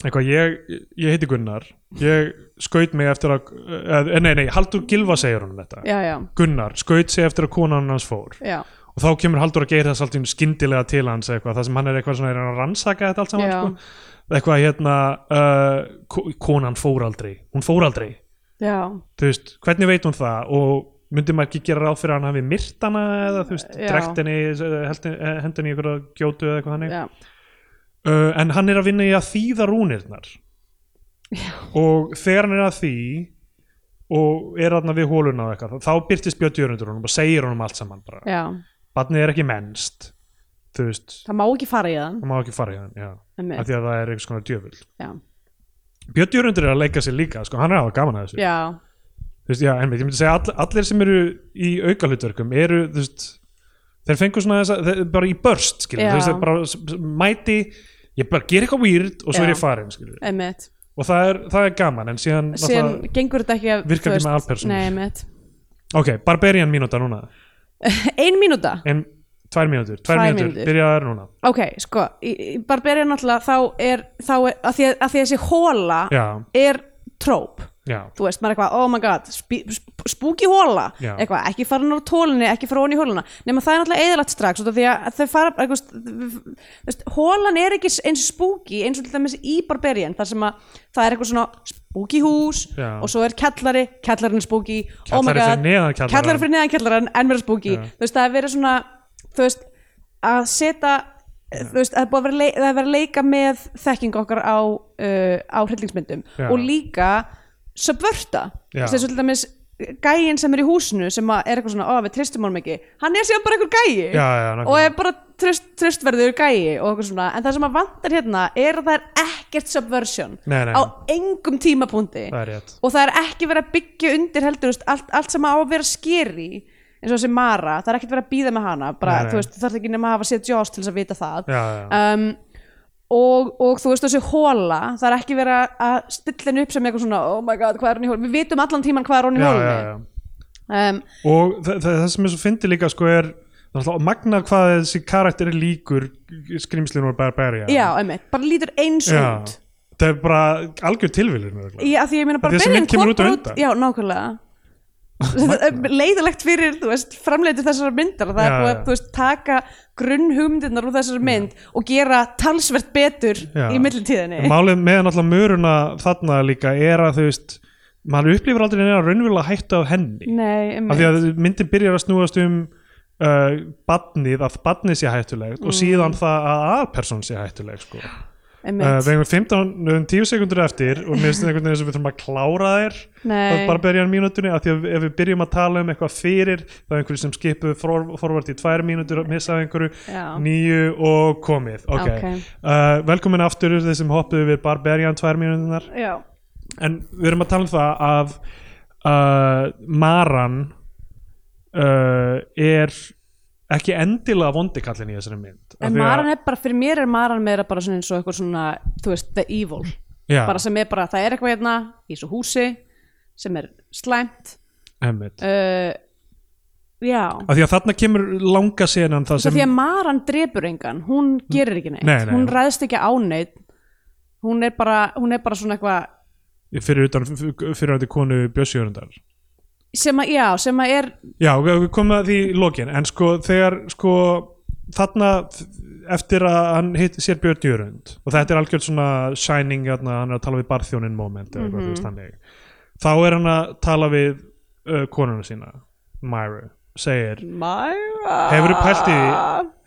[SPEAKER 2] eitthvað, ég, ég heiti Gunnar ég skaut mig eftir að eh, nei, nei, Haldur Gilva segir honum þetta
[SPEAKER 1] já, já,
[SPEAKER 2] Gunnar, skaut sig eftir að konan hans fór
[SPEAKER 1] já,
[SPEAKER 2] og þá kemur Haldur að geira þess alltaf skyndilega til hans eitthvað, það sem hann er eitthvað svona er að rannsaka þetta allt saman
[SPEAKER 1] Já.
[SPEAKER 2] sko. eitthvað hérna uh, ko- konan fór aldrei, hún fór aldrei
[SPEAKER 1] já,
[SPEAKER 2] þú veist, hvernig veit hún það og myndi maður ekki gera ráð fyrir að hann hafi myrt hana eða þú veist,
[SPEAKER 1] Já.
[SPEAKER 2] drekt henni eða held- eh, hent henni í einhverja gjótu eða eitthvað hannig
[SPEAKER 1] já.
[SPEAKER 2] uh, en hann er að vinna í að þýða rúnirnar
[SPEAKER 1] Já.
[SPEAKER 2] og þegar hann er að því og er hann við hóluna og eitthvað, þá byrtist Björn Jörundur honum og segir honum allt saman bara
[SPEAKER 1] já.
[SPEAKER 2] barnið er ekki mennst þú veist,
[SPEAKER 1] Það má ekki fara í það.
[SPEAKER 2] það má ekki fara í hann já, af
[SPEAKER 1] einmitt,
[SPEAKER 2] því að það er einhvers konar djöfull
[SPEAKER 1] Já,
[SPEAKER 2] Björn Jörundur er að leika sér líka, sko, hann er að hafa gaman að þessu
[SPEAKER 1] já,
[SPEAKER 2] þú veist, já, einmitt, ég myndi segja all, allir sem eru í aukalutverkum eru, þú veist þeir fengur svona þess að, þeir, bara í börst skilur,
[SPEAKER 1] Já.
[SPEAKER 2] þú veist, þeir bara s- s- mæti ég bara ger eitthvað weird og svo
[SPEAKER 1] Já.
[SPEAKER 2] er ég farin skilur,
[SPEAKER 1] einmitt.
[SPEAKER 2] og það er, það er gaman en síðan,
[SPEAKER 1] Síðan
[SPEAKER 2] náttúrulega-
[SPEAKER 1] gengur þetta ekki að...
[SPEAKER 2] virkar
[SPEAKER 1] þú
[SPEAKER 2] ekki með
[SPEAKER 1] veist,
[SPEAKER 2] alpersónur.
[SPEAKER 1] Nei, einmitt.
[SPEAKER 2] ok, Barbarian mínúta núna
[SPEAKER 1] Ein mínúta?
[SPEAKER 2] en tvær mínútur, tvær
[SPEAKER 1] Tvær
[SPEAKER 2] mínútur,
[SPEAKER 1] mínútur.
[SPEAKER 2] byrjaðar núna
[SPEAKER 1] Ok, sko, í- í Barbarian náttúrulega þá er, þá er, að því að, að því að þessi hóla
[SPEAKER 2] já,
[SPEAKER 1] er tróp.
[SPEAKER 2] já,
[SPEAKER 1] þú veist, maður er eitthvað, oh my god sp sp spooky hóla,
[SPEAKER 2] Já.
[SPEAKER 1] eitthvað, ekki fara náður tólunni, ekki fara onni í hóluna nema það er náttúrulega eðalagt strax út af því að þau fara, eitthvað, þú veist, hólan er ekki eins spooky eins og til dæmis í Barbarian, þar sem að það er eitthvað svona spooky hús
[SPEAKER 2] Já.
[SPEAKER 1] og svo er kjallari, kjallarinn er spooky oh my
[SPEAKER 2] Kjallari fyrir
[SPEAKER 1] god,
[SPEAKER 2] neðan kjallarann.
[SPEAKER 1] kjallari fyrir neðan kjallarann en verið spooky,
[SPEAKER 2] Já.
[SPEAKER 1] þú veist, það er verið svona þú veist, að setja þú veist, það er búið að vera, leik, það er verið að leika með þekking okkar á, uh, á hryllingsmyndum
[SPEAKER 2] Já.
[SPEAKER 1] og líka subverta
[SPEAKER 2] Já.
[SPEAKER 1] þess að dæmis gæin sem er í húsinu sem að er eitthvað svona, ó við tristum honum ekki hann er síðan bara einhver gæi
[SPEAKER 2] Já, já, nákvæmlega.
[SPEAKER 1] og er bara trist, tristverður gæi og eitthvað svona, en það sem að vantar hérna er að það er ekkert subversion
[SPEAKER 2] Nei, nei.
[SPEAKER 1] á engum tímapunkti
[SPEAKER 2] það er rétt
[SPEAKER 1] og það er ekki verið að byggja undir heldur þú veist, allt, allt sem á að vera skeri eins og þessi Mara, það er ekkert verið að býða með hana bara,
[SPEAKER 2] Nei, nei.
[SPEAKER 1] þú veist, þú þarf ekki nema að hafa séð Jaws til þess að vita það
[SPEAKER 2] já, já,
[SPEAKER 1] um, og, og þú veist þessi hóla það er ekki verið að- að stilla henni upp sem eitthvað svona, oh my god, hvað er hann í hóla við vitum allan tíman hvað er hann í
[SPEAKER 2] já,
[SPEAKER 1] hóla
[SPEAKER 2] já, já.
[SPEAKER 1] Um,
[SPEAKER 2] og það, það, það sem er svo fyndi líka sko er það er alltaf magnað hvað þessi karakter er líkur skrimslinu og barbarja
[SPEAKER 1] já, einmitt, bara lítur eins
[SPEAKER 2] Já.
[SPEAKER 1] út
[SPEAKER 2] það er bara algjör tilvílun
[SPEAKER 1] Já, af því ég meina bara
[SPEAKER 2] Af því þessi
[SPEAKER 1] Berlín
[SPEAKER 2] mynd kemur
[SPEAKER 1] kom
[SPEAKER 2] út á
[SPEAKER 1] bara
[SPEAKER 2] undan.
[SPEAKER 1] Já, nákvæmlega leiðilegt fyrir, þú veist, framleitur þessar myndar, það er
[SPEAKER 2] Já,
[SPEAKER 1] búið
[SPEAKER 2] já.
[SPEAKER 1] að, þú veist, taka grunnhugmyndirnar úr þessar mynd og gera talsvert betur
[SPEAKER 2] Já.
[SPEAKER 1] í millitíðinni.
[SPEAKER 2] málið með náttúrulega möruna þarna líka er að þú veist maður upplifir aldrei neina raunverulega hættu af henni
[SPEAKER 1] Nei,
[SPEAKER 2] af því
[SPEAKER 1] einmitt.
[SPEAKER 2] að myndin byrjar að snúast um uh, badnið, að badnið sé hættulegt og síðan það að aðalpersón sé hættuleg sko. uh,
[SPEAKER 1] Mm. einmitt.
[SPEAKER 2] við hefum 15 um 10 sekundur eftir og mér finnst einhvern veginn sem við þurfum að klára þér það
[SPEAKER 1] Nei,
[SPEAKER 2] er bara að byrja mínútunni af því að ef við byrjum að tala um eitthvað fyrir það er einhverju sem skipu for, forvart í tvær mínútur og missaði einhverju,
[SPEAKER 1] Já.
[SPEAKER 2] nýju og komið ok,
[SPEAKER 1] Ok.
[SPEAKER 2] Uh, velkomin aftur þeir sem hoppuðu við Barbarian tvær mínútunar
[SPEAKER 1] já,
[SPEAKER 2] en við erum að tala um það að uh, Maran uh, er ekki endilega vondikallin í þessari mynd
[SPEAKER 1] en Maran er bara, fyrir mér er Maran meira bara svona eins og eitthvað svona, þú veist, the evil,
[SPEAKER 2] já,
[SPEAKER 1] bara sem er bara, það er eitthvað hérna í þessu húsi sem er slæmt,
[SPEAKER 2] einmitt.
[SPEAKER 1] uh, já.
[SPEAKER 2] af því að þarna kemur langa senan það
[SPEAKER 1] Svo
[SPEAKER 2] sem
[SPEAKER 1] því að Maran drepur engan, hún gerir ekki neitt,
[SPEAKER 2] Nei, nei.
[SPEAKER 1] hún ræðst ekki á neitt, hún er bara, hún er bara svona eitthvað
[SPEAKER 2] fyrir utan fyrir átti konu Bjössjörundar
[SPEAKER 1] sem að, já, sem að er,
[SPEAKER 2] Já, við við komum að því í lokin en sko þegar sko þarna f- eftir að hann hitt sér Björn Jörund og þetta er algjörð svona shining hérna, hann er að tala við barþjónin moment eða eitthvað þú veist þannig þá er hann að tala við uh, konuna sína, Myra segir,
[SPEAKER 1] Myra
[SPEAKER 2] hefur pælt í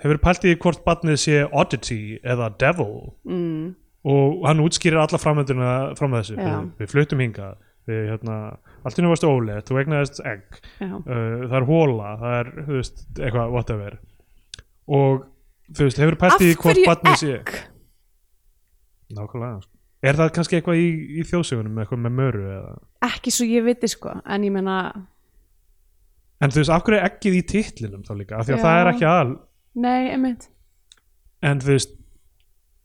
[SPEAKER 2] hefur pælt í því hvort barnið sé oddity eða devil
[SPEAKER 1] mm,
[SPEAKER 2] og hann útskýrir alla framönduna fram að þessu,
[SPEAKER 1] Já.
[SPEAKER 2] við, við fluttum hingað við hérna, allt inni varst ólega þú egnaðist egg
[SPEAKER 1] já,
[SPEAKER 2] uh, það er hóla það er, þú veist, eitthvað, whatever og, þú veist, hefur pælt í því
[SPEAKER 1] Af
[SPEAKER 2] hvort
[SPEAKER 1] hverju
[SPEAKER 2] barnið sé
[SPEAKER 1] egg?
[SPEAKER 2] nákvæmlega, sko. Er það kannski eitthvað í, í þjóðsögunum, eitthvað með möru eða?
[SPEAKER 1] ekki svo ég viti sko en ég meina,
[SPEAKER 2] En þú veist, af hverju er ekkið í titlinum þá líka? Af því að
[SPEAKER 1] Já.
[SPEAKER 2] það er ekki aðal,
[SPEAKER 1] nei, einmitt
[SPEAKER 2] en þú veist,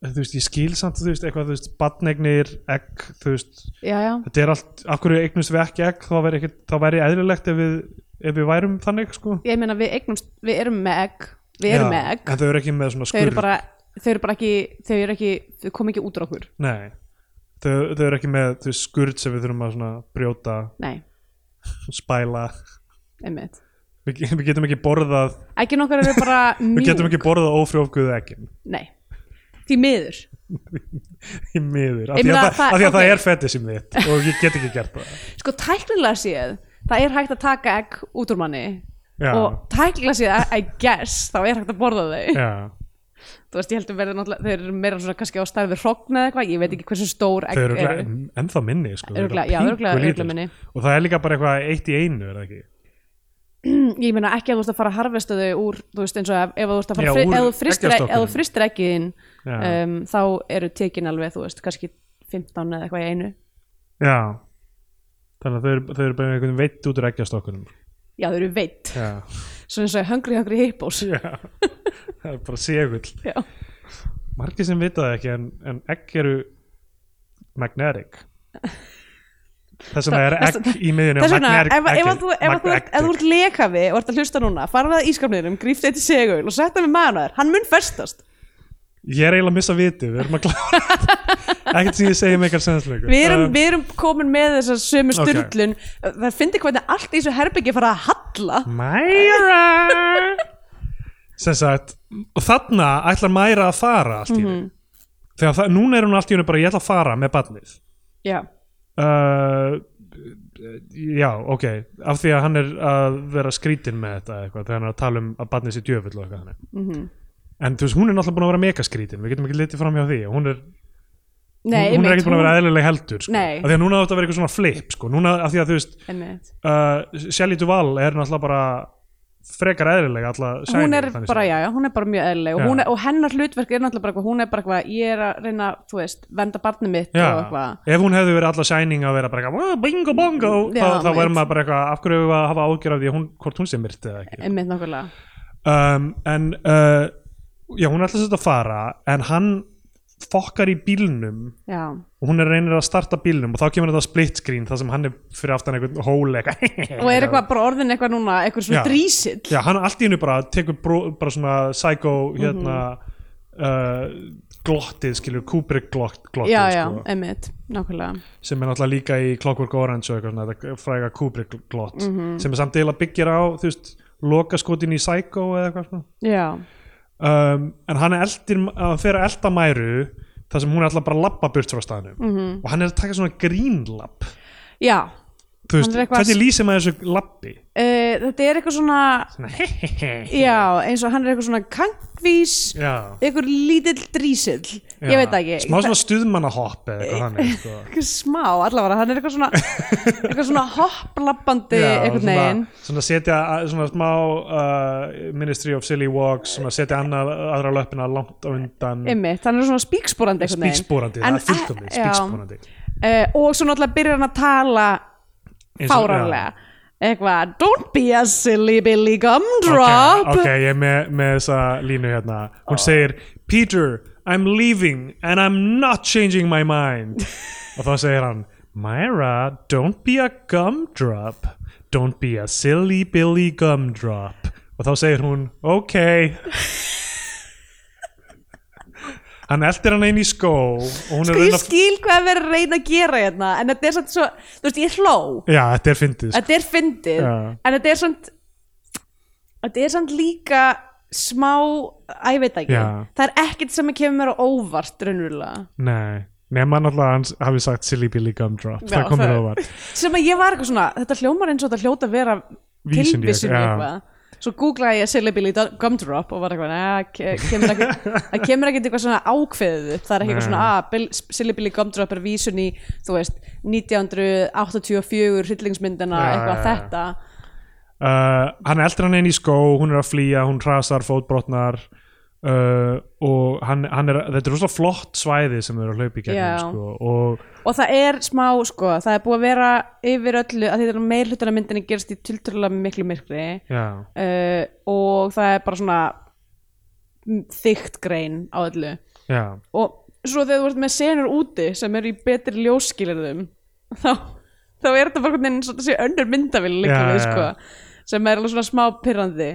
[SPEAKER 2] þú veist, ég skil samt, þú veist, eitthvað, þú veist, batnegnir, egg, þú veist,
[SPEAKER 1] já, já,
[SPEAKER 2] þetta er allt, af hverju eignust við ekki egg, þá væri, ekkit, þá væri eðlilegt ef við, ef við værum þannig, sko.
[SPEAKER 1] ég meina við eignumst við erum með egg, við erum
[SPEAKER 2] Já,
[SPEAKER 1] með egg
[SPEAKER 2] En þau eru ekki með svona
[SPEAKER 1] þau
[SPEAKER 2] skurð.
[SPEAKER 1] eru bara, þau eru bara ekki þau eru ekki, þau kom ekki út úr okkur
[SPEAKER 2] Nei, þau, þau eru ekki með, þú veist, skurð sem við þurfum að svona brjóta,
[SPEAKER 1] nei,
[SPEAKER 2] spæla.
[SPEAKER 1] einmitt
[SPEAKER 2] Við, við getum ekki borðað,
[SPEAKER 1] eggin okkar eru bara
[SPEAKER 2] við getum
[SPEAKER 1] mjúk
[SPEAKER 2] ekki borðað ófrjófguðu eggin.
[SPEAKER 1] nei, því miður
[SPEAKER 2] í miður, af
[SPEAKER 1] Ég
[SPEAKER 2] því að,
[SPEAKER 1] meina,
[SPEAKER 2] það,
[SPEAKER 1] það-
[SPEAKER 2] af því að það
[SPEAKER 1] ok.
[SPEAKER 2] er fetisinn þitt og ég get ekki gert það
[SPEAKER 1] sko tæknilega séð, það er hægt að taka egg út úr manni
[SPEAKER 2] já,
[SPEAKER 1] og tæknilega séð, I guess þá er hægt að borða þau
[SPEAKER 2] já,
[SPEAKER 1] þú veist, ég heldur verður náttúrulega, þeir eru meira svona kannski á starfi hrogn eða eitthvað, ég veit ekki hversu stór
[SPEAKER 2] þau
[SPEAKER 1] egg eru
[SPEAKER 2] eru örugglega en- ennþá minni sko, þau eru
[SPEAKER 1] Örugglega- já, örugglega-
[SPEAKER 2] pínkulítil.
[SPEAKER 1] örugglega minni.
[SPEAKER 2] og það er líka bara eitthvað eitt í einu er það ekki?
[SPEAKER 1] ég meina ekki að þú ert að fara að harvesta þau úr þú veist eins og ef, ef þú ert að fara
[SPEAKER 2] Já,
[SPEAKER 1] að fri,
[SPEAKER 2] úr
[SPEAKER 1] ef þú fristir,
[SPEAKER 2] eggjastokkunum.
[SPEAKER 1] ef þú fristir ekki þín
[SPEAKER 2] Já.
[SPEAKER 1] um, þá eru tekin alveg þú veist kannski 15 eða eitthvað í einu
[SPEAKER 2] já þannig að þau eru, þau eru bara einhvern veitt út úr eggjastokkunum
[SPEAKER 1] já þau eru veitt,
[SPEAKER 2] já,
[SPEAKER 1] svona eins og hungry hungry hippos
[SPEAKER 2] já það er bara segull
[SPEAKER 1] já,
[SPEAKER 2] margir sem vita það ekki en, en egg eru magnetic þess vegna er
[SPEAKER 1] Þess-
[SPEAKER 2] egg í miðjunni og
[SPEAKER 1] þess vegna ef,
[SPEAKER 2] magnetic
[SPEAKER 1] ef, að þú, ef, að þú, ef þú
[SPEAKER 2] egg
[SPEAKER 1] ert lekafi og ert að hlusta núna farað að ískapniðinum, gríft eitt í segul og setja með maður þær, hann mun festast
[SPEAKER 2] ég er eiginlega að missa viti, við erum að klára þetta. ekkert sem ég segi með eitthvað Um, sensleikur
[SPEAKER 1] við erum, við erum komin með þessa sömu
[SPEAKER 2] ok.
[SPEAKER 1] styrlun það finnir hvernig allt í þessu herbyggi fara að halla
[SPEAKER 2] Mæra sem sagt og þarna ætlar Mæra að fara allt í mm
[SPEAKER 1] Mhm.
[SPEAKER 2] þegar það, núna er hún allt í hennu bara ég ætla að fara með barnið
[SPEAKER 1] já,
[SPEAKER 2] uh, já, ok af því að hann er að vera skrítin með þetta eitthvað, þegar hann er að tala um að barnið sé djöfull og eitthvað þannig
[SPEAKER 1] Mhm.
[SPEAKER 2] en þú veist, hún er náttúrulega búin að vera megaskrítin við getum ekki litið fram hjá því hún er,
[SPEAKER 1] nei,
[SPEAKER 2] hún, hún er
[SPEAKER 1] einmitt,
[SPEAKER 2] ekki búin að vera eðlileg heldur sko.
[SPEAKER 1] Nei.
[SPEAKER 2] af því að núna átt að vera eitthvað svona flip sko. núna, af því að þú veist,
[SPEAKER 1] einmitt
[SPEAKER 2] uh, Shelley Duvall er náttúrulega bara frekar eðlileg alla Shining,
[SPEAKER 1] hún er
[SPEAKER 2] þannig
[SPEAKER 1] bara,
[SPEAKER 2] séð.
[SPEAKER 1] já, já, hún er bara mjög eðlileg og,
[SPEAKER 2] Já.
[SPEAKER 1] hún er, og hennar hlutverk er náttúrulega bara eitthvað, hún er bara eitthvað, ég er að reyna þú veist, venda barnið mitt og
[SPEAKER 2] Já,
[SPEAKER 1] eitthvað
[SPEAKER 2] ef hún hefði verið alla sæning að vera bara eitthvað "Wah, bingo bongo
[SPEAKER 1] Já,
[SPEAKER 2] þá, þá
[SPEAKER 1] mate.
[SPEAKER 2] verður maður bara eitthvað af hverju hefur að hafa ágjör af því að hún, hvort hún sé myrt eða ekki
[SPEAKER 1] einmitt nákvæmlega,
[SPEAKER 2] um, en uh, já hún er alltaf sett að fara en hann fokkar í bílnum
[SPEAKER 1] já,
[SPEAKER 2] og hún er reynir að starta bílnum og þá kemur þetta split screen þar sem hann er fyrir aftan einhvern hól eitthvað
[SPEAKER 1] og er eitthvað bara orðin eitthvað núna, eitthvað svona
[SPEAKER 2] Já.
[SPEAKER 1] drísill
[SPEAKER 2] Já, hann allt í hennu bara tekur bró, bara svona
[SPEAKER 1] Mhm.
[SPEAKER 2] psycho hérna uh, glottið, skilur Kubrick glott, glottið
[SPEAKER 1] já, já,
[SPEAKER 2] sko,
[SPEAKER 1] einmitt, nákvæmlega
[SPEAKER 2] sem er náttúrulega líka í Clockwork Orange og eitthvað svona, þetta fræga Kubrick glott
[SPEAKER 1] Mhm.
[SPEAKER 2] sem er samt eila byggir á, þú veist loka skotin í psycho eða eitthvað svona
[SPEAKER 1] já,
[SPEAKER 2] um, en hann er eldir, að fer að elda mæru þar sem hún er alltaf bara að labba burt frá staðnum
[SPEAKER 1] Mhm.
[SPEAKER 2] og hann er að taka svona grínlapp
[SPEAKER 1] já
[SPEAKER 2] þú veist,
[SPEAKER 1] Hann er eitthvað-
[SPEAKER 2] hvernig lýsir maður þessu labbi?
[SPEAKER 1] uh, þetta er eitthvað svona
[SPEAKER 2] Svona, hehehe
[SPEAKER 1] já, eins og hann er eitthvað svona kankvís,
[SPEAKER 2] Já.
[SPEAKER 1] eitthvað lítill drísill, ég
[SPEAKER 2] Já.
[SPEAKER 1] veit það ekki
[SPEAKER 2] smá svona stuðmannahopp eða eitthvað þannig sko.
[SPEAKER 1] Eitthvað smá, allavega, hann er eitthvað svona eitthvað svona hopplappandi eitthvað
[SPEAKER 2] svona,
[SPEAKER 1] neginn
[SPEAKER 2] svona setja að- svona smá uh, Ministry of Silly Walks svona setja annað, aðra löppina langt á undan
[SPEAKER 1] Einmitt, hann er svona spíkspúrandi einhvern veginn.
[SPEAKER 2] spíkspórandi,
[SPEAKER 1] En-
[SPEAKER 2] það er fullkomni
[SPEAKER 1] eh, já.
[SPEAKER 2] spíkspórandi
[SPEAKER 1] Eh, og svo náttúrulega byrjar hann að tala fáránlega eitthvað, don't be a silly billy gumdrop
[SPEAKER 2] ok, ég er með, með þessa línu hérna hún segir Peter, I'm leaving and I'm not changing my mind og þá segir hann Myra, don't be a gumdrop don't be a silly billy gumdrop og þá segir hún ok hann eldir hann inn í skó og hún
[SPEAKER 1] sko
[SPEAKER 2] er að
[SPEAKER 1] ég
[SPEAKER 2] reyna að-
[SPEAKER 1] skil hvað við erum að reyna að gera hérna en þetta er samt svo, þú veist ég hló
[SPEAKER 2] já, þetta er fyndið sko.
[SPEAKER 1] þetta er fyndið
[SPEAKER 2] Já.
[SPEAKER 1] en þetta er samt þetta er samt líka smá, að ég veit það ekki
[SPEAKER 2] Já.
[SPEAKER 1] það er ekkert sem kemur mér á óvart raunverulega
[SPEAKER 2] nei, nema náttúrulega hans hafi sagt silly billy gumdrop
[SPEAKER 1] Já,
[SPEAKER 2] það komið það var
[SPEAKER 1] sem að ég var eitthvað svona, þetta hljómar eins og þetta hljóta að vera
[SPEAKER 2] Vísindi,
[SPEAKER 1] tilvísun í
[SPEAKER 2] já.
[SPEAKER 1] eitthvað svo googlaði ég syllabili gumdrop og var eitthvað, neða, kemur ekkert það kemur ekkert eitthvað svona ákveðið upp það er ekki eitthvað
[SPEAKER 2] Nei.
[SPEAKER 1] svona, að syllabili gumdrop er vísun í, þú veist, 1984 hryllingsmyndina,
[SPEAKER 2] Já,
[SPEAKER 1] eitthvað
[SPEAKER 2] já, já.
[SPEAKER 1] þetta
[SPEAKER 2] Eh, uh, hann eldir hann inn í skó hún er að flýja, hún hrasar, fótbrotnar uh, og hann, hann er, þetta er rosa flott svæði sem þau eru að hlaupa í
[SPEAKER 1] Já.
[SPEAKER 2] gegnum sko, og
[SPEAKER 1] og það er smá sko, það er búið að vera yfir öllu, að þetta er meir hlutana myndinni gerast í tiltrúlega miklu myrkri
[SPEAKER 2] já,
[SPEAKER 1] uh, og það er bara svona mm, þykkt grein á öllu
[SPEAKER 2] já,
[SPEAKER 1] og svo þegar þú ert með senur úti sem eru í betri ljóskilirðum þá, þá er þetta bara hvernig svona þessi önnur myndavil líka
[SPEAKER 2] Já,
[SPEAKER 1] við
[SPEAKER 2] já,
[SPEAKER 1] sko sem er alveg svona smá pirrandi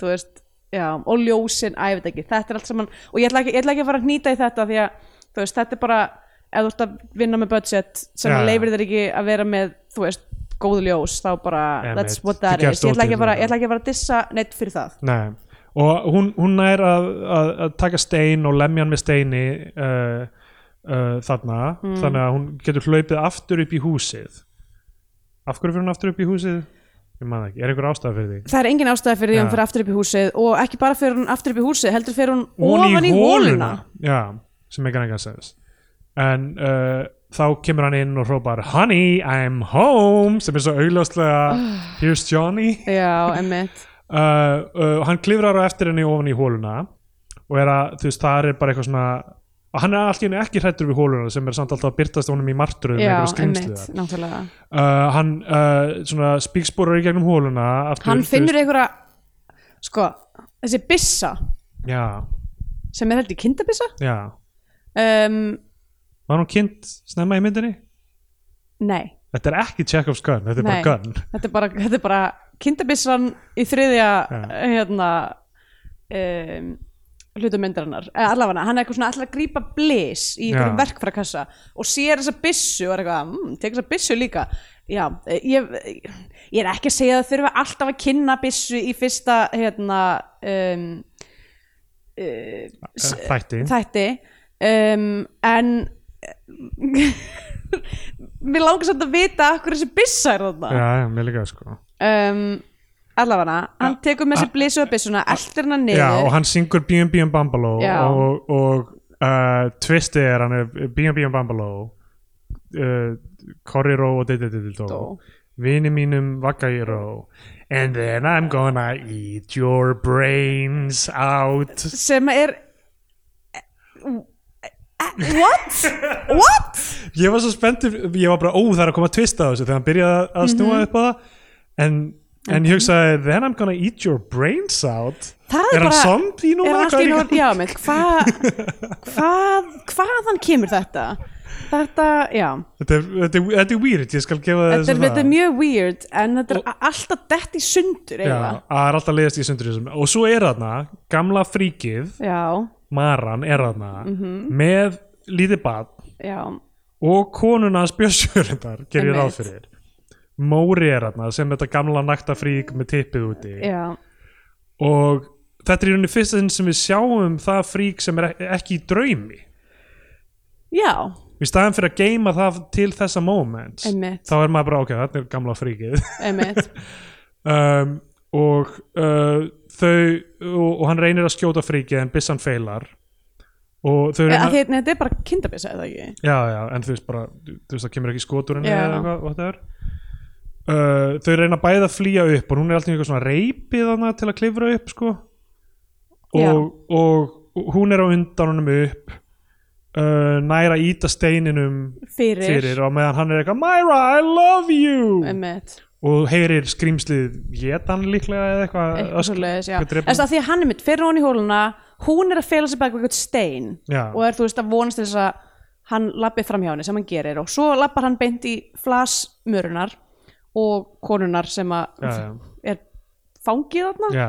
[SPEAKER 1] þú veist, já, og ljósin æ, ég veit ekki, þetta er allt saman og ég ætla ekki, ég ætla ekki að fara að hnýta í þetta því að þú veist, þetta er bara, ef þú ert að vinna með budget sem
[SPEAKER 2] Já, já.
[SPEAKER 1] leifir þér ekki að vera með, þú veist, góð ljós þá bara,
[SPEAKER 2] Einmitt,
[SPEAKER 1] that's what
[SPEAKER 2] þú
[SPEAKER 1] that
[SPEAKER 2] gerst
[SPEAKER 1] is ég ætla ekki
[SPEAKER 2] ódýrara.
[SPEAKER 1] að fara, ég ætla ekki að fara að dissa neitt fyrir það
[SPEAKER 2] nei og hún, hún er að, að, að taka stein og lemja hann með steini uh, uh, þarna þannig að hún getur hlaupið aftur upp í húsið af hverju fyrir hún aftur upp í húsið? ég man það ekki, er einhver ástæða fyrir því?
[SPEAKER 1] það er engin ástæði fyrir því hún
[SPEAKER 2] Já.
[SPEAKER 1] fyrir aftur upp í húsið og ekki bara fyrir hún aftur upp í húsið heldur fyrir hún
[SPEAKER 2] ofan,
[SPEAKER 1] ofan í hóluna
[SPEAKER 2] já, sem ekki nægast sens en uh, þá kemur hann inn og hrópar honey, I'm home sem er svo augljóslega here's Johnny
[SPEAKER 1] já, emmitt
[SPEAKER 2] uh, uh, hann klifrar á eftir henni ofan í hóluna og er að, þú veist, það er bara eitthvað svona og hann er alltaf ekki hrættur við hóluna sem er samt alltaf að byrtast honum í martröðum
[SPEAKER 1] já,
[SPEAKER 2] einhverju skrímsli
[SPEAKER 1] emmitt,
[SPEAKER 2] þar.
[SPEAKER 1] náttúrulega
[SPEAKER 2] uh, hann uh, svona spíksporar í gegnum hóluna aftur,
[SPEAKER 1] hann
[SPEAKER 2] þú
[SPEAKER 1] finnur einhverja sko, þessi byssa
[SPEAKER 2] veist, já,
[SPEAKER 1] sem er heldur kindabissa
[SPEAKER 2] já,
[SPEAKER 1] um,
[SPEAKER 2] var hún kynnt snemma í myndinni?
[SPEAKER 1] nei,
[SPEAKER 2] Þetta er ekki Chekhov's gun, þetta er
[SPEAKER 1] Nei.
[SPEAKER 2] bara gun
[SPEAKER 1] þetta er bara, þetta er bara kindabissan í þriðja
[SPEAKER 2] Já.
[SPEAKER 1] hérna um, hlutumyndarinnar eða allavega hann er eitthvað svona alltaf að grípa blis í
[SPEAKER 2] Já.
[SPEAKER 1] einhverjum verkfrakassa og sér þessa byssu og er eitthvað, mmm, tek þessa byssu líka já, eh, ég, ég er ekki að segja að þurfa alltaf að kynna byssu í fyrsta hérna um,
[SPEAKER 2] Eh, þætti
[SPEAKER 1] þætti um, en mér langar svolítið að vita af hverju þessi byssa er þarna
[SPEAKER 2] Já, já, mér líka sko
[SPEAKER 1] um, allavega hann tekur með sér blísu og byssuna eldir hana niður
[SPEAKER 2] Ah, Já, og hann syngur B&B and Bambaló
[SPEAKER 1] Já.
[SPEAKER 2] og, og uh, twisti er hann er B&B and um Bambaló uh, Corri Ró og Diddidididó
[SPEAKER 1] Dó.
[SPEAKER 2] Vini mínum vagga í ró And then I'm gonna eat your brains out
[SPEAKER 1] sem er eh, what? what?
[SPEAKER 2] Ég var svo spenntur, ég var bara ó það er að koma að twista á þessu þegar hann byrjaði að-
[SPEAKER 1] Mhm.
[SPEAKER 2] að snúa upp á það en, en ég hugsaði Then I'm gonna eat your brains out
[SPEAKER 1] það
[SPEAKER 2] Er
[SPEAKER 1] er
[SPEAKER 2] hann
[SPEAKER 1] bara
[SPEAKER 2] zombie núna?
[SPEAKER 1] er hann
[SPEAKER 2] Hvað
[SPEAKER 1] allt í
[SPEAKER 2] í
[SPEAKER 1] nú,
[SPEAKER 2] gangi?
[SPEAKER 1] já, menn, hvað hvað, hvaðan kemur þetta? þetta, já
[SPEAKER 2] Þetta er, þetta, er, þetta er weird, ég skal gefa
[SPEAKER 1] þetta er,
[SPEAKER 2] þessu
[SPEAKER 1] þetta er mjög weird en þetta er a- alltaf dett í sundur
[SPEAKER 2] Já,
[SPEAKER 1] eiginlega.
[SPEAKER 2] að það er alltaf leiðast í sundur í þessum og svo er þarna, gamla fríkið
[SPEAKER 1] já,
[SPEAKER 2] Maran er þarna
[SPEAKER 1] Mhm.
[SPEAKER 2] með lítið bad
[SPEAKER 1] já,
[SPEAKER 2] og konuna hans björsjörundar gerir ég ráð
[SPEAKER 1] Einmitt.
[SPEAKER 2] fyrir Móri er þarna sem þetta gamla nakta frík með tippið úti
[SPEAKER 1] já
[SPEAKER 2] og þetta er í rauninni fyrsta sinn sem við sjáum það frík sem er ek- ekki í draumi
[SPEAKER 1] já,
[SPEAKER 2] í staðan fyrir að geima það til þessa moment
[SPEAKER 1] einmitt,
[SPEAKER 2] þá er maður bara ok, þetta er gamla fríkið
[SPEAKER 1] einmitt
[SPEAKER 2] um, og uh, þau og, og hann reynir að skjóta fríkið en byssan feilar og þau
[SPEAKER 1] Að
[SPEAKER 2] reyna,
[SPEAKER 1] Eh, því- nei, þetta er bara kindabissa eða ekki
[SPEAKER 2] já, já, en þú veist bara þú þú veist það kemur ekki skotur henni
[SPEAKER 1] Já.
[SPEAKER 2] eða eitthvað what það er Uh, þau reyna bæði að flýja upp og hún er alltaf eitthvað svona reypið hana til að klifra upp sko
[SPEAKER 1] Já.
[SPEAKER 2] og, og, og hún er á undan honum upp uh, næra íta steininum
[SPEAKER 1] fyrir, Eh.
[SPEAKER 2] fyrir og meðan hann er eitthvað Myra, I love you
[SPEAKER 1] einmitt,
[SPEAKER 2] og heyrir skrýmslið getan líklega eða eitthvað
[SPEAKER 1] eitthvað svo leiðis
[SPEAKER 2] eitthvað drepa
[SPEAKER 1] þess að því að hann er mitt fyrir hún í hóluna hún er að fela sig bak við eitthvað stein
[SPEAKER 2] Já.
[SPEAKER 1] og er þú veist að vonast til þess að hann lappi fram hjá henni sem hann gerir og svo lappar hann beint í flasmörunar og konunar sem að
[SPEAKER 2] Já, já.
[SPEAKER 1] er fangið þarna
[SPEAKER 2] já.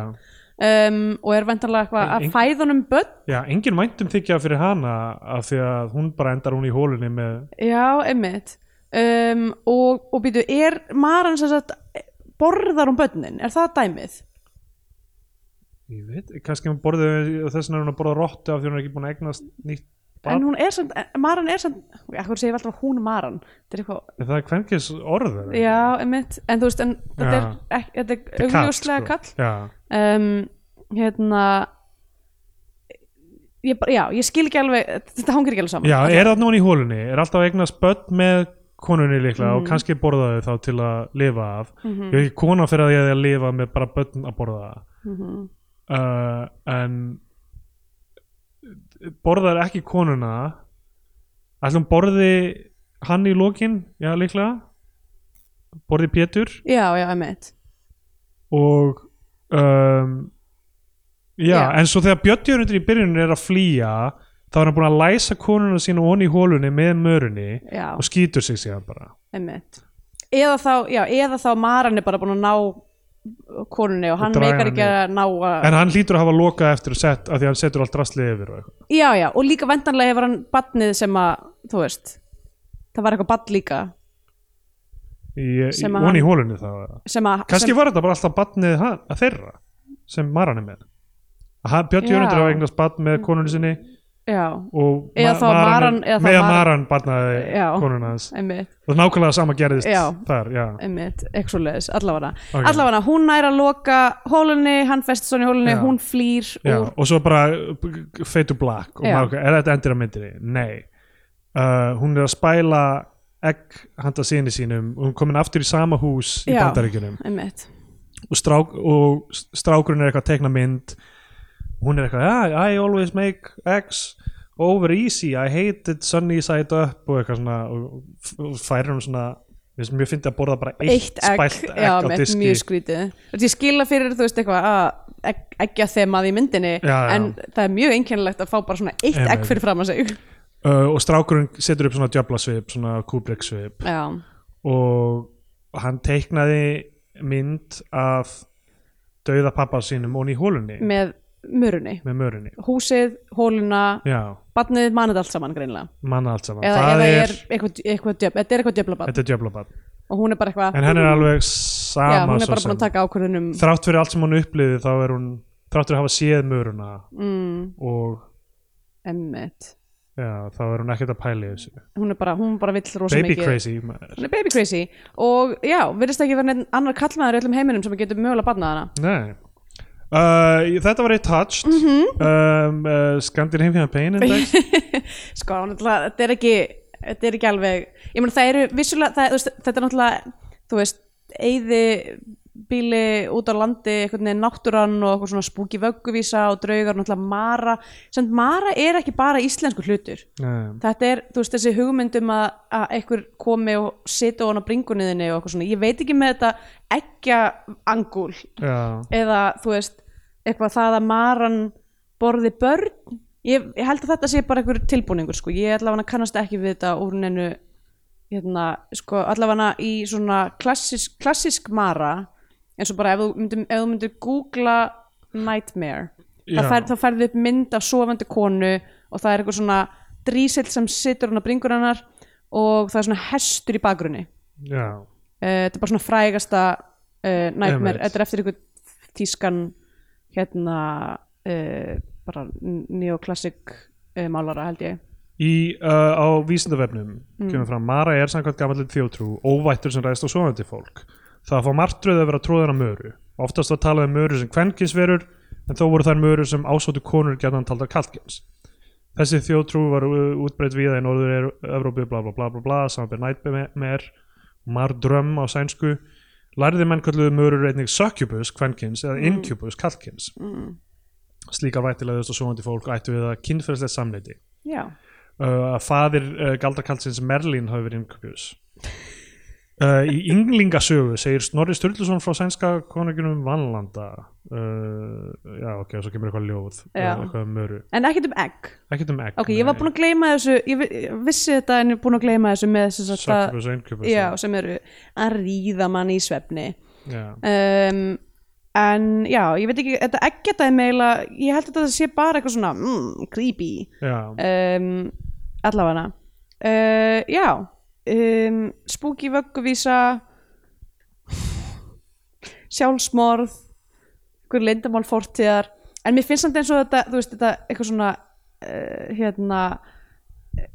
[SPEAKER 1] um, og er vendanlega eitthvað að
[SPEAKER 2] Ein-
[SPEAKER 1] fæðunum börn
[SPEAKER 2] já, engin væntum þykja fyrir hana af því að hún bara endar hún í hólunni með
[SPEAKER 1] já, einmitt um, og, og býtu, er maran sem sagt borðar hún börnin, er það dæmið?
[SPEAKER 2] ég veit, kannski hún borðið þess vegna er hún að borða rottu af því hún er ekki búin að eignast nýtt barn,
[SPEAKER 1] en hún er samt, Maran er samt ekkur segir við alltaf hún Maran þetta er eitthvað,
[SPEAKER 2] en það er hvernkis orð er það?
[SPEAKER 1] já, einmitt en þú veist, en þetta er,
[SPEAKER 2] Já.
[SPEAKER 1] ekki, þetta er
[SPEAKER 2] Þetta er sko.
[SPEAKER 1] augljóslega kall,
[SPEAKER 2] já,
[SPEAKER 1] Um, hérna ég bara, já, ég skil ekki alveg þetta hangir ekki alveg saman
[SPEAKER 2] já er það núna í hólunni er alltaf að eignast börn með konunni líklega
[SPEAKER 1] Mm.
[SPEAKER 2] og kannski borðaði þá til að lifa af, ég veit ekki kona fyrir að
[SPEAKER 1] Mhm.
[SPEAKER 2] Eh, ég að lifa með bara börn að borða mm uh, en borðar ekki konuna ætlum borði hann í lokin, já líklega borði Pétur
[SPEAKER 1] já, já, emitt
[SPEAKER 2] og um, já,
[SPEAKER 1] Já.
[SPEAKER 2] en svo þegar Bjöttjörundur í byrjunum er að flýja þá er hann búin að læsa konuna sína onni í hólunni með mörunni
[SPEAKER 1] já,
[SPEAKER 2] og skýtur sig síðan bara
[SPEAKER 1] emitt eða þá, já, eða þá Maran er bara búin að ná konunni og hann
[SPEAKER 2] draga
[SPEAKER 1] meikar
[SPEAKER 2] hana
[SPEAKER 1] ekki að ná að
[SPEAKER 2] en hann hlýtur að hafa lokað eftir að sett af því að hann setur allt rastlið yfir og eitthvað
[SPEAKER 1] já, já, og líka vendanlega hefur hann badnið sem að, þú veist það var eitthvað badn líka
[SPEAKER 2] Í- í-
[SPEAKER 1] Sem að
[SPEAKER 2] onni í
[SPEAKER 1] hann-
[SPEAKER 2] hólunni þá eða?
[SPEAKER 1] sem að,
[SPEAKER 2] kannski
[SPEAKER 1] sem,
[SPEAKER 2] var þetta bara alltaf batnið hann, að þeirra sem Maran er með að hann- Björn
[SPEAKER 1] Já.
[SPEAKER 2] Jörgundur hafa eignast batn með konunni sinni
[SPEAKER 1] já,
[SPEAKER 2] og
[SPEAKER 1] Eða
[SPEAKER 2] Ma-
[SPEAKER 1] þá Maran-
[SPEAKER 2] er-
[SPEAKER 1] eða þá
[SPEAKER 2] með að
[SPEAKER 1] Maran-
[SPEAKER 2] Maran batnaði
[SPEAKER 1] Já.
[SPEAKER 2] konuna hans
[SPEAKER 1] emitt
[SPEAKER 2] og nákvæmlega sama gerðist
[SPEAKER 1] Já.
[SPEAKER 2] þar já.
[SPEAKER 1] einmitt, eitthvað svo leiðis, allavega
[SPEAKER 2] Ok.
[SPEAKER 1] allavega, hún nær að loka hólunni hann festist svona í hólunni,
[SPEAKER 2] Já.
[SPEAKER 1] hún flýr
[SPEAKER 2] Já.
[SPEAKER 1] úr,
[SPEAKER 2] og svo bara uh, fade to black og
[SPEAKER 1] Já.
[SPEAKER 2] maður, ok, er þetta endur á myndinni? Nei uh, hún er að spæla egg handa sinni sínum og hún er komin aftur í sama hús í
[SPEAKER 1] Já.
[SPEAKER 2] bandaríkjunum
[SPEAKER 1] einmitt,
[SPEAKER 2] og, strák, og s- strákurinn er eitthvað að teikna mynd hún er eitthvað "Ah, I always make eggs over easy, I hate it sunny side up og eitthvað svona og, og færir hún svona mér finnst mjög fyndi að borða bara eitt,
[SPEAKER 1] eitt egg,
[SPEAKER 2] spælt egg
[SPEAKER 1] já,
[SPEAKER 2] á
[SPEAKER 1] einmitt,
[SPEAKER 2] diski
[SPEAKER 1] mjög sko- skrítið Þú veist, ég skila fyrir, þú veist, eitthvað að egg, eggja þemað í myndinni
[SPEAKER 2] Já, já.
[SPEAKER 1] en það er mjög einkennilegt að fá bara svona eitt
[SPEAKER 2] Einmitt.
[SPEAKER 1] egg fyrir fram að sig
[SPEAKER 2] uh, og strákurinn setur upp svona djöflasvip, svona kúblikksvip
[SPEAKER 1] já,
[SPEAKER 2] og hann teiknaði mynd af dauða pappa sínum og í hólunni
[SPEAKER 1] með mörunni
[SPEAKER 2] með mörunni
[SPEAKER 1] húsið, hóluna,
[SPEAKER 2] já,
[SPEAKER 1] barnið manið allt saman greinlega
[SPEAKER 2] manna allt saman
[SPEAKER 1] eða,
[SPEAKER 2] það
[SPEAKER 1] eða
[SPEAKER 2] er,
[SPEAKER 1] er eitthvað, eitthvað, djöf, þetta er eitthvað djöflabann
[SPEAKER 2] þetta er djöflabann
[SPEAKER 1] og hún er bara eitthvað,
[SPEAKER 2] en henn er alveg
[SPEAKER 1] já,
[SPEAKER 2] sama
[SPEAKER 1] hún er
[SPEAKER 2] svo
[SPEAKER 1] bara búin
[SPEAKER 2] sem.
[SPEAKER 1] að taka ákvörðunum
[SPEAKER 2] þrátt fyrir allt sem hún upplýði þá er hún þrátt fyrir að hafa séð möruna
[SPEAKER 1] mm,
[SPEAKER 2] og
[SPEAKER 1] emmitt
[SPEAKER 2] já, þá er hún ekkert að pæla í þessu
[SPEAKER 1] hún er bara, hún bara vill rosa
[SPEAKER 2] baby
[SPEAKER 1] mikið
[SPEAKER 2] crazy maður.
[SPEAKER 1] hún er baby crazy og já, virðist ekki vera neinn annar kallmaður í öllum heiminum sem getur mögulega barnað hana
[SPEAKER 2] nei Uh, þetta var eitt touched mm
[SPEAKER 1] Mhm.
[SPEAKER 2] um, uh, Scandinavian Pain Index
[SPEAKER 1] sko, náttúrulega, þetta er ekki þetta er ekki alveg, ég meina það eru vissulega, það, þú veist, þetta er náttúrulega þú veist, eyði bíli út á landi, einhvern veginn náttúran og eitthvað svona spúki vögguvísa og draugar náttúrulega Mara, sem Mara er ekki bara íslensku hlutur
[SPEAKER 2] Nei.
[SPEAKER 1] þetta er, þú veist, þessi hugmyndum að, að einhver komi og sita ofan á bringunniðinni og eitthvað svona, ég veit ekki með þetta ekja angul
[SPEAKER 2] Já,
[SPEAKER 1] eða þú veist, eitthvað það að maran borði börn ég, ég held að þetta sé bara einhver tilbúningur sko. ég allavega kannast ekki við þetta úr neinu hérna, sko, allavega í svona klassisk, klassisk mara eins og bara ef þú myndir, ef þú myndir googla nightmare
[SPEAKER 2] Já.
[SPEAKER 1] það fær, þá færðu upp mynd af sofandi konu og það er eitthvað svona drísill sem situr hann á bringur hennar og það er svona hestur í bakgrunni
[SPEAKER 2] já
[SPEAKER 1] Eh, þetta er bara svona frægasta uh, nightmare,
[SPEAKER 2] Einmitt.
[SPEAKER 1] þetta er eftir einhver tískan hérna uh, bara neoklassik uh, málara held ég
[SPEAKER 2] Í, uh, á vísindavefnum kemur fram, Mara er samkvæmt gamallin þjótrú óvættur sem ræðist á svonandi fólk það fá martröð að vera tróðan af möru oftast var talað um möru sem kvenkinsverur en þó voru þær möru sem ásóttu konur gætan taldar kaltkins þessi þjótrú var uh, útbreytt víða í norður Evrópu, bla bla bla bla bla samanbyrð nightmare, mardröm á sænsku, lærði menn kalluðu mörur einnig succubus, kvenkins eða incubus, kaltkins mm. slíkar vættilegðust og svonandi fólk ættu við að kynferðslegt samleiti
[SPEAKER 1] já,
[SPEAKER 2] uh, að faðir uh, galdakaldsins Merlin hafi verið innkjöpjus uh, í ynglingasögu segir Snorri Sturluson frá sænska konunginum Vanlanda uh, já ok, svo kemur eitthvað ljóð
[SPEAKER 1] Já.
[SPEAKER 2] uh, eitthvað um möru,
[SPEAKER 1] en ekkert um egg
[SPEAKER 2] ekkert um egg
[SPEAKER 1] ok, ég var búin að gleyma þessu ég vi- ég vissi þetta en ég er búin að gleyma þessu með þess að það,
[SPEAKER 2] Sökkubus, innkjöpjus
[SPEAKER 1] já, sem eru að ríða mann í svefni
[SPEAKER 2] já.
[SPEAKER 1] um, en já, ég veit ekki þetta ekkert að meila, ég held að þetta sé bara eitthvað svona, mm, creepy
[SPEAKER 2] já.
[SPEAKER 1] um, allafana uh, já um, spooky vögguvísa sjálfsmorð einhver leyndamál fortíðar en mér finnst samt eins og þetta þú veist þetta eitthvað svona uh, hérna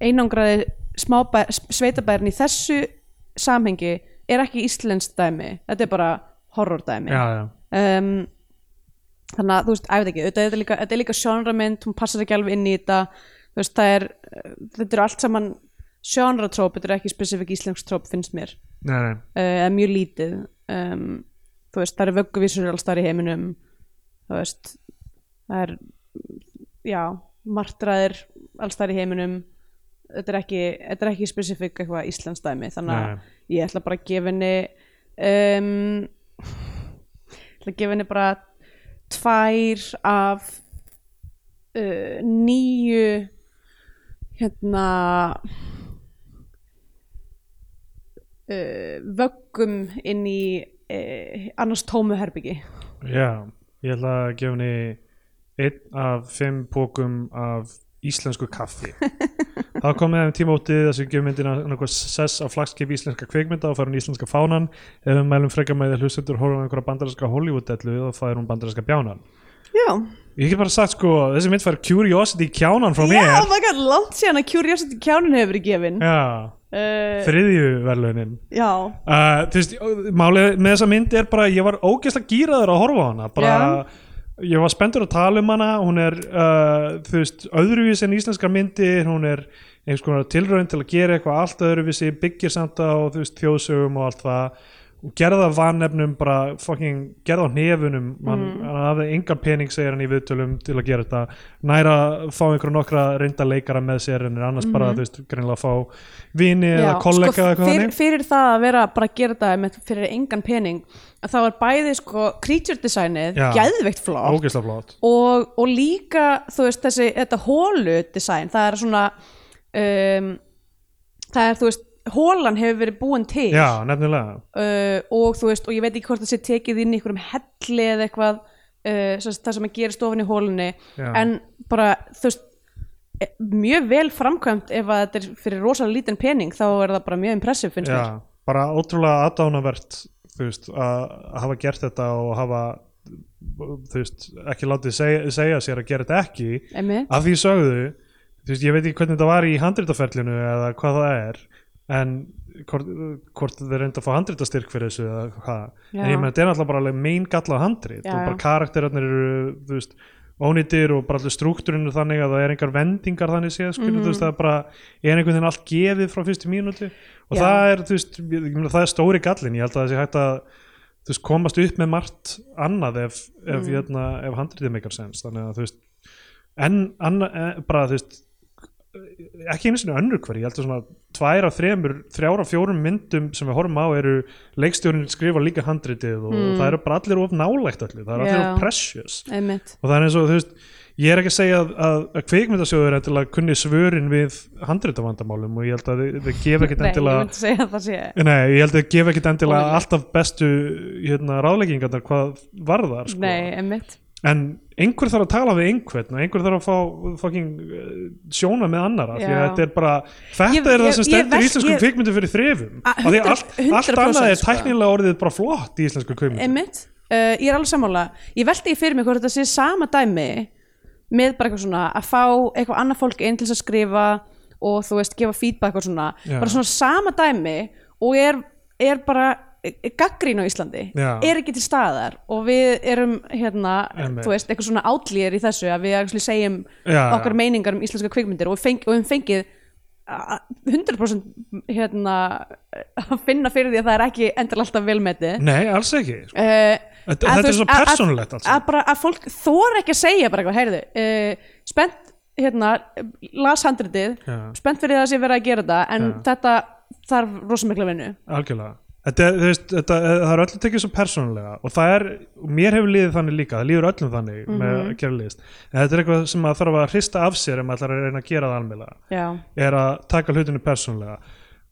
[SPEAKER 1] einangraði smábær, sveitabærin í þessu samhengi er ekki íslensk dæmi þetta er bara horror dæmi
[SPEAKER 2] já, já
[SPEAKER 1] um, þannig að þú veist, æfði ekki þetta er líka, þetta er líka sjónramynd, hún passar ekki alveg inn í þetta þú veist, það er uh, þetta er allt saman sjónratróp þetta er ekki spesifik íslensk tróp, finnst mér
[SPEAKER 2] Nei, nei.
[SPEAKER 1] uh, eða mjög lítið um, þú veist, það eru vögguvísur alls þar í heiminum þú veist það er, já martraðir alls þar í heiminum þetta er ekki, þetta er ekki spesifik eitthvað Íslands dæmi þannig að
[SPEAKER 2] Nei.
[SPEAKER 1] ég ætla bara að gefa henni um, ætla að gefa henni bara tvær af uh, nýju hérna uh, vöggum inn í uh, annars tómu herbyggi
[SPEAKER 2] Já, ég ætla að gefa henni einn af fimm pókum af íslensku kaffi þá komið þeim tímótið þess að við gefum myndina einhver sess á flagskip íslenska kvikmynda og farum íslenska fánan ef við mælum frekar með að hlustendur horfum á einhverja bandarinska Hollywood-dellu og fær hún bandarinska bjánan
[SPEAKER 1] Já,
[SPEAKER 2] Ég get bara sagt sko, þessi mynd fær curiosity kjánan frá
[SPEAKER 1] Já, oh
[SPEAKER 2] mér
[SPEAKER 1] my god, langt síðan að Curiosity kjánin hefur verið gefin
[SPEAKER 2] Já,
[SPEAKER 1] uh,
[SPEAKER 2] þriðju verðlunin
[SPEAKER 1] Já,
[SPEAKER 2] Uh, þú veist, málið með þessa mynd er bara ég var ógeðslega gýraður að horfa á hana bara, ég var spenntur að tala um hana hún er, uh, þú veist, öðruvís en íslenskar myndir, hún er einhvers konar tilraun til að gera eitthvað allt öðruvísi byggir samt á, þú veist, þjóðsögum og allt það, og gerða vannefnum bara, fucking, gerða á nefunum hann mm. hafði engan pening segir hann í viðtölum til að gera þetta næra að fá einhverja nokkra reynda leikara með sér en er annars bara, þú veist, greinlega að fá vini eða
[SPEAKER 1] já. sko,
[SPEAKER 2] kollega eða eitthvað
[SPEAKER 1] fyrir,
[SPEAKER 2] þannig.
[SPEAKER 1] fyrir það að vera bara að gera þetta með, fyrir engan pening að þá er bæði sko creature designið
[SPEAKER 2] Já.
[SPEAKER 1] geðveikt flott
[SPEAKER 2] ógeðslega flott
[SPEAKER 1] og, og líka þú veist þessi, þetta hólu design það er svona um, það er þú veist hólan hefur verið búin til
[SPEAKER 2] Já, nefnilega
[SPEAKER 1] uh, og þú veist, og ég veit ekki hvort það sé tekið inn í einhverjum helli eða eitthvað uh, sem, sagt, það sem að gera stofan í hólunni
[SPEAKER 2] Já.
[SPEAKER 1] en bara, þú veist e- mjög vel framkvæmt ef að þetta er fyrir rosalega lítinn pening þá er það bara mjög impressive finnst mér
[SPEAKER 2] já, bara ótrúlega aðdánavert þú veist, að að hafa gert þetta og hafa þú veist, ekki látið segja, segja sér að gera þetta ekki
[SPEAKER 1] Einmitt.
[SPEAKER 2] af því sögðu þú veist, ég veit ekki hvernig þetta var í handritaferlinu eða hvað það er en hvort, hvort þeir reynda að fá handritastyrk fyrir þessu eða hvað en
[SPEAKER 1] Já.
[SPEAKER 2] ég meina þetta er náttúrulega bara alveg mein galla handrit
[SPEAKER 1] Já,
[SPEAKER 2] og bara
[SPEAKER 1] já.
[SPEAKER 2] karakterarnir eru þú veist ónýtir og bara allir struktúrinu þannig að það er engar vendingar þannig séð skilur, þú veist,
[SPEAKER 1] Mhm.
[SPEAKER 2] það er bara er einhvern veginn allt gefið frá fyrstu mínútu og
[SPEAKER 1] Já.
[SPEAKER 2] það er, þú veist, ég ég meina það er stóri gallin ég held að það sé hægt að þú veist, komast upp með margt annað ef,
[SPEAKER 1] Mm.
[SPEAKER 2] ef, hérna, ef handritið meikar sens þannig að þú veist en anna, eh, bara þú veist ekki einu sinni önnur hver ég held að svona tvær af þremur, þrjár af fjórum myndum sem við horfum á eru leikstjórnin skrifa líka handritið og það eru bara allir of nálægt allir, það eru allir
[SPEAKER 1] Mm. Já.
[SPEAKER 2] of precious
[SPEAKER 1] Einmitt.
[SPEAKER 2] og það er eins og þú veist ég er ekki að segja að, að, að kveikmyndasjóður er til að kunni svörin við handritavandamálum og ég held að þið, þið gefa ekkert
[SPEAKER 1] Nei, ég
[SPEAKER 2] endilega
[SPEAKER 1] myndi segja að það sé
[SPEAKER 2] Nei, ég held að gefa ekkert endilega
[SPEAKER 1] Ómögulegt.
[SPEAKER 2] alltaf bestu hérna, ráðleggingarnar hvað varðar sko.
[SPEAKER 1] Nei, emmitt
[SPEAKER 2] en einhver þarf að tala við einhvern og einhver þarf að fá fucking, eh, sjóna með annara því að
[SPEAKER 1] Já.
[SPEAKER 2] þetta er bara þetta
[SPEAKER 1] Ég-
[SPEAKER 2] er það
[SPEAKER 1] ég-
[SPEAKER 2] sem
[SPEAKER 1] ég
[SPEAKER 2] stendur í
[SPEAKER 1] velti-
[SPEAKER 2] íslenskum
[SPEAKER 1] ég-
[SPEAKER 2] kvikmyndum fyrir þrefum
[SPEAKER 1] A-
[SPEAKER 2] af því
[SPEAKER 1] 100%
[SPEAKER 2] að allt, allt annað er
[SPEAKER 1] sko.
[SPEAKER 2] tæknilega orðið bara flott í íslenskum kvikmyndum
[SPEAKER 1] Einmitt, uh, ég er alveg sammála Ég velti ég fyrir mig hvort þetta sé sama dæmi með bara eitthvað svona að fá eitthvað annað fólk inn til þess að skrifa og þú veist, gefa feedback og svona
[SPEAKER 2] Já.
[SPEAKER 1] bara svona sama dæmi og er, er bara gaggrín á Íslandi
[SPEAKER 2] Já.
[SPEAKER 1] er ekki til staðar og við erum hérna,
[SPEAKER 2] Einmitt.
[SPEAKER 1] þú veist, eitthvað svona átlýjar í þessu að við actually segjum
[SPEAKER 2] Já,
[SPEAKER 1] okkar
[SPEAKER 2] já.
[SPEAKER 1] meiningar um íslenska kvikmyndir og, feng, og við fengið a- 100% hérna að finna fyrir því að það er ekki endilega alltaf velmetið
[SPEAKER 2] Nei, alls ekki sko.
[SPEAKER 1] uh,
[SPEAKER 2] Þetta- þetta er svo persónulegt allt
[SPEAKER 1] að, að, bara- að fólk þor ekki að segja bara eitthvað, heyrðu, uh, spennt hérna, las handritið
[SPEAKER 2] Já.
[SPEAKER 1] spennt fyrir það að sé verið að gera þetta en þetta þarf rosa mikla vinnu
[SPEAKER 2] algjörlega þetta, er, þú veist, þetta, það er öllum tekið svo persónulega og það er, og mér hefur liðið þannig líka það líður öllum þannig með
[SPEAKER 1] Mhm.
[SPEAKER 2] að gera list en þetta er eitthvað sem maður þarf að hrista af sér ef maður ætlar að reyna að gera það almjölega
[SPEAKER 1] já,
[SPEAKER 2] er að taka hlutinu persónulega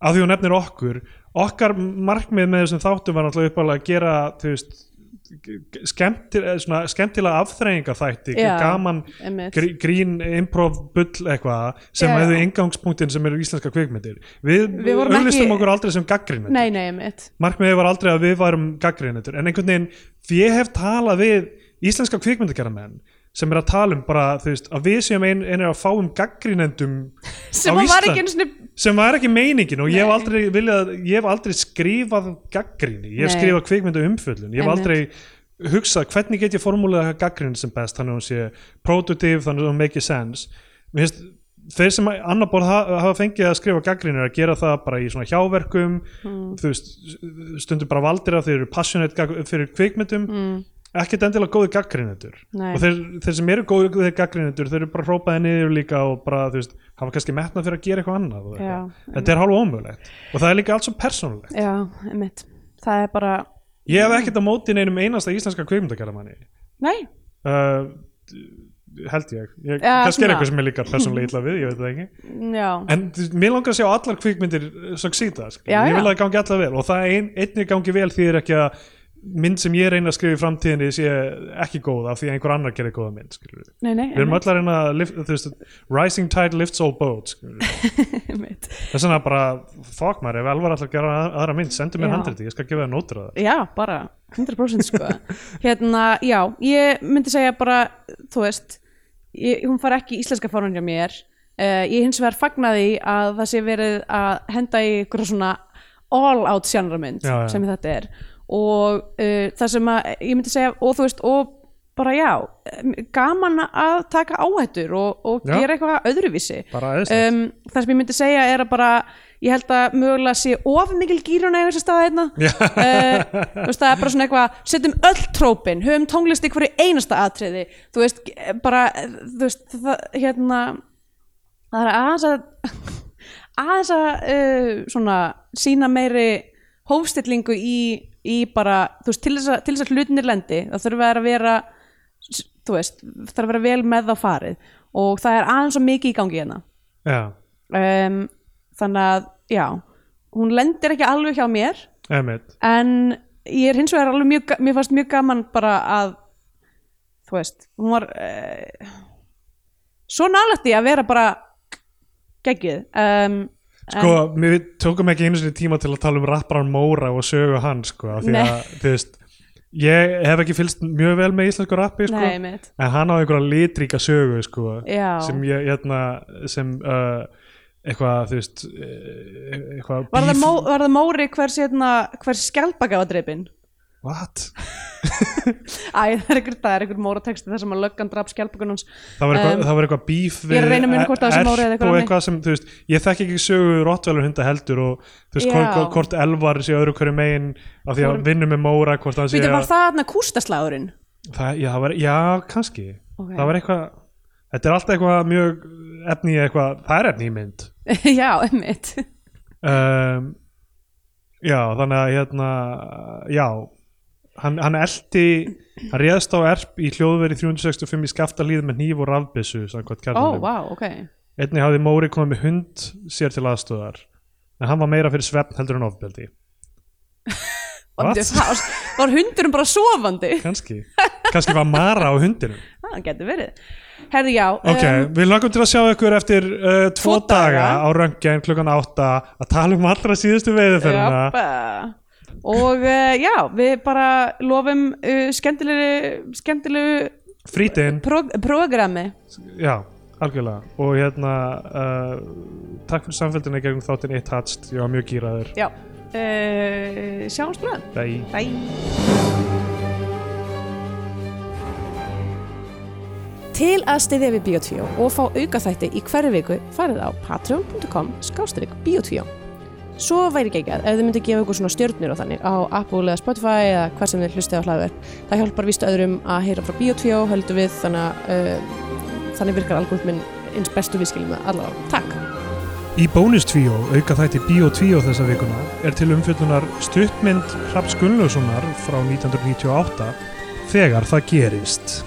[SPEAKER 2] af því hún nefnir okkur okkar markmið með þessum þáttum var náttúrulega uppalega að gera þú veist skemmtil, eh, svona, skemmtilega afþreyinga þætti,
[SPEAKER 1] Já,
[SPEAKER 2] gaman
[SPEAKER 1] einmitt.
[SPEAKER 2] grí, grín, improv, bull eitthvað sem
[SPEAKER 1] Já, já.
[SPEAKER 2] hefðu ingangspunktin sem eru íslenska kvikmyndir við,
[SPEAKER 1] Við vorum
[SPEAKER 2] auðlistum
[SPEAKER 1] ekki-
[SPEAKER 2] okkur aldrei sem gaggrinendur
[SPEAKER 1] nei, nei, mitt
[SPEAKER 2] markmiðið var aldrei að við varum gaggrinendur en einhvern veginn, því ég hef talað við íslenska kvikmyndagerðamenn sem er að tala um bara, þú veist, að við séum ein, einir að fáum gaggrinendum
[SPEAKER 1] sem
[SPEAKER 2] á
[SPEAKER 1] að var
[SPEAKER 2] Íslandi.
[SPEAKER 1] ekki einu sinni
[SPEAKER 2] sem var ekki meiningin og ég hef
[SPEAKER 1] Nei.
[SPEAKER 2] aldrei viljað, ég hef aldrei skrifað gaggrinni, ég hef
[SPEAKER 1] Nei.
[SPEAKER 2] skrifað kvikmyndu umfjöllun ég hef
[SPEAKER 1] Einmitt.
[SPEAKER 2] aldrei hugsað hvernig get ég formúlega gaggrinni sem best þannig að hún sé productive, þannig að hún make sense Mér finnst, þeir sem annar borð ha- hafa fengið að skrifa gaggrinni að gera það bara í svona
[SPEAKER 1] Hmm.
[SPEAKER 2] hjáverkum þú veist, stundur bara valdir að þeir eru passionate gag- fyrir kvikmyndum mm. ekkert endilega góði gaggrinendur
[SPEAKER 1] Hmm. Nei.
[SPEAKER 2] og þeir, þeir sem eru góði gaggrinendur þeir eru bara hrópaði niður líka og bara þú veist, hafa kannski metnað fyrir að gera eitthvað annað og
[SPEAKER 1] Já,
[SPEAKER 2] eitthvað. þetta er hálfa ómögulegt og það er líka allt svo persónulegt
[SPEAKER 1] já, einmitt það er bara,
[SPEAKER 2] ég hef ekkert á móti neinum einasta íslenska kveimdagjaramanni
[SPEAKER 1] nei,
[SPEAKER 2] uh, held ég, ég
[SPEAKER 1] Já,
[SPEAKER 2] kannski
[SPEAKER 1] svona.
[SPEAKER 2] er eitthvað sem er líka persónulega illa við, ég veit það ekki
[SPEAKER 1] já
[SPEAKER 2] En þú veist, mér langar að sjá allar kvikmyndir uh, succeeda, skilur.
[SPEAKER 1] Já,
[SPEAKER 2] ég vil
[SPEAKER 1] já.
[SPEAKER 2] að það gangi allar vel og það ein, einnig gangi vel því er ekki að mynd sem ég reyna að skrifa í framtíðinni sé ekki góð af því að einhver annar gerir góða mynd skilur.
[SPEAKER 1] nei, nei,
[SPEAKER 2] við erum
[SPEAKER 1] einmitt,
[SPEAKER 2] öll að reyna að lift, þú veist, rising tide lifts all boats skilur.
[SPEAKER 1] einmitt.
[SPEAKER 2] þess vegna bara fuck maður, ef Elvar ætlar að gera að- aðra mynd sendu mér
[SPEAKER 1] Já.
[SPEAKER 2] handriti, ég skal gefa það nótur að það
[SPEAKER 1] Já, bara 100% sko Hérna, já, ég myndi segja bara þú veist, ég, hún far ekki í íslenska fánun hjá mér uh, ég hins vegar fagnaði að það sé verið að henda í ykkur svona all out sjanramynd
[SPEAKER 2] Já, já.
[SPEAKER 1] sem þetta er og uh, það sem að ég myndi segja og þú veist, og bara já eh, gaman að taka áhættur og, og
[SPEAKER 2] Já.
[SPEAKER 1] gera eitthvað öðruvísi
[SPEAKER 2] bara aðeins
[SPEAKER 1] um, það sem ég myndi segja er að bara ég held að mögulega sé of mikil gýrun eða þess að staða einna uh, hérna. veist, það er bara svona eitthvað setjum öll trópin, höfum tónlist í hverju einasta atriði þú veist, eh, bara eh, þú veist, það, hérna það er aðeins að aðeins að uh, svona sína meiri hófstillingu í, í bara, þú veist, til þess að, til þess að hlutinir lendi, það þurfa að vera s- þú veist, þarf að vera vel með þá farið og það er aðeins svo mikið í gangi hérna
[SPEAKER 2] já,
[SPEAKER 1] um, þannig að já, hún lendir ekki alveg hjá mér
[SPEAKER 2] emitt
[SPEAKER 1] en ég er hins vegar alveg mjög, ga- mér fannst mjög gaman bara að þú veist, hún var uh, svo nálægt í að vera bara geggjuð um,
[SPEAKER 2] Sko, við tókum ekki einu sinni tíma til að tala um rapparan Móra og sögu hann, sko, af því
[SPEAKER 1] Nei.
[SPEAKER 2] að, þú veist, ég hef ekki fylst mjög vel með íslensku rappi, sko,
[SPEAKER 1] nei, mitt
[SPEAKER 2] en hann á einhverja litríka sögu, sko,
[SPEAKER 1] Já.
[SPEAKER 2] sem ég, hérna, sem, uh, eitthvað, þú veist, eh, eitthvað...
[SPEAKER 1] var það,
[SPEAKER 2] beef-
[SPEAKER 1] mó, var það móri hvers, hérna, hvers skjálpaka var dreipin?
[SPEAKER 2] What?
[SPEAKER 1] Æ, það er einhver, það er einhver móra texti þar sem að löggan draf skjálpakan hans
[SPEAKER 2] Það var eitthvað,
[SPEAKER 1] Um,
[SPEAKER 2] það var eitthvað bíf
[SPEAKER 1] ég er að reyna að muna hvort það sem árið eða eitthvað
[SPEAKER 2] og
[SPEAKER 1] annað.
[SPEAKER 2] eitthvað sem, þú veist, ég þekki ekki sögu Rottvelur hunda heldur og þú veist,
[SPEAKER 1] Já.
[SPEAKER 2] hvort, hvort- hvort Elvar sé öðru hverju megin af því að
[SPEAKER 1] Hvor-
[SPEAKER 2] vinnum með Móra, hvort hann sé
[SPEAKER 1] Býtu, var
[SPEAKER 2] að
[SPEAKER 1] það hérna kústaslagurinn?
[SPEAKER 2] Það, já, það var, já, kannski
[SPEAKER 1] Ok.
[SPEAKER 2] Það var eitthvað Þetta er alltaf eitthvað mjög efni í eitthvað Það er efni í mynd
[SPEAKER 1] Já, einmitt
[SPEAKER 2] um, Já, þannig að hérna Já Hann, hann elti, hann réðst á erp í hljóðveri 365 í skaftalíð með hníf og rafbissu samkvæmt
[SPEAKER 1] Ó,
[SPEAKER 2] kærnum.
[SPEAKER 1] vá, ok
[SPEAKER 2] Einnig hafði Móri komið með hund sér til aðstöðar en hann var meira fyrir svefn heldur en ofbeldi. What?
[SPEAKER 1] Bíddu, það- Var hundurum bara sofandi?
[SPEAKER 2] Kanski. Kannski var Mara á hundinum.
[SPEAKER 1] Það getur verið. Herði, já.
[SPEAKER 2] Ok, við langum til að sjá ykkur eftir uh, Um, tvo
[SPEAKER 1] Tvo
[SPEAKER 2] daga
[SPEAKER 1] daga.
[SPEAKER 2] á röngin klukkan átta að tala um allra síðustu veiðiferðina
[SPEAKER 1] um, og uh, já, við bara lofum uh, skemmtilegu, skemmtilegu
[SPEAKER 2] frítinn,
[SPEAKER 1] prog programmi.
[SPEAKER 2] já, algjörlega og hérna uh, takk fyrir samfélgina í gegnum þáttinn eitt hatst, ég var mjög gýraður
[SPEAKER 1] Já, uh, sjáumst bröð.
[SPEAKER 2] Bye.
[SPEAKER 1] Bye. Til að styðja við Bíotvíó og fá aukaþætti í hverju viku farið á patreon.com skástrík Bíotvíó. Svo væri geggjað ef þið myndu gefa ykkur svona stjörnir og þannig á Apple eða Spotify eða hvar sem þið hlustið á hlaðverð. Það hjálpar víst öðrum að heyra frá Bíotvíó, höldum við, þannig, að, uh, þannig virkar algoritminn eins bestu viðskilum með allavega. Takk!
[SPEAKER 2] Í bónustvíó, auka þætti Bíó 2 þessa vikuna, er til umfjöllunar stuttmynd Hrafts Gunnlaugssonar frá 1998 þegar það gerist.